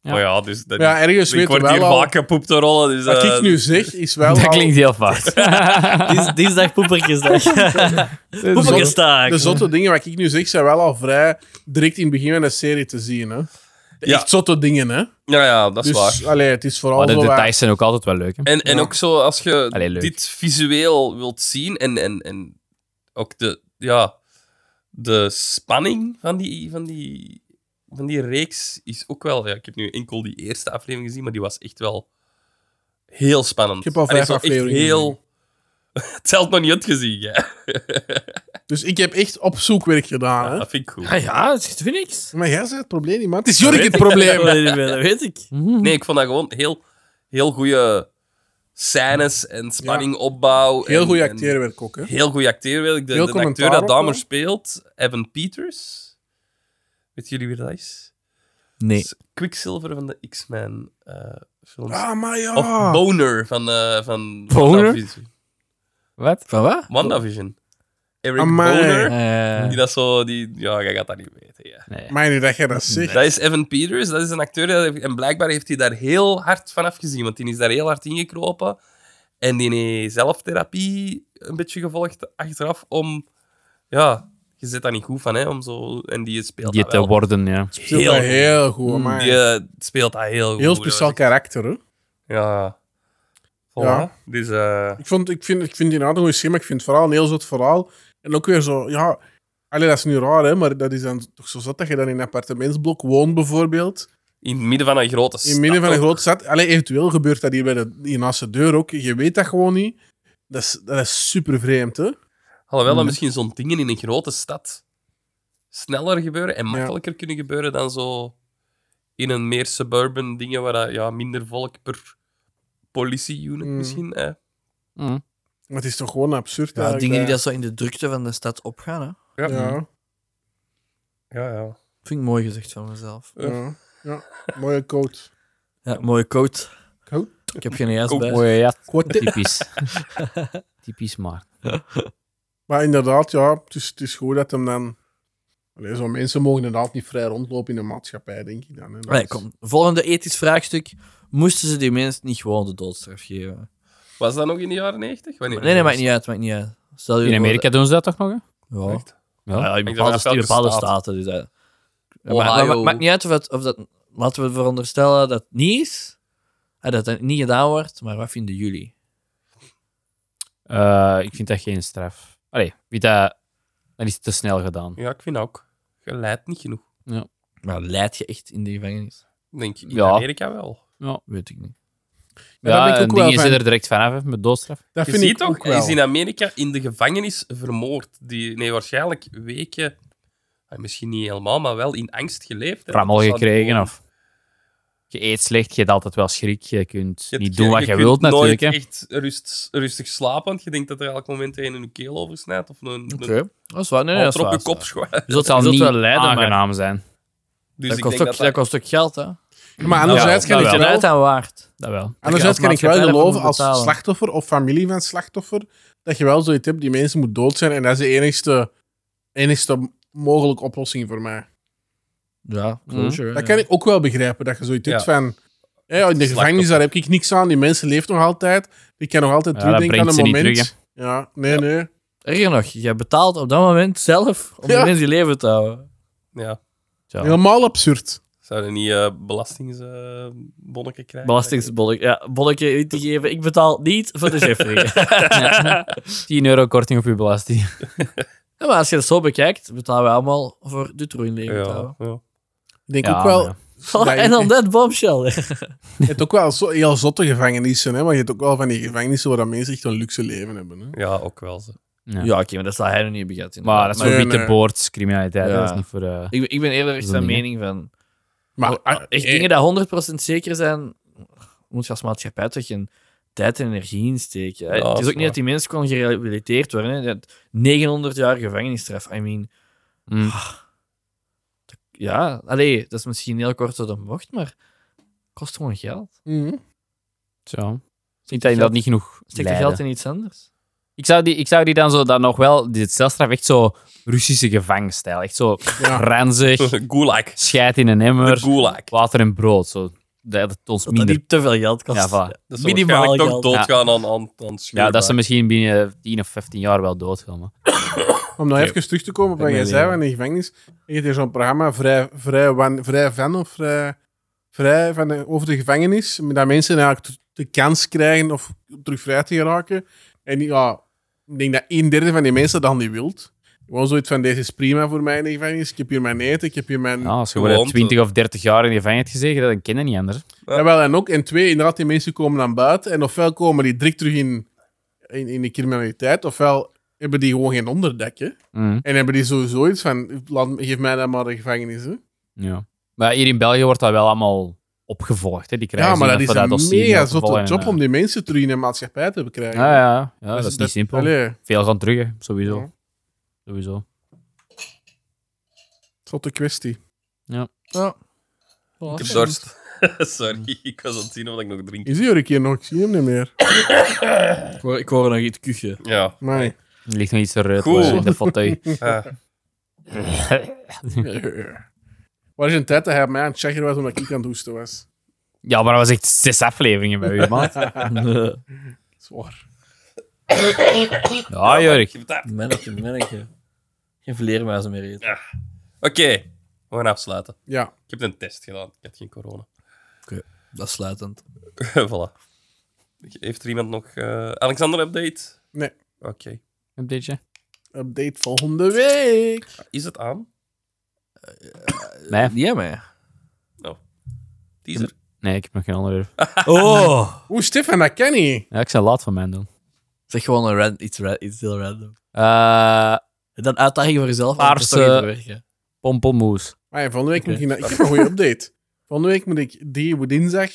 Speaker 2: Ja.
Speaker 4: Maar ja, dus dat
Speaker 3: Ja, ergens
Speaker 4: ik
Speaker 3: weet je
Speaker 4: word hier
Speaker 3: wel al...
Speaker 4: vaak gepoept door rollen. Dus,
Speaker 3: Wat
Speaker 4: eh,
Speaker 3: ik nu zeg, is wel
Speaker 2: dat
Speaker 3: al-
Speaker 2: klinkt heel fout.
Speaker 1: Dies- Dinsdag poepertjesdag. Poepertjesdag.
Speaker 3: De zotte dingen wat ik nu zeg, zijn wel al vrij direct in het begin van de serie te zien. Hè? De
Speaker 4: Ja.
Speaker 3: echt zotte dingen, hè.
Speaker 4: Ja, ja, dat is waar.
Speaker 3: Dus allee, het is vooral
Speaker 2: maar Oh, de
Speaker 3: zo eh, wat-
Speaker 2: details zijn ook altijd wel leuk. Hè?
Speaker 4: En, en
Speaker 3: Ja.
Speaker 4: ook zo, als je
Speaker 2: Allee, leuk.
Speaker 4: dit visueel wilt zien en, en, en ook de, ja, de spanning van die, van, die, van die reeks is ook wel... Ja, ik heb nu enkel die eerste aflevering gezien, maar die was echt wel heel spannend.
Speaker 3: Ik heb al
Speaker 4: Allee,
Speaker 3: vijf
Speaker 4: zo echt
Speaker 3: afleveringen
Speaker 4: heel... Het telt nog niet uitgezien, ja.
Speaker 3: Dus ik heb echt op zoekwerk gedaan. Hè?
Speaker 4: Dat vind ik goed.
Speaker 1: Ah ja, het is niks.
Speaker 3: Maar jij zei het probleem niet, man. Het is Jorik het
Speaker 1: Dat
Speaker 3: probleem.
Speaker 1: weet ik. Dat weet ik.
Speaker 4: Nee, ik vond dat gewoon heel, heel goede scènes en spanningopbouw.
Speaker 3: Heel
Speaker 4: en-
Speaker 3: goed
Speaker 4: en-
Speaker 3: acteerwerk ook, hè.
Speaker 4: Heel goed acteerwerk. De,
Speaker 3: Veel
Speaker 4: de
Speaker 3: commentaar
Speaker 4: acteur dat
Speaker 3: ook
Speaker 4: Dahmer
Speaker 3: wel.
Speaker 4: speelt, Evan Peters. Weet jullie wie dat is?
Speaker 1: Nee.
Speaker 4: Is Quicksilver van de X-Men eh, films.
Speaker 3: Ah, maar ja.
Speaker 4: Of Boner van, eh van
Speaker 2: Boner?
Speaker 4: WandaVision.
Speaker 2: Wat?
Speaker 1: Van wat?
Speaker 4: WandaVision. Eric
Speaker 3: Amai.
Speaker 4: Boner.
Speaker 1: Eh,
Speaker 4: Die dat zo... Die, ja, jij gaat dat niet weten, ja.
Speaker 2: Nee.
Speaker 3: Maar nu dat jij dat zegt.
Speaker 4: Dat is Evan Peters, dat is een acteur. dat heeft- En blijkbaar heeft hij daar heel hard van afgezien, want die is daar heel hard ingekropen. En die heeft zelftherapie een beetje gevolgd achteraf om... Ja, je zit daar niet goed van, hè, om zo... En die speelt
Speaker 2: Die
Speaker 4: dat
Speaker 2: te
Speaker 4: wel.
Speaker 2: worden, ja.
Speaker 3: Ik vind dat
Speaker 4: heel-
Speaker 3: heel goed, amai.
Speaker 4: Die eh, speelt dat heel goed.
Speaker 3: Heel speciaal
Speaker 4: hoor.
Speaker 3: karakter, hè.
Speaker 4: Ja. Voilà.
Speaker 3: Ja.
Speaker 4: Dus... eh,
Speaker 3: Ik, vond, ik, vind, ik vind die een goede schema. Ik vind het verhaal een heel zot verhaal. En ook weer zo, ja... Allee, dat is nu raar, hè, maar dat is dan toch zo zot dat je dan in een appartementsblok woont, bijvoorbeeld.
Speaker 4: in het midden van een grote
Speaker 3: In het midden van een
Speaker 4: grote...
Speaker 3: grote stad. Allee, eventueel gebeurt dat hier, bij de, hier naast de deur ook. Je weet dat gewoon niet. Dat is, dat is super vreemd, hè.
Speaker 4: Alhoewel dat
Speaker 3: Mhm.
Speaker 4: misschien zo'n dingen in een grote stad sneller gebeuren en makkelijker kunnen gebeuren dan zo in een meer suburban dingen waar dat, ja, minder volk per politie-unit
Speaker 3: Mm.
Speaker 4: misschien. Hè.
Speaker 2: Mm.
Speaker 3: Maar het is toch gewoon absurd.
Speaker 1: ja,
Speaker 3: eigenlijk,
Speaker 1: dingen die dat zo in de drukte van de stad opgaan. Hè.
Speaker 4: dat-
Speaker 3: Ja,
Speaker 4: Ja, ja.
Speaker 1: Vind ik mooi gezegd van mezelf.
Speaker 3: ja, ja. Mooie code.
Speaker 1: Ja, mooie coat.
Speaker 3: Coat?
Speaker 1: Ik heb geen jas
Speaker 4: Coat.
Speaker 1: bij.
Speaker 2: Mooie ja,
Speaker 3: Quote.
Speaker 2: typisch. typisch maar.
Speaker 3: Maar inderdaad, ja, het is, het is goed dat hem dan... Allee, zo mensen mogen inderdaad niet vrij rondlopen in de maatschappij, denk ik dan. Hè. Dat
Speaker 1: Allee,
Speaker 3: is-
Speaker 1: kom. Volgende ethisch vraagstuk. Moesten ze die mensen niet gewoon de doodstraf geven?
Speaker 4: Was dat nog in de jaren 90? Wanneer
Speaker 1: Nee, nee, maakt niet uit. Maakt niet uit. Stel je
Speaker 2: In
Speaker 1: voor-
Speaker 2: Amerika doen ze dat toch nog? Hè?
Speaker 1: Ja.
Speaker 4: Echt?
Speaker 1: Ja,
Speaker 2: Ja.
Speaker 1: in
Speaker 4: denk
Speaker 1: bepaalde,
Speaker 4: dat dat
Speaker 1: in bepaalde
Speaker 4: staat.
Speaker 1: staten. Dus, dat- Ja,
Speaker 4: Ohio.
Speaker 1: maar, maar, maar- maakt niet uit of dat, of dat... Laten we veronderstellen dat het niet is. En dat het niet gedaan wordt. Maar wat vinden jullie?
Speaker 2: Eh, ik vind dat geen straf. Allee, wie dat, dan is het te snel gedaan.
Speaker 4: Ja, ik vind ook. Je leidt niet genoeg.
Speaker 1: Maar leid je echt in de gevangenis?
Speaker 4: Ik Denk in
Speaker 2: Ja.
Speaker 4: Amerika wel.
Speaker 1: Weet ik niet.
Speaker 3: Ja, daar ben ik ook
Speaker 2: en
Speaker 3: wel
Speaker 2: dingen
Speaker 3: van.
Speaker 2: zijn er direct vanaf hè, met doodstraf.
Speaker 3: Dat
Speaker 4: Je
Speaker 3: vind
Speaker 4: ziet
Speaker 3: ik
Speaker 4: toch,
Speaker 3: ook
Speaker 4: hij
Speaker 3: wel.
Speaker 4: is in Amerika in de gevangenis vermoord. Die, nee, waarschijnlijk weken, eh, misschien niet helemaal, maar wel in angst geleefd. hè.
Speaker 2: Rammel
Speaker 4: Dat zou
Speaker 2: gekregen
Speaker 4: gewoon-
Speaker 2: of... Je eet slecht, je hebt altijd wel schrik. Je kunt
Speaker 4: Je
Speaker 2: niet
Speaker 4: hebt-
Speaker 2: doen wat je,
Speaker 4: kunt
Speaker 2: wilt natuurlijk.
Speaker 4: nooit
Speaker 2: hè.
Speaker 4: echt rust, rustig slapen, want je denkt dat er elk moment een in je keel oversnijdt. Of een,
Speaker 1: Oké.
Speaker 4: een
Speaker 1: Dat is waar. Nee, nee, dat is
Speaker 4: houdt er op
Speaker 1: waar,
Speaker 4: je kop schwa-
Speaker 1: Dus dat
Speaker 2: Het zal
Speaker 1: zal
Speaker 2: niet
Speaker 1: wel leiden, maar
Speaker 2: aangenaam zijn.
Speaker 4: Dus
Speaker 1: dat, kost
Speaker 4: ik denk
Speaker 1: ook,
Speaker 4: dat
Speaker 1: dat
Speaker 4: dat-
Speaker 1: kost ook geld, hè?
Speaker 3: Maar anderzijds
Speaker 2: Ja,
Speaker 3: kan
Speaker 2: dat
Speaker 3: ik
Speaker 1: Eruit
Speaker 3: wel...
Speaker 1: aan waard.
Speaker 2: Dat wel.
Speaker 3: Anderzijds kan ik wel
Speaker 1: maatschappij
Speaker 3: geloven
Speaker 1: daarvoor
Speaker 3: als
Speaker 1: moet betalen.
Speaker 3: slachtoffer of familie van slachtoffer dat je wel zoiets hebt, die mensen moet dood zijn en dat is de enigste, enigste mogelijke oplossing voor mij.
Speaker 1: Ja,
Speaker 2: closure,
Speaker 3: Dat kan ik ook wel begrijpen, dat je zoiets hebt
Speaker 4: Ja.
Speaker 3: van... hè, in de
Speaker 4: Slachtoffer.
Speaker 3: gevangenis, daar heb ik niks aan. Die mensen leeft nog altijd. Die kan nog altijd
Speaker 2: Ja, dat
Speaker 3: terugdenken aan
Speaker 2: brengt
Speaker 3: een
Speaker 2: ze niet
Speaker 3: moment.
Speaker 2: terug,
Speaker 3: ja, nee, nee.
Speaker 1: Erger nog, je betaalt op dat moment zelf om
Speaker 3: Ja.
Speaker 1: de mensen die leven te houden.
Speaker 4: Ja,
Speaker 2: Ja.
Speaker 3: Helemaal absurd.
Speaker 4: zouden niet eh belastingsbonnetje krijgen?
Speaker 1: Belastingsbolletje, ja, bolletje in te geven. Ik betaal niet voor de chefrekening.
Speaker 2: 10 euro korting op je belasting.
Speaker 1: ja, maar als je het zo bekijkt, betalen we allemaal voor de troei in leven te
Speaker 4: Ja,
Speaker 1: houden.
Speaker 4: ja.
Speaker 3: Ik denk
Speaker 2: Ja,
Speaker 3: ook wel...
Speaker 2: maar
Speaker 3: dat je-
Speaker 1: en dan dat bombshell.
Speaker 3: Je hebt ook wel zo, heel zotte gevangenissen, hè, maar je hebt ook wel van die gevangenissen waar dat mensen echt een luxe leven hebben. Hè.
Speaker 4: ja, ook wel. Zo.
Speaker 1: Ja,
Speaker 2: Ja.
Speaker 1: oké, maar dat zal hij nog niet begrijpt. inderdaad.
Speaker 2: Maar dat is
Speaker 1: Maar
Speaker 2: voor
Speaker 3: Nee,
Speaker 2: witte
Speaker 3: nee.
Speaker 2: boordscriminaliteit.
Speaker 1: Ja.
Speaker 2: Dat is niet voor... eh,
Speaker 1: ik, ben- ik ben eerder echt
Speaker 2: is
Speaker 1: van
Speaker 2: een ding,
Speaker 1: mening van...
Speaker 3: Maar
Speaker 1: Ah, echt
Speaker 3: eh,
Speaker 1: dingen dat 100% zeker zijn, moet je als maatschappij toch geen tijd en energie insteken. hè.
Speaker 4: Ja,
Speaker 1: het
Speaker 4: dat
Speaker 1: is
Speaker 4: is
Speaker 1: ook niet
Speaker 4: waar.
Speaker 1: dat die mensen kon gerehabiliteerd worden. Hè. Dat 900 jaar gevangenisstraf. I mean, Hm.
Speaker 2: mm.
Speaker 1: Ah. ja, allee, dat is misschien heel kort door de bocht, maar kost gewoon geld.
Speaker 3: mhm.
Speaker 2: Zo. Ik denk dat je dat niet genoeg
Speaker 1: Steek dat
Speaker 2: leiden.
Speaker 1: geld in iets anders.
Speaker 2: Ik zou, die, ik zou die dan zo dan nog wel, die celstraf, echt zo Russische gevangenstijl. Echt zo ranzig,
Speaker 4: Gulag.
Speaker 2: scheid in een
Speaker 4: De
Speaker 2: emmer,
Speaker 4: gulag.
Speaker 2: water en brood. Zo. Dat het ons
Speaker 1: Dat dat
Speaker 2: minder.
Speaker 1: niet te veel geld kost.
Speaker 2: Ja, voilà.
Speaker 4: Dat zou
Speaker 1: Minimaal
Speaker 4: waarschijnlijk toch
Speaker 1: geld.
Speaker 4: doodgaan aan, aan, aan
Speaker 2: Ja, dat ze
Speaker 4: een
Speaker 2: misschien binnen 10 of 15 jaar wel doodgaan. maar-
Speaker 3: Om nog even terug te komen op wat
Speaker 2: Ik
Speaker 3: jij
Speaker 2: ben
Speaker 3: zei
Speaker 2: niet.
Speaker 3: van de gevangenis. Je hebt hier zo'n programma, Vrij, vrij, van, vrij van of Vrij, vrij van de- over de gevangenis. Dat mensen eigenlijk t- de kans krijgen of om terug vrij te geraken. En ja, ik denk dat een derde van die mensen dat niet wilt. Gewoon zoiets van, deze is prima voor mij in de gevangenis. Ik heb hier mijn eten, ik heb hier mijn...
Speaker 2: Ja, als je
Speaker 4: Gewoon
Speaker 2: gewoon
Speaker 4: te-
Speaker 2: 20 of 30 jaar in de gevangenis hebt gezeten, dan ken je niet anders.
Speaker 3: Jawel, en ook. En twee, inderdaad, die mensen komen dan buiten. En ofwel komen die direct terug in, in, in de criminaliteit, ofwel hebben die gewoon geen onderdak, hè.
Speaker 2: Mm.
Speaker 3: En hebben die sowieso iets van, laat- geef mij dan maar de gevangenis, hè.
Speaker 2: Ja. Maar hier in België wordt dat wel allemaal opgevolgd. Hè. Die krijgen
Speaker 3: Ja, maar dat
Speaker 2: zin
Speaker 3: is
Speaker 2: voor
Speaker 3: een
Speaker 2: dossier
Speaker 3: mega
Speaker 2: op te
Speaker 3: zotte
Speaker 2: volgen en,
Speaker 3: job
Speaker 2: eh,
Speaker 3: om die mensen terug in de maatschappij te bekrijgen.
Speaker 2: Ja, ja, ja dat
Speaker 3: Dus
Speaker 2: is niet simpel.
Speaker 3: Allee,
Speaker 2: Veel gaan terug, hè, sowieso.
Speaker 3: Ja.
Speaker 2: Sowieso.
Speaker 3: zotte kwestie.
Speaker 4: Ik heb dorst.
Speaker 2: Mm.
Speaker 4: Sorry, ik was aan het zien of ik nog drink.
Speaker 3: Is hier een keer nog? Ik zie hem niet meer.
Speaker 1: Ik, hoor, ik hoor nog iets kuchen.
Speaker 4: Ja.
Speaker 3: Maar,
Speaker 2: Er ligt nog iets eruit
Speaker 4: Goed.
Speaker 2: in de fauteuil.
Speaker 4: Ah.
Speaker 3: Waar is een tijd dat hij op mij aan het checken was omdat ik aan het hoesten was?
Speaker 2: Ja, maar dat was echt zes afleveringen bij u, man.
Speaker 3: Zwaar.
Speaker 2: Ja, Jurk.
Speaker 1: mennetje, mennetje. Geen vleermuizen meer eten.
Speaker 4: Oké, we gaan afsluiten.
Speaker 3: Ja.
Speaker 4: Ik heb een test gedaan. Ik had geen corona.
Speaker 1: Dat is sluitend.
Speaker 4: voilà. Heeft er iemand nog... eh, Alexander, update?
Speaker 3: Nee.
Speaker 4: Oké.
Speaker 2: Updateje.
Speaker 3: Update volgende week.
Speaker 4: Is het aan?
Speaker 2: Nee,
Speaker 1: Ja, maar.
Speaker 4: Die is er.
Speaker 2: nee, ik heb nog geen onderwerp.
Speaker 1: Oh!
Speaker 3: Oeh, Stefan, dat kan niet.
Speaker 2: Ja, ik zou laat van mij doen.
Speaker 1: Zeg gewoon een ran- iets, ra- iets heel random.
Speaker 2: Eh
Speaker 1: En dan uitdaging voor jezelf. en
Speaker 2: Paarse-
Speaker 1: het toch even verwerken.
Speaker 2: Pompelmoes.
Speaker 3: Maar Ah, ja, volgende week
Speaker 1: Oké.
Speaker 3: moet ik... naar- Ik heb een goede update. Volgende week moet ik die dinsdag...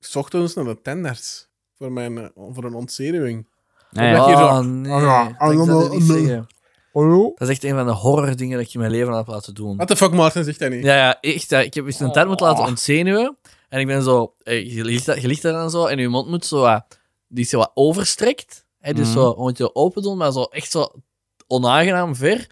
Speaker 3: S ochtends naar de tenders. Voor, mijn, eh, voor een ontzenuwing.
Speaker 2: Nee,
Speaker 3: Ja.
Speaker 2: ja.
Speaker 3: hier zo-
Speaker 1: Oh, nee.
Speaker 3: Ah, ja.
Speaker 1: Ik denk dat dat niet
Speaker 3: Ah, nee.
Speaker 1: zeggen.
Speaker 3: Hallo?
Speaker 1: Dat is echt een van de horror dingen dat ik in mijn leven aan heb laten doen.
Speaker 3: What the fuck, Maarten zegt dat niet.
Speaker 1: Ja, ja, echt. hè. Ik heb eens een tijd moeten laten ontzenuwen. En ik ben zo... eh, Je ligt, daar- je ligt daar dan zo en je mond moet zo wat... Die is zo wat overstrekt. Hè, dus
Speaker 2: Mhm.
Speaker 1: zo, je moet je open doen, maar zo echt zo onaangenaam ver.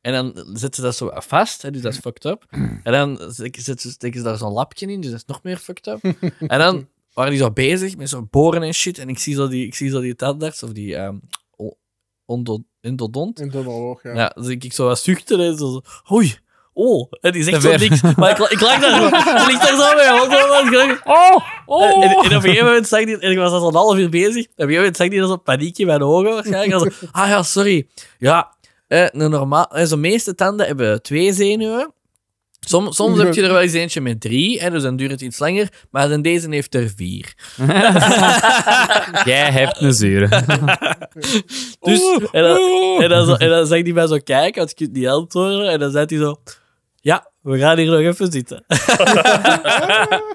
Speaker 1: En dan zet ze dat zo wat vast, hè, dus dat is fucked up. En dan zet- zet ze- steken ze daar zo'n lapje in, dus dat is nog meer fucked up. En dan waren die zo bezig met zo'n boren en shit. En ik zie zo die, ik zie zo die tandarts, of die ehm o- ondo- endodont.
Speaker 3: In de oorlog, ja.
Speaker 1: Ja, dus ik, ik zo wat zuchten en zo, zo, oei, oh, en die zegt
Speaker 2: Te
Speaker 1: zo
Speaker 2: ver.
Speaker 1: niks. Maar ik, ik lag daar zo, ik lig daar zo mee, want zo was ik echt-
Speaker 2: Oh!
Speaker 1: En, en op
Speaker 2: Oh!
Speaker 1: een gegeven moment zag die, en ik was al zo'n half uur bezig, en op een gegeven moment zag die dan zo'n paniek in mijn ogen waarschijnlijk. En zo, ah ja, sorry, ja, eh, een normaal, eh, zo'n meeste tanden hebben twee zenuwen. Som, soms heb je er wel eens eentje met drie, en dus dan duurt het iets langer, maar dan deze heeft er vier.
Speaker 2: Jij hebt een zure.
Speaker 1: Dus,
Speaker 2: Oh.
Speaker 1: en, dan, en, dan, zo- en dan zag hij mij zo kijken, want ik kunt niet antwoorden. En dan zei hij zo... Ja, we gaan hier nog even zitten.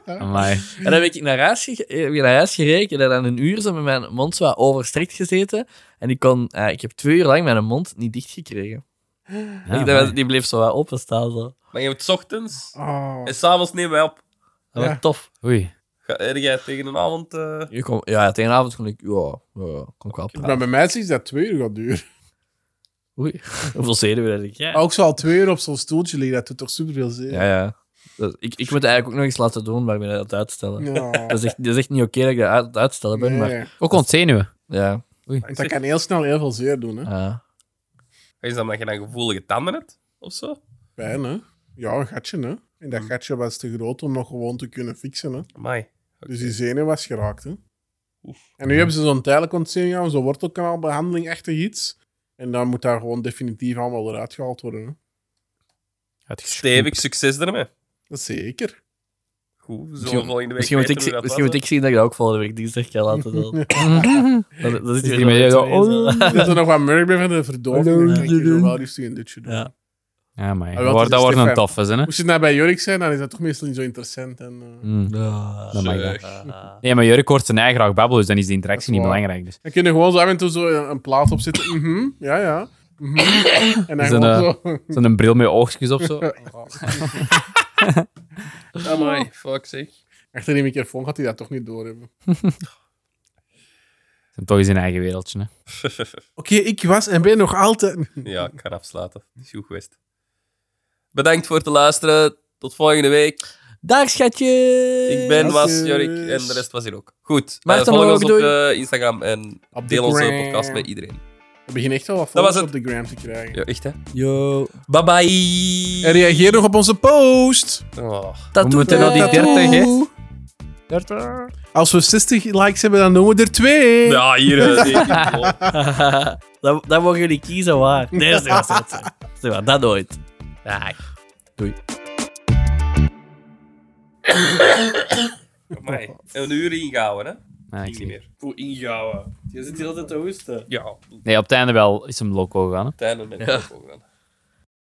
Speaker 2: Amai.
Speaker 1: En dan ben ik naar huis, gege- eh, ben ik naar huis gereken en dan een uur zo met mijn mond zo wat overstrekt gezeten. En ik, kon, eh, ik heb twee uur lang mijn mond niet dicht gekregen.
Speaker 2: Ja,
Speaker 1: ik, dat was-
Speaker 2: amai.
Speaker 1: die bleef zo wat openstaan. Zo.
Speaker 4: Maar je hebt het ochtends
Speaker 3: Oh.
Speaker 4: en s'avonds nemen wij op.
Speaker 1: Dat
Speaker 3: Ja.
Speaker 1: was tof.
Speaker 2: Oei.
Speaker 4: Ga erg jij tegen een avond... eh,
Speaker 1: Ik kon- ja, tegen de avond kon ik, ja, ja, kon ik wel
Speaker 3: Maar
Speaker 1: praten.
Speaker 3: bij mij is dat twee uur gaat duren.
Speaker 1: Oei, hoeveel zenuwen heb ik? Ja,
Speaker 3: Ook zo al twee uur op zo'n stoeltje liggen, dat doet toch superveel zin.
Speaker 1: ja. Dat- ik, ik moet het eigenlijk ook nog eens laten doen, maar ik ben dat aan het uitstellen.
Speaker 3: Ja.
Speaker 1: Dat, is echt, dat is echt niet oké dat ik dat aan het uitstellen ben,
Speaker 3: Nee.
Speaker 1: maar
Speaker 2: Ook ontzenuwen.
Speaker 1: ja.
Speaker 3: Want dat kan heel snel heel veel zeer doen, hè.
Speaker 1: ja.
Speaker 4: Is dat omdat je dan gevoelige tanden hebt? Of zo?
Speaker 3: Pijn, hè. Ja, een gatje, hè. En dat gatje was te groot om nog gewoon te kunnen fixen, hè.
Speaker 4: Amai.
Speaker 3: Dus die zenuw was geraakt, hè.
Speaker 4: Oef.
Speaker 3: En nu hebben ze zo'n tijdelijk ontzenuw, zo'n wortelkanaalbehandeling, echt iets. En dan moet daar gewoon definitief allemaal eruit gehaald worden, hè.
Speaker 2: Uitgeschopt.
Speaker 4: Stevig, succes ermee.
Speaker 3: Dat is zeker.
Speaker 4: Goed, we zullen volgende
Speaker 1: Misschien,
Speaker 4: week
Speaker 1: misschien moet, ik,
Speaker 4: weten
Speaker 1: zi-
Speaker 4: hoe dat
Speaker 1: misschien
Speaker 4: was,
Speaker 1: moet ik zien dat ik dat ook volgende week dinsdag ga laten doen. Dan- Dan zit
Speaker 2: Is
Speaker 1: hier
Speaker 2: die met jou
Speaker 1: zo
Speaker 2: zo-
Speaker 1: twee, zo.
Speaker 3: Dat er nog wat merk bij van de verdoving. Dan denk je zo wel liefst een dutje doen.
Speaker 1: Ja.
Speaker 2: Ja, maar
Speaker 3: Ah, wat is
Speaker 2: dat
Speaker 3: het,
Speaker 2: wordt een
Speaker 3: Stefan?
Speaker 2: toffe, hè?
Speaker 3: Moest je nou bij Jorik zijn, dan is dat toch meestal niet zo interessant. En, eh,
Speaker 2: Mm.
Speaker 1: Ja.
Speaker 2: Dat mag
Speaker 4: zeg.
Speaker 2: wel. Nee, maar Jurk hoort zijn eigen graag babbelen, dus dan is die interactie
Speaker 3: Dat is
Speaker 2: niet
Speaker 3: waar.
Speaker 2: belangrijk. Dus.
Speaker 3: Dan kun je gewoon zo af en toe zo een, een plaat opzetten. Mhm, ja, ja. mhm. En dan
Speaker 2: Is dat,
Speaker 3: gewoon
Speaker 2: eh,
Speaker 3: zo.
Speaker 2: Zo'n een bril met oogjes of zo.
Speaker 4: Amai, fuck zeg.
Speaker 3: Achter die microfoon gaat hij dat toch niet doorhebben.
Speaker 2: Zijn toch in zijn eigen wereldje, hè?
Speaker 3: Oké, ik was en ben nog altijd.
Speaker 4: Ja, ik ga afsluiten. Het is goed geweest. Bedankt voor het luisteren. Tot volgende week.
Speaker 1: Dag schatje!
Speaker 4: Ik ben, was,
Speaker 3: Groetjes.
Speaker 4: Jorik en de rest was hier ook. Goed,
Speaker 1: Maarten
Speaker 4: eh, volg
Speaker 1: Blok,
Speaker 4: ons op
Speaker 1: doei.
Speaker 4: eh, Instagram en
Speaker 3: Op de
Speaker 4: deel onze
Speaker 3: gram.
Speaker 4: podcast met iedereen.
Speaker 3: We beginnen echt wel wat
Speaker 4: Dat was
Speaker 3: volgers op de gram te krijgen.
Speaker 4: Ja, echt hè?
Speaker 1: Yo.
Speaker 4: Bye
Speaker 3: En
Speaker 4: bye!
Speaker 3: reageer nog op onze post.
Speaker 4: Oh.
Speaker 1: Tattoo
Speaker 2: We moeten naar
Speaker 3: tá
Speaker 2: die
Speaker 1: tijd.
Speaker 2: 30, hè?
Speaker 3: Als we 60 likes hebben, dan doen we er twee.
Speaker 4: Ja, hier. eh, die- die- oh.
Speaker 1: dan, dan mogen jullie kiezen waar. Nee, dat is niet waar, dat is niet waar, dat nooit.
Speaker 2: Ah,
Speaker 1: Dag.
Speaker 4: Amai. Een uur ingehouden, hè?
Speaker 2: Ah, ik
Speaker 4: Ging
Speaker 2: zie
Speaker 4: niet
Speaker 2: het.
Speaker 4: meer.
Speaker 1: Hoe injouwen? Je zit hier altijd te hoesten.
Speaker 4: Ja,
Speaker 2: Nee, op het einde wel is hem loco gegaan. hè.
Speaker 4: Tijden ben ik ook gaan.